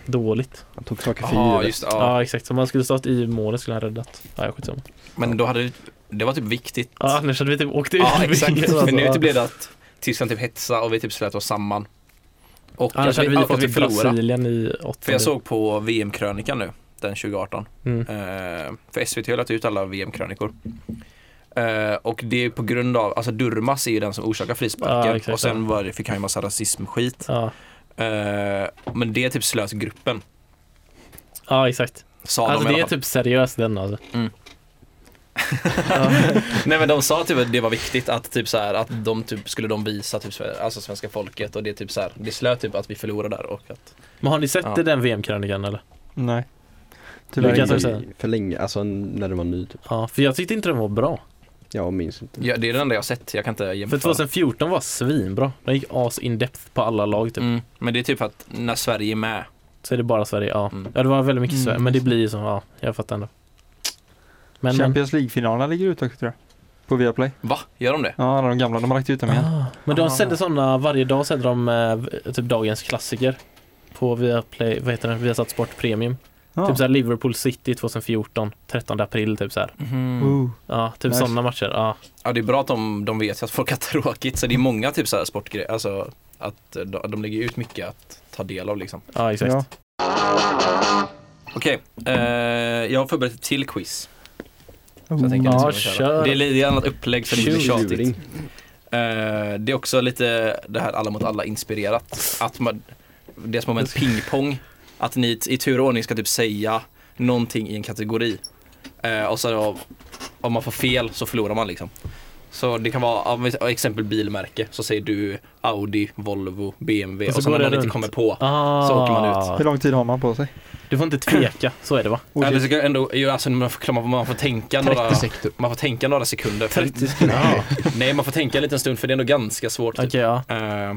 Speaker 2: Dåligt.
Speaker 3: Han tog saker för
Speaker 4: Ja,
Speaker 3: givet.
Speaker 4: just det,
Speaker 2: Ja,
Speaker 4: ja.
Speaker 2: exakt. Om han skulle stått i målet skulle han räddat. Ja, skitsamma.
Speaker 4: Men då hade det, det var typ viktigt.
Speaker 2: Ja, annars hade vi typ åkt ut. Alltså.
Speaker 4: Ja, exakt.
Speaker 2: Vilket var
Speaker 4: För nu
Speaker 2: så-
Speaker 4: typ blev det att Tyskland typ hetsa och vi typ slöt oss samman. Och
Speaker 2: Annars
Speaker 4: att
Speaker 2: hade
Speaker 4: vi,
Speaker 2: vi
Speaker 4: och
Speaker 2: fått
Speaker 4: att vi
Speaker 2: typ
Speaker 4: förlorade.
Speaker 2: Brasilien i åttonde.
Speaker 4: För jag såg på VM-krönikan nu, den 2018.
Speaker 2: Mm.
Speaker 4: Eh, För SVT har lagt ut alla VM-krönikor. Eh, Och det är på grund av, alltså Durmas är ju den som orsakar
Speaker 2: Ja,
Speaker 4: frisparken
Speaker 2: exakt,
Speaker 4: och sen var, det- fick han ju massa rasismskit.
Speaker 2: Ja.
Speaker 4: Eh, Men det är typ slös gruppen,
Speaker 2: ja, exakt.
Speaker 4: sa
Speaker 2: alltså
Speaker 4: de i
Speaker 2: det är
Speaker 4: alla fall.
Speaker 2: typ seriöst den alltså.
Speaker 4: Mm.
Speaker 2: ja.
Speaker 4: Nej men de sa typ att det var viktigt att typ så här, att de typ skulle de visa typ sve- alltså svenska folket och det är typ så här, det slöt typ att vi förlorar där och att
Speaker 2: Men har ni sett
Speaker 4: Ja.
Speaker 2: den VM-krönikan eller?
Speaker 1: Nej. Tyvärr.
Speaker 2: Du kan
Speaker 1: inte.
Speaker 2: säga-
Speaker 3: i, för länge, alltså när den var ny typ.
Speaker 2: Ja, för jag tyckte inte den var bra.
Speaker 3: Jag minns inte.
Speaker 4: Ja, det är det enda jag har sett, jag kan inte
Speaker 2: För
Speaker 4: jämföra.
Speaker 2: 2014 var svinbra. Den gick as in depth på alla lag typ.
Speaker 4: mm, men det är typ för att när Sverige är med.
Speaker 2: Så är det bara Sverige, ja.
Speaker 4: Mm.
Speaker 2: Ja det var väldigt mycket
Speaker 1: Mm.
Speaker 2: Sverige, men det blir ju som, ja, jag fattar ändå. Men, men,
Speaker 1: Champions League-finalerna ligger ute också tror jag. På Viaplay.
Speaker 4: Va? Gör de det?
Speaker 1: Ja, alla de gamla. De har lagt ut dem igen.
Speaker 2: ah, men de
Speaker 1: Ah.
Speaker 2: sände sådana, varje dag sände de eh, typ dagens klassiker. På Viaplay, vad heter den, Viasat Sport Premium.
Speaker 1: Ja.
Speaker 2: Typ såhär Liverpool City 2014, 13 april typ såhär.
Speaker 4: Mhm.
Speaker 1: Ooh.
Speaker 2: Ja, typ
Speaker 1: Nice.
Speaker 2: sådana matcher, ja.
Speaker 4: Ja, det är bra att de, de vet att folk har tråkigt, så det är många typ så här sportgrejer, alltså att de, de lägger ut mycket att ta del av liksom.
Speaker 2: Ja, exakt.
Speaker 1: Ja.
Speaker 4: Okej, eh, jag har förberett ett till quiz. Så jag
Speaker 1: Ooh.
Speaker 4: tänker att
Speaker 2: Ja,
Speaker 4: jag ska köra.
Speaker 2: kör.
Speaker 4: Det är lite annat upplägg så det blir
Speaker 2: Tjuring.
Speaker 4: tjatigt. Eh, det är också lite det här alla mot alla inspirerat. Att man, det är som moment pingpong. Att ni t- i tur och ordning ska typ säga någonting i en kategori. Eh, och så då, om man får fel så förlorar man liksom. Så det kan vara av ett- av exempel bilmärke så säger du Audi, Volvo, BMW
Speaker 2: Och
Speaker 4: och
Speaker 2: så
Speaker 4: så,
Speaker 2: går
Speaker 4: när
Speaker 2: det
Speaker 4: man inte
Speaker 2: runt.
Speaker 4: kommer på.
Speaker 2: Ah,
Speaker 4: Så åker man
Speaker 1: Hur lång tid har man på sig?
Speaker 2: Du får inte tveka, så är det va?
Speaker 1: Oj,
Speaker 4: Eller så kan jag ändå, ju, alltså, man, får, man, får tänka några, man får tänka några sekunder. För,
Speaker 2: 30 sekunder. Ah,
Speaker 4: nej man får tänka en liten stund för det är ändå ganska svårt. typ.
Speaker 2: Okej, ja.
Speaker 4: Eh,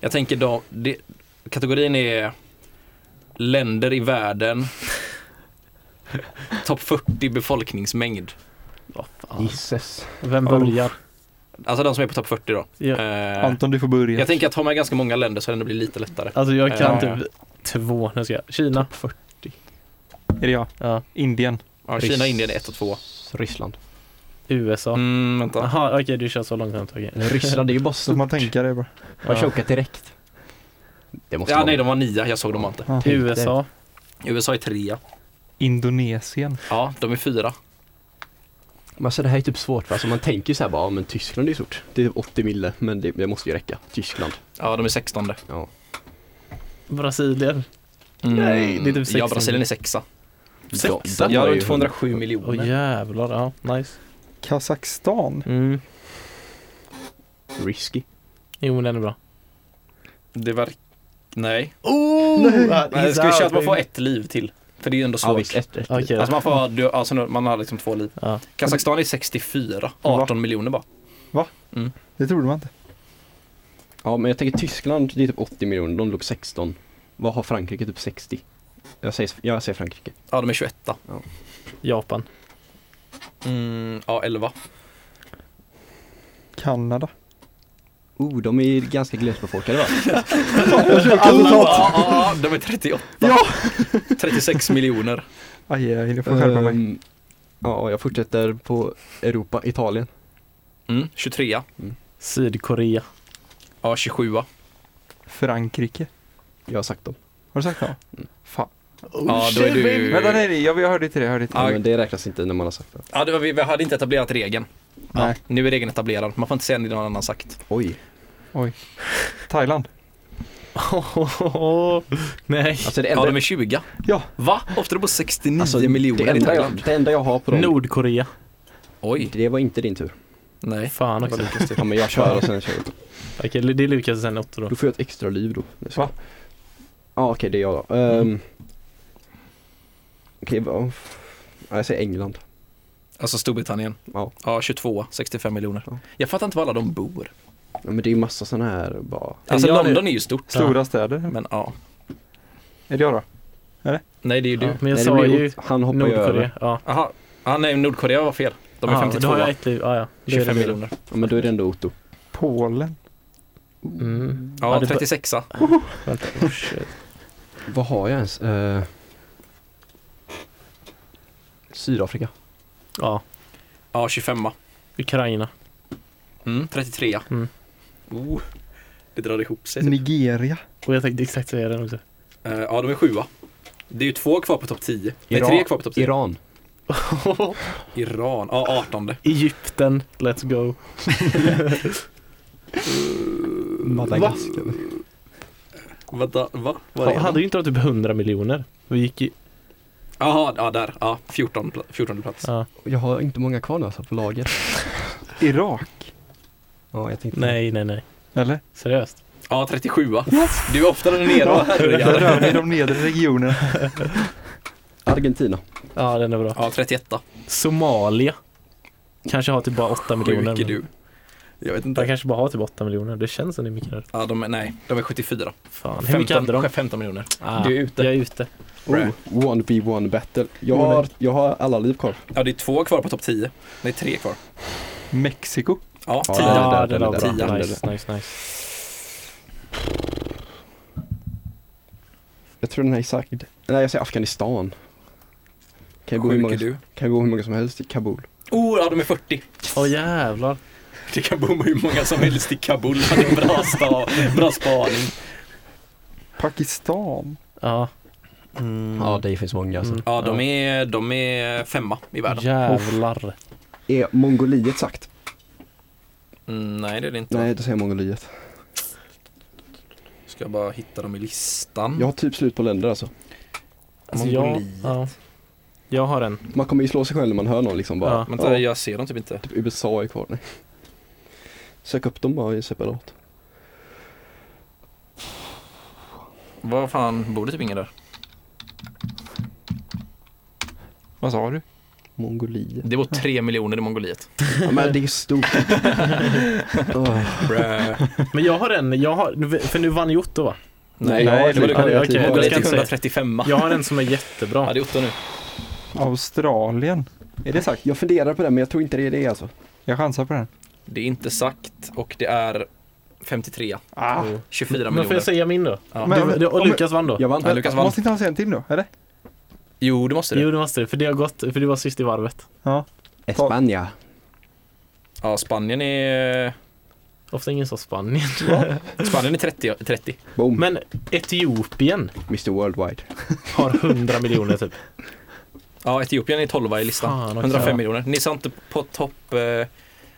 Speaker 4: jag tänker då, det, kategorin är länder i världen, topp 40 befolkningsmängd.
Speaker 2: Vad fan.
Speaker 3: Jesus.
Speaker 2: Vem börjar?
Speaker 4: Alltså de som är på topp 40 då.
Speaker 2: Jag,
Speaker 4: Eh,
Speaker 1: Anton, du får börja.
Speaker 4: jag tänker att har man ganska många länder så det ändå blir lite lättare.
Speaker 2: alltså jag kan
Speaker 4: Ja, Typ ja.
Speaker 2: typ två, nu ska jag. Kina. 40.
Speaker 1: Är det jag?
Speaker 2: Ja.
Speaker 1: Indien.
Speaker 4: Ja, Kina, Indien är 1 och 2.
Speaker 3: Ryssland.
Speaker 2: USA.
Speaker 4: Mm, vänta.
Speaker 2: Jaha, okej du kör så långsamt. okej.
Speaker 3: Ryssland det är ju bara
Speaker 1: Så man tänker det bara.
Speaker 2: Ja.
Speaker 3: direkt. Det måste
Speaker 4: Ja,
Speaker 3: vara
Speaker 4: nej, de var nia. Jag såg dem inte.
Speaker 1: Ja.
Speaker 2: USA.
Speaker 4: USA är trea.
Speaker 1: Indonesien.
Speaker 4: Ja, de är fyra.
Speaker 3: Men alltså det här är typ svårt för alltså man tänker ju såhär bara, ja men Tyskland är ju stort. Det är 80 mille men det, det måste ju räcka. Tyskland.
Speaker 4: Ja, de är sextonde.
Speaker 3: Ja.
Speaker 2: Brasilien.
Speaker 4: Mm.
Speaker 2: Nej, det är typ
Speaker 4: Ja,
Speaker 2: sextonde.
Speaker 4: Brasilien är sexa.
Speaker 2: Sexa?
Speaker 3: De-
Speaker 4: Ja,
Speaker 3: var
Speaker 4: de
Speaker 3: ju
Speaker 4: är 207 miljoner.
Speaker 2: Åh jävlar, ja nice.
Speaker 1: Kazakstan.
Speaker 2: Mm.
Speaker 3: Risky.
Speaker 2: Jo men den är bra.
Speaker 4: Det verkar... Nej.
Speaker 2: Oh!
Speaker 4: Nej, ska vi köra att man får ett liv till? För det är ju ändå svårt.
Speaker 3: ett, ett,
Speaker 2: Okej.
Speaker 4: Alltså man får, du, alltså nu- man har liksom två liv.
Speaker 2: Ja.
Speaker 4: Kazakstan är 64, 18 miljoner bara.
Speaker 1: Det trodde man inte.
Speaker 3: Ja men jag tänker Tyskland, det är typ 80 miljoner, de låg 16. Vad har Frankrike? Typ 60. Jag säger, jag säger Frankrike.
Speaker 4: Ja, de är 21.
Speaker 2: Japan.
Speaker 4: Mm, ja, 11.
Speaker 1: Kanada.
Speaker 3: Oh, de är ganska glesbefolkade va?
Speaker 1: Alltså,
Speaker 4: Alla, ja, ja, de är 38. 36 miljoner.
Speaker 1: Aj, aj, nu får jag skärpa mig.
Speaker 3: Ehm, Ja, jag fortsätter på Europa, Italien.
Speaker 4: Mm, 23.
Speaker 2: Sydkorea.
Speaker 4: Ja, 27.
Speaker 1: Frankrike.
Speaker 3: Jag har sagt dem.
Speaker 1: Har du sagt det? Fan.
Speaker 4: Ja, då är du...
Speaker 1: Vänta, nej, nej, jag, jag hörde inte det. Jag hörde inte det.
Speaker 4: Ja,
Speaker 3: Ja, men det räknas inte när man har sagt det.
Speaker 4: Ja, det var, vi, vi hade inte etablerat regeln.
Speaker 1: Nej.
Speaker 4: Nu är regeln etablerad. Man får inte säga det någon annan sagt.
Speaker 3: Oj.
Speaker 1: Thailand.
Speaker 2: Nej.
Speaker 3: Alltså det
Speaker 4: Ja,
Speaker 3: enda,
Speaker 4: de är 20.
Speaker 1: Ja.
Speaker 4: Va? Ofta på 69
Speaker 3: alltså,
Speaker 4: miljoner
Speaker 3: det
Speaker 4: i
Speaker 3: enda, jag,
Speaker 4: Thailand.
Speaker 3: det enda jag har på dem,
Speaker 2: Nordkorea.
Speaker 4: Oj.
Speaker 3: det var inte din tur.
Speaker 4: Nej.
Speaker 2: Fan också.
Speaker 3: Ja, men jag kör och sen kör jag.
Speaker 2: Okej, det är Lukas och sen åtta då.
Speaker 3: Då får jag ett extra liv då. Nu ska
Speaker 1: Va?
Speaker 3: jag- Ja okej det är jag då. Ehm, Okej, vad- ja, jag säger England.
Speaker 4: Alltså Storbritannien.
Speaker 3: Ja.
Speaker 4: Ja, 22. 65 miljoner.
Speaker 3: Ja.
Speaker 4: Jag fattar inte var alla de bor.
Speaker 3: Ja, men det är ju massa sådana här bara.
Speaker 4: Alltså
Speaker 2: Jag-
Speaker 4: London är ju stort.
Speaker 1: Stora städer.
Speaker 4: Men ja.
Speaker 1: Är det jag då?
Speaker 4: Nej, det är ju
Speaker 2: Ja,
Speaker 4: du.
Speaker 2: men jag
Speaker 3: Nej, det
Speaker 2: sa
Speaker 3: blir
Speaker 2: ju
Speaker 3: åt- Han hoppar ju över.
Speaker 2: Nordkorea. Ja.
Speaker 4: Aha. Ah, nej, Nordkorea var fel. De är
Speaker 2: Ja,
Speaker 4: 52.
Speaker 2: Då har jag ett liv, ja ja. Då är det
Speaker 4: 25
Speaker 2: det.
Speaker 4: miljoner.
Speaker 3: Ja, men då är det ändå Otto.
Speaker 1: Polen.
Speaker 2: Mm.
Speaker 4: Ja,
Speaker 2: det-
Speaker 4: 36
Speaker 2: Vänta, oh shit.
Speaker 3: Vad har jag ens? Eh, Sydafrika.
Speaker 2: Ja,
Speaker 4: Ja, 25
Speaker 2: Ukraina.
Speaker 4: mm, 33
Speaker 2: Mm.
Speaker 4: Oh, det drar ihop sig. typ.
Speaker 1: Nigeria.
Speaker 2: Och jag tänkte exakt säga den också.
Speaker 4: Eh, ja, de är 7 Det är ju två kvar på topp 10. Nej,
Speaker 3: Iran.
Speaker 4: tre kvar på topp 10. Iran.
Speaker 3: Iran.
Speaker 4: Ja, 18.
Speaker 2: Egypten, let's go.
Speaker 3: Madagaskar.
Speaker 4: Vänta, va? Var
Speaker 2: Ha,
Speaker 4: är
Speaker 2: hade
Speaker 4: han?
Speaker 2: ju inte de typ 100 miljoner? Vi gick i,
Speaker 4: Jaha, ja där. Ja, 14, pla- 14 plats.
Speaker 2: ja.
Speaker 3: Jag har inte många kvar nu alltså på lager.
Speaker 1: Irak.
Speaker 3: Ja, jag tänkte
Speaker 2: Nej, nej, nej.
Speaker 1: Eller?
Speaker 2: Seriöst.
Speaker 4: Ja, 37 Du är oftare nere
Speaker 1: Där
Speaker 4: va? herregud.
Speaker 1: rör vi de nedre regionerna.
Speaker 3: Argentina.
Speaker 2: Ja, den är bra.
Speaker 4: Ja, 31.
Speaker 2: Somalia. Kanske har typ bara 8 miljoner.
Speaker 4: Sjuk är du. Jag vet
Speaker 2: De
Speaker 4: inte.
Speaker 2: kanske bara har typ 8 miljoner. Det känns som det är mycket. där.
Speaker 4: Ja, de är, nej, de är 74.
Speaker 2: Fan, hur mycket
Speaker 4: 15,
Speaker 2: hade de?
Speaker 4: 15 miljoner.
Speaker 2: Ah,
Speaker 3: Du är ute.
Speaker 2: Jag är ute.
Speaker 3: Oh, 1v1 battle. Jag har, jag har alla liv kvar.
Speaker 4: Ja, det är två kvar på topp 10. Det är tre kvar.
Speaker 1: Mexiko.
Speaker 4: Ja,
Speaker 3: Ja,
Speaker 4: 10.
Speaker 3: det
Speaker 2: ah,
Speaker 3: där,
Speaker 2: den
Speaker 3: den
Speaker 2: var
Speaker 3: där,
Speaker 2: bra.
Speaker 4: den där.
Speaker 2: Nice, nice, nice.
Speaker 3: Jag tror den är exakt. Nej jag säger Afghanistan. Kan jag, gå hur
Speaker 4: Sjuk
Speaker 3: många,
Speaker 4: är du.
Speaker 3: kan jag gå hur många som helst i Kabul.
Speaker 4: Oh, ja, de är 40.
Speaker 2: Åh jävlar.
Speaker 4: Det kan bomma hur många som helst i Kabul. Ja, Det är en bra, sta, bra spaning.
Speaker 1: Pakistan.
Speaker 2: Ja. Mm.
Speaker 5: Ja, det finns många alltså.
Speaker 2: Mm.
Speaker 4: Ja, de är, de är femma i världen.
Speaker 2: Jävlar.
Speaker 3: Är Mongoliet sagt?
Speaker 4: Mm, nej, det är det inte.
Speaker 3: Nej, då säger jag Mongoliet.
Speaker 4: Ska jag bara hitta dem i listan.
Speaker 3: Jag har typ slut på länder alltså.
Speaker 2: Alltså, jag,
Speaker 4: Mongoliet.
Speaker 2: ja. jag har en.
Speaker 3: Man kommer ju slå sig själv när man hör någon liksom bara.
Speaker 2: Ja.
Speaker 4: Men där, jag ser dem typ inte.
Speaker 3: Typ USA är kvar. Nej. Sök upp dem bara i separat.
Speaker 4: Vad fan, bor det typ ingen där?
Speaker 1: Vad sa du?
Speaker 3: Mongoliet.
Speaker 4: Det bor tre miljoner i Mongoliet.
Speaker 3: Ja, men det är stort. Åh.
Speaker 2: Men jag har en, jag har, för nu vann ju Otto va?
Speaker 3: Nej,
Speaker 1: Nej,
Speaker 3: jag
Speaker 1: det var
Speaker 3: har typ-
Speaker 2: det-
Speaker 3: jag har
Speaker 2: okej,
Speaker 3: typ-
Speaker 2: då
Speaker 4: Mongoliet
Speaker 2: ska
Speaker 4: är
Speaker 2: jag säga.
Speaker 4: 135.
Speaker 2: Jag har en som är jättebra.
Speaker 4: Ja, det är Otto nu.
Speaker 1: Australien. Är det sagt?
Speaker 3: Jag funderar på det men jag tror inte det är det alltså.
Speaker 1: Jag chansar på den.
Speaker 4: Det är inte sagt och det är 53.
Speaker 1: Ah.
Speaker 2: Mm.
Speaker 4: 24
Speaker 2: Men får jag
Speaker 4: miljoner.
Speaker 2: säga min då?
Speaker 4: Ja.
Speaker 1: Men-
Speaker 2: Du, du, och
Speaker 1: om-
Speaker 2: Lukas vann då?
Speaker 3: Jag vann.
Speaker 4: Nej, Lukas vann.
Speaker 1: Måste inte han säga en till nu? Eller?
Speaker 4: Jo, det måste
Speaker 2: Jo
Speaker 4: du.
Speaker 2: det måste du, för det har gått, för du var sist i varvet.
Speaker 1: Ja.
Speaker 3: Espanja.
Speaker 4: Ja, Spanien är...
Speaker 2: Ofta ingen sa Spanien.
Speaker 4: Spanien är 30. 30.
Speaker 3: Boom.
Speaker 2: Men Etiopien
Speaker 3: Mr Worldwide.
Speaker 2: har 100 miljoner typ.
Speaker 4: Ja, Etiopien är 12 i listan.
Speaker 2: Fan, också.
Speaker 4: 105 miljoner. Ni sa inte på topp eh,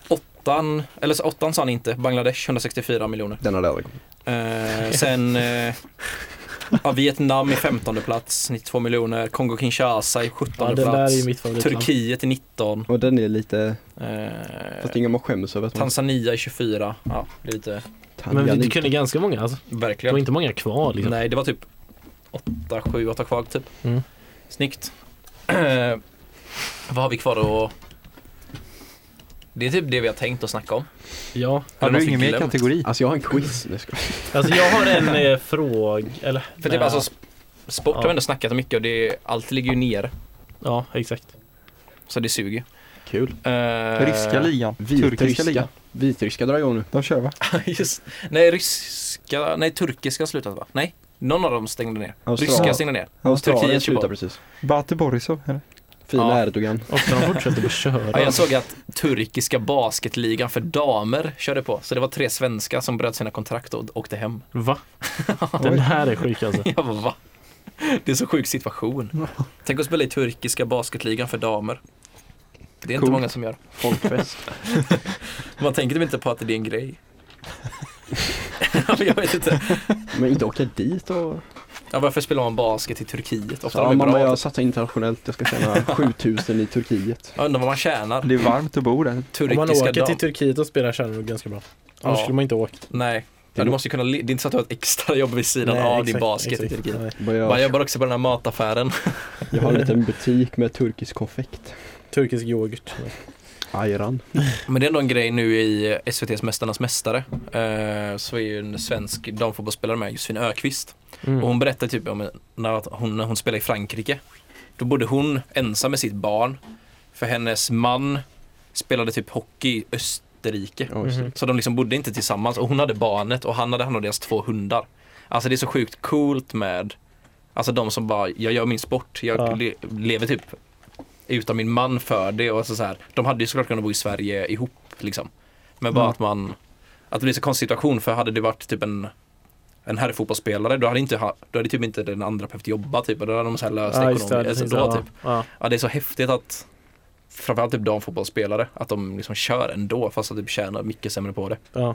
Speaker 4: åttan, eller så åttan sa ni inte. Bangladesh 164 miljoner.
Speaker 3: Den hade jag aldrig kommit.
Speaker 4: Eh, sen eh, ja, Vietnam i 15 plats, 92 miljoner. Kongo-Kinshasa i 17
Speaker 2: Ja, den där är ju
Speaker 4: plats.
Speaker 2: mitt favoritland.
Speaker 4: Turkiet i 19.
Speaker 3: Och den är lite,
Speaker 4: Eh,
Speaker 3: fast ingen man skäms över att man
Speaker 4: Tanzania i 24. Ja, det är lite
Speaker 2: Men vi, du
Speaker 3: Tanganyika.
Speaker 2: kunde ganska många alltså. Det var
Speaker 4: verkligen.
Speaker 2: inte många kvar liksom.
Speaker 4: Nej, det var typ 8, 7, 8 kvar typ.
Speaker 2: Mm.
Speaker 4: Snyggt. Eh, Vad har vi kvar att... Det är typ det vi har tänkt att snacka om.
Speaker 2: Ja.
Speaker 1: Har
Speaker 4: Eller
Speaker 1: du
Speaker 4: något
Speaker 1: ingen mer
Speaker 4: glömt.
Speaker 1: kategori?
Speaker 3: Alltså jag har en quiz. Nej, jag skojar.
Speaker 2: Alltså jag har en eh, fråga, eller?
Speaker 4: För
Speaker 2: nej.
Speaker 4: typ alltså sp- sport har
Speaker 2: Ja.
Speaker 4: vi ändå snackat om mycket och det, allt ligger ju ner.
Speaker 2: Ja, exakt.
Speaker 4: Så det suger.
Speaker 3: Kul.
Speaker 2: Eh,
Speaker 4: Uh,
Speaker 1: Ryska ligan. Turkiska
Speaker 3: Vitryska.
Speaker 1: ligan.
Speaker 3: Vitryska drar igång nu.
Speaker 1: De kör va?
Speaker 4: Just. Nej, ryska, nej turkiska har slutat va? Nej, någon av dem stängde ner.
Speaker 3: Australien.
Speaker 4: Ryska stängde ner.
Speaker 3: Australien
Speaker 4: Turkiet
Speaker 3: slutar
Speaker 4: Djibouti.
Speaker 3: precis.
Speaker 1: Bate Borisov. Eller?
Speaker 3: Fina
Speaker 4: Ja.
Speaker 3: Erdogan.
Speaker 2: Ofta de fortsätter bara köra.
Speaker 4: Ja, jag såg att turkiska basketligan för damer körde på. Så det var tre svenskar som bröt sina kontrakt och åkte hem.
Speaker 2: Va? Den här är sjuk alltså.
Speaker 4: Jag bara, va? Det är så sjuk situation. Tänk att spela i turkiska basketligan för damer. Det är inte
Speaker 1: Coolt.
Speaker 4: många som gör.
Speaker 3: Folkfest.
Speaker 4: Man tänker typ inte på att det är en grej. jag vet inte.
Speaker 3: Men inte åka dit och...
Speaker 4: Ja, varför spelar man basket i Turkiet? Ofta
Speaker 3: Ja,
Speaker 4: de är
Speaker 3: mamma
Speaker 4: bra.
Speaker 3: jag satsar internationellt. Jag ska tjäna 7000 i Turkiet.
Speaker 4: Jag undrar vad man tjänar.
Speaker 1: Det är varmt att bo där.
Speaker 2: Om man
Speaker 4: Turkiska
Speaker 2: åker
Speaker 4: dam.
Speaker 2: till Turkiet och spelar kärnor ganska bra. Annars
Speaker 4: Ja.
Speaker 2: skulle man inte åka.
Speaker 4: Nej. Ja, du måste ju kunna, le- det är inte så att du har ett extra jobb vid sidan
Speaker 2: Nej,
Speaker 4: av din
Speaker 2: exakt,
Speaker 4: basket i
Speaker 2: exakt.
Speaker 4: Turkiet.
Speaker 2: Nej.
Speaker 3: Bara
Speaker 4: Bara, jag
Speaker 3: Jag,
Speaker 4: jobbar också på den här mataffären.
Speaker 3: jag har en liten butik med turkisk konfekt.
Speaker 2: Turkisk yoghurt.
Speaker 3: Ayran.
Speaker 4: Men det är ändå en grej nu i SVTs Mästarnas Mästare. Eh, så är ju en svensk damfotbollsspelare med, Josefin Ökvist. Och hon berättar typ om när hon, när hon spelade i Frankrike. Då bodde hon ensam med sitt barn. För hennes man spelade typ hockey i Österrike.
Speaker 3: Ja,
Speaker 2: Mm-hmm.
Speaker 3: just det.
Speaker 4: Så de liksom bodde inte tillsammans och hon hade barnet och han hade hand om deras två hundar. Alltså det är så sjukt coolt med Alltså de som bara, jag gör min sport, jag
Speaker 2: Ja.
Speaker 4: le- lever typ utan min man för det och alltså så, så här. De hade ju såklart kunnat bo i Sverige ihop liksom. Men bara
Speaker 2: Mm.
Speaker 1: Ja.
Speaker 4: att man, att det blir så konstig situation för hade det varit typ en en herrfotbollsspelare, då hade, inte, ha- då hade typ inte den andra behövt jobba typ och då hade de så här löst
Speaker 2: Ja, just
Speaker 4: ekonomiskt.
Speaker 2: det,
Speaker 4: alltså,
Speaker 2: precis,
Speaker 4: då,
Speaker 2: ja.
Speaker 4: typ.
Speaker 2: Ja.
Speaker 4: Ja, det är så häftigt att framförallt typ damfotbollsspelare, att de liksom kör ändå fast att de tjänar mycket sämre på det.
Speaker 2: Ja.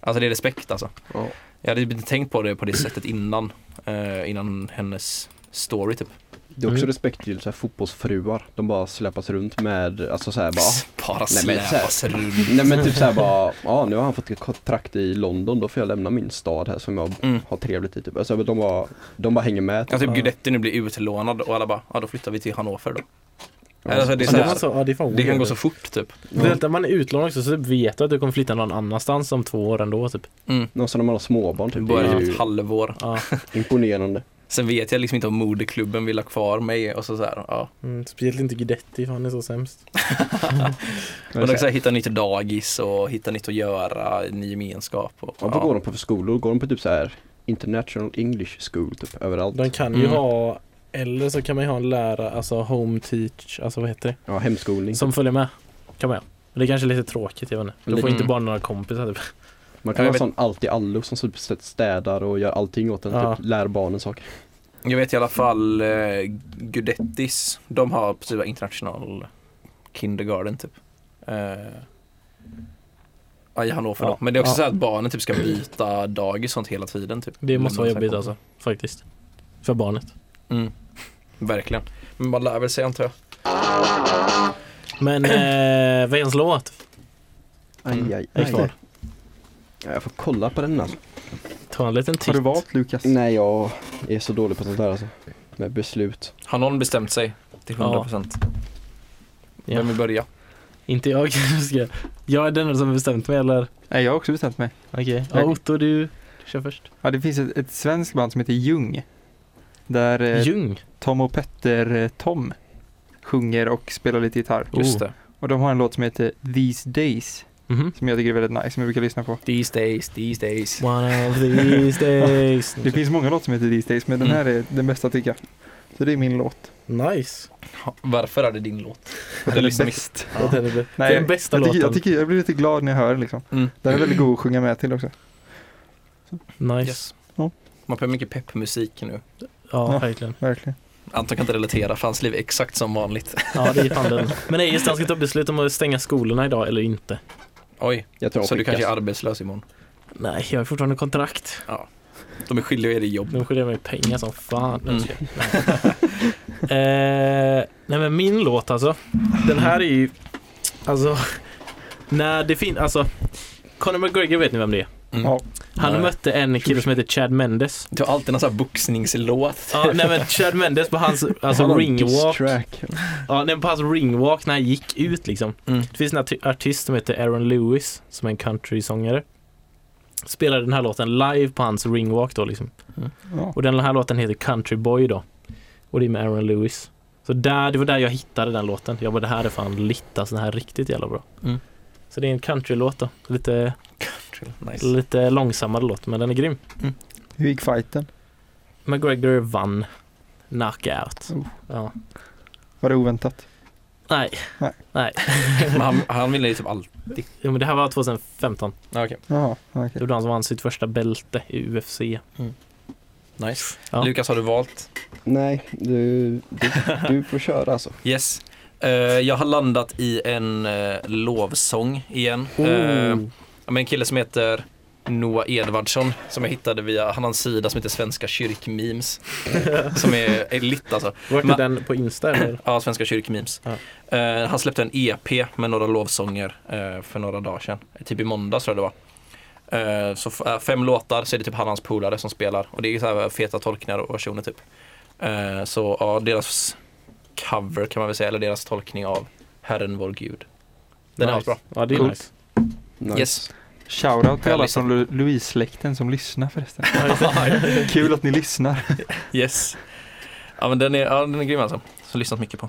Speaker 4: Alltså det är respekt alltså.
Speaker 3: Ja.
Speaker 4: Jag hade inte tänkt på det på det sättet innan. Eh, innan hennes story typ.
Speaker 3: Det är också
Speaker 2: Mm.
Speaker 3: respekt till så här, fotbollsfruar. De bara släpas runt med, alltså såhär bara
Speaker 4: Bara
Speaker 3: Nej, men
Speaker 4: släpas runt.
Speaker 3: Nej men typ såhär bara, ja nu har han fått ett kontrakt i London, då får jag lämna min stad här som jag
Speaker 4: Mm.
Speaker 3: har trevligt i typ. Alltså de bara, de bara hänger med.
Speaker 4: Ja, typ Guidetti nu blir utlånad och alla bara, ja då flyttar vi till Hannover då. Alltså, det, är
Speaker 2: Ja,
Speaker 4: så
Speaker 2: det, var
Speaker 4: här,
Speaker 2: så, ja, det, är fan
Speaker 4: det kan gå
Speaker 2: weird.
Speaker 4: så fort typ.
Speaker 2: Speciellt när man är utlånad också så typ vet du att du kommer flytta någon annanstans om två år ändå typ.
Speaker 4: Mm.
Speaker 3: Någon som när man har småbarn typ, det
Speaker 4: Bara
Speaker 3: är
Speaker 4: typ
Speaker 3: ju
Speaker 4: ett halvår.
Speaker 2: Ja.
Speaker 3: imponerande.
Speaker 4: Sen vet jag liksom inte om moderklubben vill ha kvar mig och så, så här, ja.
Speaker 2: Mm, speciellt inte Guidetti, för han är så sämst.
Speaker 4: Och då så här, hitta nytt dagis och hitta nytt att göra, ny gemenskap. Och,
Speaker 3: Ja, vad går de på för skolor? Går de på typ så här International English School typ överallt?
Speaker 2: De kan ju
Speaker 4: Mm.
Speaker 2: ha, eller så kan man ju ha en lärare, alltså home teach, alltså vad heter
Speaker 3: Ja, hemskolning.
Speaker 2: det? Som följer med. Kan man ju ha. Men det är kanske är lite tråkigt, jag vet inte. Du får
Speaker 4: Mm.
Speaker 2: inte bara några kompisar typ.
Speaker 3: Man
Speaker 4: Ja,
Speaker 3: kan
Speaker 4: jag
Speaker 3: ha
Speaker 4: vet-
Speaker 3: sån allt i allo som typ städar och gör allting åt en,
Speaker 2: Ja.
Speaker 3: typ lär barnen saker.
Speaker 4: Jag vet i alla fall eh, Gudettis, de har precis international kindergarten typ. Eh, ja, i Hannover
Speaker 2: Ja,
Speaker 4: då. Men det är också
Speaker 2: ja.
Speaker 4: så här att barnen typ ska byta dagis sånt hela tiden typ.
Speaker 2: Det måste vara
Speaker 4: Lämna
Speaker 2: jobbigt
Speaker 4: sina
Speaker 2: alltså, faktiskt. För barnet.
Speaker 4: kompisar. Mm. Verkligen. Men man lär väl sig antar jag.
Speaker 2: Men eh, veckans låt, Mm.
Speaker 3: Aj, aj,
Speaker 2: är kvar.
Speaker 3: aj. Ja, jag får kolla på den alltså.
Speaker 2: Ta en liten titt.
Speaker 1: Har du valt Lukas?
Speaker 3: Nej, jag är så dålig på sånt där alltså. Med beslut.
Speaker 4: Har någon bestämt sig till
Speaker 2: Ja.
Speaker 4: 100%? procent?
Speaker 2: Ja.
Speaker 4: Vem vill börja?
Speaker 2: Inte jag kanske. Jag är den enda som har bestämt mig eller?
Speaker 1: Nej, jag har också bestämt mig.
Speaker 2: Okej. Ja, Otto du, du kör först.
Speaker 1: Ja, det finns ett, ett svenskt band som heter Ljung. Där eh,
Speaker 2: Ljung.
Speaker 1: Tom och Petter eh, Tom sjunger och spelar lite gitarr.
Speaker 2: Oh.
Speaker 4: Just det.
Speaker 1: Och de har en låt som heter These Days
Speaker 2: Mhm.
Speaker 1: som jag tycker är väldigt nice, som jag brukar lyssna på.
Speaker 4: These days, these days.
Speaker 2: One of these days.
Speaker 1: Det finns många låtar som heter These Days, men den här är den bästa tycker jag. Så det är min låt.
Speaker 2: Nice.
Speaker 4: Ha, varför är liksom det din låt?
Speaker 1: Den är
Speaker 4: lyssnar
Speaker 1: bäst.
Speaker 2: Det är det.
Speaker 1: Nej,
Speaker 2: det är den bästa
Speaker 1: jag, tycker,
Speaker 2: låten.
Speaker 1: jag, tycker, jag blir lite glad när jag hör den liksom.
Speaker 4: Mm.
Speaker 1: Den är väldigt god att sjunga med till också.
Speaker 2: Nice.
Speaker 4: Yes.
Speaker 1: Ja.
Speaker 4: Man behöver mycket peppmusik nu.
Speaker 2: Ja,
Speaker 1: Ja.
Speaker 2: verkligen.
Speaker 1: Verkligen.
Speaker 4: Anton kan inte relatera för hans liv är exakt som vanligt.
Speaker 2: Ja, det är fan den. Men nej, just det, han ska ta beslut om att stänga skolorna idag eller inte.
Speaker 4: Oj,
Speaker 3: Jag tror
Speaker 4: så
Speaker 3: jag
Speaker 4: du kanske är
Speaker 3: skickas.
Speaker 4: arbetslös imorgon.
Speaker 2: Nej, jag har fortfarande kontrakt.
Speaker 4: De är skyldiga er i jobb.
Speaker 2: De skiljer mig pengar som fan.
Speaker 4: Mm.
Speaker 2: eh, nej men min låt alltså. Den här är ju, alltså, när det finns, alltså, Conor McGregor vet ni vem det är?
Speaker 4: Mm.
Speaker 1: Ja.
Speaker 2: Han
Speaker 4: Nej.
Speaker 2: mötte en kille som heter Chad Mendes.
Speaker 4: Du har alltid någon sån här boxningslåt.
Speaker 2: Ja, nej men Chad Mendes på hans,
Speaker 3: Han
Speaker 2: alltså
Speaker 3: har en diss
Speaker 2: ringwalk.
Speaker 3: track.
Speaker 2: Ja, nej, på hans ringwalk när han gick ut liksom.
Speaker 4: Mm.
Speaker 2: Det finns en arti- artist som heter Aaron Lewis som är en countrysångare. Spelade den här låten live på hans ringwalk då liksom.
Speaker 1: Ja.
Speaker 2: Och den här låten heter Country Boy då. Och det är med Aaron Lewis. Så där, det var där jag hittade den låten. Jag bara det här är fan litt alltså, den här är riktigt jävla bra.
Speaker 4: Mm.
Speaker 2: Så det är en countrylåt då. Lite,
Speaker 4: Nice.
Speaker 2: lite långsammare låt men den är grym.
Speaker 1: Hur gick fighten?
Speaker 2: McGregor vann. Knockout.
Speaker 1: Oh.
Speaker 2: Ja.
Speaker 1: Var det oväntat?
Speaker 2: Nej.
Speaker 1: Nej.
Speaker 2: Nej.
Speaker 4: Men han, han ville ju typ allt.
Speaker 2: Jo, men det här var 2015.
Speaker 4: Ja, Okej,
Speaker 1: Jaha, okej.
Speaker 2: Det var då han som vann sitt första bälte i UFC.
Speaker 4: nice.
Speaker 2: Ja.
Speaker 4: Lukas, har du valt?
Speaker 3: Nej, du, du, du får köra alltså.
Speaker 4: Yes. Eh, jag har landat i en eh, lovsång igen. Eh,
Speaker 2: Oh.
Speaker 4: Ja, men en kille som heter Noah Edvardsson som jag hittade via, han har en sida som heter Svenska kyrkmemes. som är, är lite alltså.
Speaker 2: Vart är
Speaker 4: Men-
Speaker 2: den på Insta eller?
Speaker 4: Ja, Svenska kyrkmemes.
Speaker 2: Ja.
Speaker 4: Eh, han släppte en EP med några lovsånger eh, för några dagar sedan. Typ i måndags tror jag det var. Eh, så f- eh, fem låtar så är det typ han och hans polare som spelar. Och det är så här eh, feta tolkningar och versioner typ. Eh, så ja, deras cover kan man väl säga, eller deras tolkning av Herren vår Gud. Den är
Speaker 2: nice.
Speaker 4: asbra.
Speaker 2: Ja, det är
Speaker 1: Coolt.
Speaker 2: nice.
Speaker 3: Nice.
Speaker 4: Yes.
Speaker 1: Shoutout till alla
Speaker 4: Härligt.
Speaker 1: från Lu- Louise-släkten som lyssnar förresten.
Speaker 2: Ja, just det.
Speaker 1: Kul att ni lyssnar.
Speaker 4: Yes. Ja men den är, ja, den är grym alltså. Så lyssnat mycket på.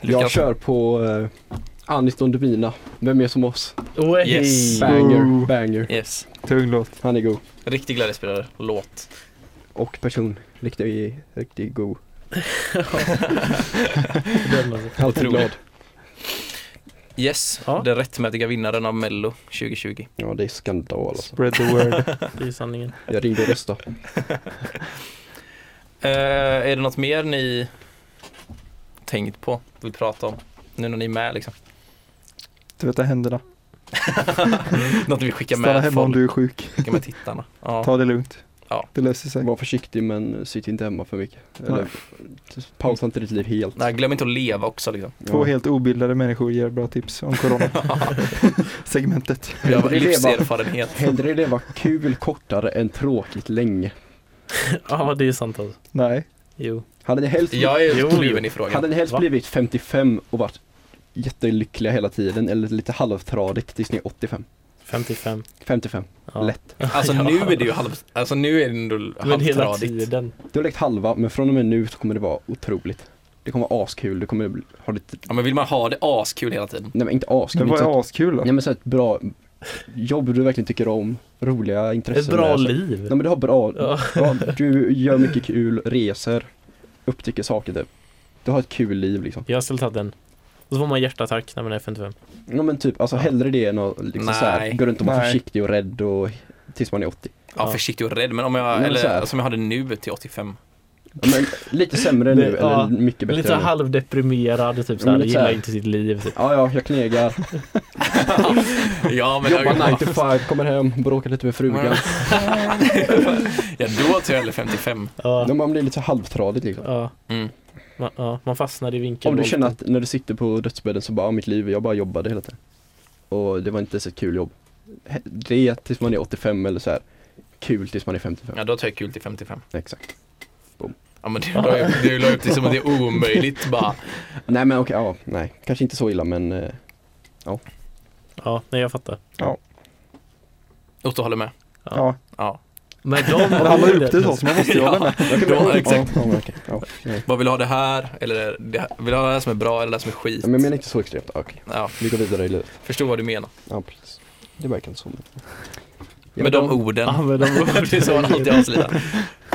Speaker 3: Jag kör på uh, Anis Don Demina. Vem är som oss?
Speaker 2: Oj. Mm.
Speaker 4: Yes.
Speaker 3: Banger,
Speaker 1: Ooh.
Speaker 3: banger.
Speaker 4: Yes.
Speaker 1: Tung låt.
Speaker 3: Han är god.
Speaker 4: Riktig glädjespelare. Låt.
Speaker 3: Och person. Riktigt, riktigt god.
Speaker 2: Den alltså.
Speaker 3: Alltid
Speaker 4: Otrolig.
Speaker 3: glad.
Speaker 4: Yes.
Speaker 2: Ja.
Speaker 4: Den rättmätiga vinnaren av Mello 2020.
Speaker 3: Ja, det är skandal alltså.
Speaker 1: Spread the word.
Speaker 2: Det är sanningen.
Speaker 3: Jag ringde och röstade.
Speaker 4: Eh, är det något mer ni tänkt på, vill prata om? Nu när ni är med liksom.
Speaker 1: Tvätta händerna.
Speaker 4: Något vi skickar
Speaker 1: Mm. Stanna
Speaker 4: med
Speaker 1: hemma om
Speaker 4: folk,
Speaker 1: du är sjuk.
Speaker 4: skickar med tittarna. Ja.
Speaker 1: Ta det lugnt. Det löser sig.
Speaker 3: Var försiktig men sitt inte hemma för mycket. Eller, pausa inte ditt liv helt.
Speaker 4: Nej, glöm inte att leva också liksom.
Speaker 1: Två
Speaker 3: Ja.
Speaker 1: helt obildade människor ger bra tips om corona. Segmentet.
Speaker 4: Jag har
Speaker 3: Hellre leva,
Speaker 4: livserfarenhet.
Speaker 3: hellre leva kul kortare än tråkigt länge.
Speaker 2: Ja, det är sant alltså.
Speaker 1: Nej.
Speaker 2: Jo.
Speaker 3: Hade ni helst,
Speaker 4: Jag
Speaker 2: Jo,
Speaker 4: är kluven i
Speaker 3: hade
Speaker 4: frågan.
Speaker 3: ni helst
Speaker 2: Va?
Speaker 3: blivit 55 och varit jättelyckliga hela tiden eller lite halvtradigt tills ni är 85?
Speaker 2: 55.
Speaker 3: 55,
Speaker 2: Ja.
Speaker 3: lätt.
Speaker 4: Alltså
Speaker 2: Ja.
Speaker 4: nu är det ju halv, alltså nu är det ändå
Speaker 2: Men hela
Speaker 4: halvtradigt.
Speaker 2: tiden.
Speaker 3: Du har lekt halva men från och med nu så kommer det vara otroligt. Det kommer vara askul, du kommer bli- ha lite,
Speaker 4: Ja men vill man ha det askul hela tiden?
Speaker 3: nej men inte askul.
Speaker 1: Det
Speaker 3: men
Speaker 1: var
Speaker 3: så-
Speaker 1: ju askul då.
Speaker 3: Nej men så ett bra jobb du verkligen tycker om, roliga intressen.
Speaker 2: Ett bra
Speaker 3: med.
Speaker 4: Alltså,
Speaker 2: liv.
Speaker 3: Nej men du har bra,
Speaker 2: Ja.
Speaker 3: bra, du gör mycket kul, reser, upptäcker saker typ. Du har ett kul liv liksom.
Speaker 2: Jag skulle tagit den. Och så får man hjärtattack när man är 55.
Speaker 3: Ja men typ, alltså hellre det än att liksom
Speaker 4: Nej.
Speaker 3: så här, gå runt och vara
Speaker 1: Nej.
Speaker 3: försiktig och rädd och tills man är 80.
Speaker 4: Ja,
Speaker 2: Ja.
Speaker 4: försiktig och rädd men om
Speaker 3: Nej,
Speaker 4: jag,
Speaker 3: men så
Speaker 4: eller
Speaker 3: här.
Speaker 4: som jag hade nu till 85.
Speaker 3: Ja, men lite sämre
Speaker 2: Det-
Speaker 3: nu eller
Speaker 2: ja,
Speaker 3: mycket bättre
Speaker 2: Lite så här
Speaker 3: nu.
Speaker 2: halvdeprimerad, typ så här,
Speaker 3: lite så
Speaker 2: gillar
Speaker 3: här.
Speaker 2: inte sitt liv. Typ.
Speaker 3: Ja, ja, jag knegar,
Speaker 4: Ja men
Speaker 3: jobbar 9
Speaker 4: jag,
Speaker 3: to 5, kommer hem, bråkar lite med frugan.
Speaker 4: ja då tror jag eller 55.
Speaker 2: Ja.
Speaker 3: Ja. Man blir lite så här halvtradigt liksom.
Speaker 2: Ja.
Speaker 4: Mm.
Speaker 2: Man, ja. man fastnar i vinkeln.
Speaker 3: Om du känner att när du sitter på dödsbädden så bara, ja, mitt liv, jag bara jobbade hela tiden. Och det var inte så ett kul jobb. He- Det är tills man är 85 eller så här. kul tills man är 55.
Speaker 4: Ja då tar jag kul till 55.
Speaker 3: Exakt.
Speaker 4: Ja men du la upp- du la upp det som att det är omöjligt bara.
Speaker 3: Nej men okej, ja, nej. Kanske inte så illa men eh,
Speaker 2: Ja, nej jag fattar.
Speaker 4: Otto håller med.
Speaker 1: Ja.
Speaker 4: Ja.
Speaker 2: Men de
Speaker 1: Men han la upp det så, så man måste ju hålla med.
Speaker 3: jag
Speaker 4: Ja, exakt.
Speaker 3: Ja, men, okej, ja, nej.
Speaker 4: Vad vill du ha det här? Eller det här? vill du ha det här som är bra eller det här som är skit?
Speaker 3: Ja, men jag menar inte så extremt, Ja, okej.
Speaker 4: Ja,
Speaker 3: Vi går vidare i livet.
Speaker 4: förstår vad du menar.
Speaker 3: Ja, precis. Det verkar inte så. Men... Ja,
Speaker 4: Med de orden.
Speaker 2: använder de ord.
Speaker 4: det är så han alltid avslutar.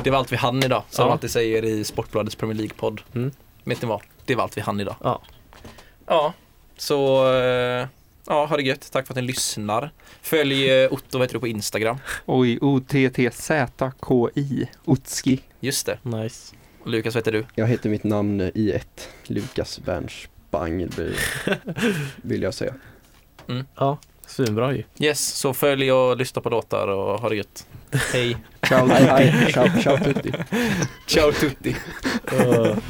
Speaker 4: Det var allt vi hann idag, som
Speaker 2: Ja.
Speaker 4: de alltid säger i Sportbladets Premier League-podd.
Speaker 2: Mm.
Speaker 4: Vet ni vad? Det var allt vi hann idag.
Speaker 2: Ja.
Speaker 4: Ja, så eh, ja, ha det gött. Tack för att ni lyssnar. Följ eh, Otto vad heter du, på Instagram.
Speaker 1: Oj, O-T-T-Z-K-I. Otski.
Speaker 4: Just det.
Speaker 2: Nice.
Speaker 4: Lukas, vad heter du?
Speaker 3: Jag heter mitt namn i ett, Lukas Bernspang vill jag säga.
Speaker 2: Ja, svinbra ju.
Speaker 4: Yes, så följ och lyssna på låtar och ha det gött. Hej.
Speaker 3: Ciao, hej, hej, ciao, ciao tutti.
Speaker 4: Ciao tutti.
Speaker 2: Ja.
Speaker 5: Now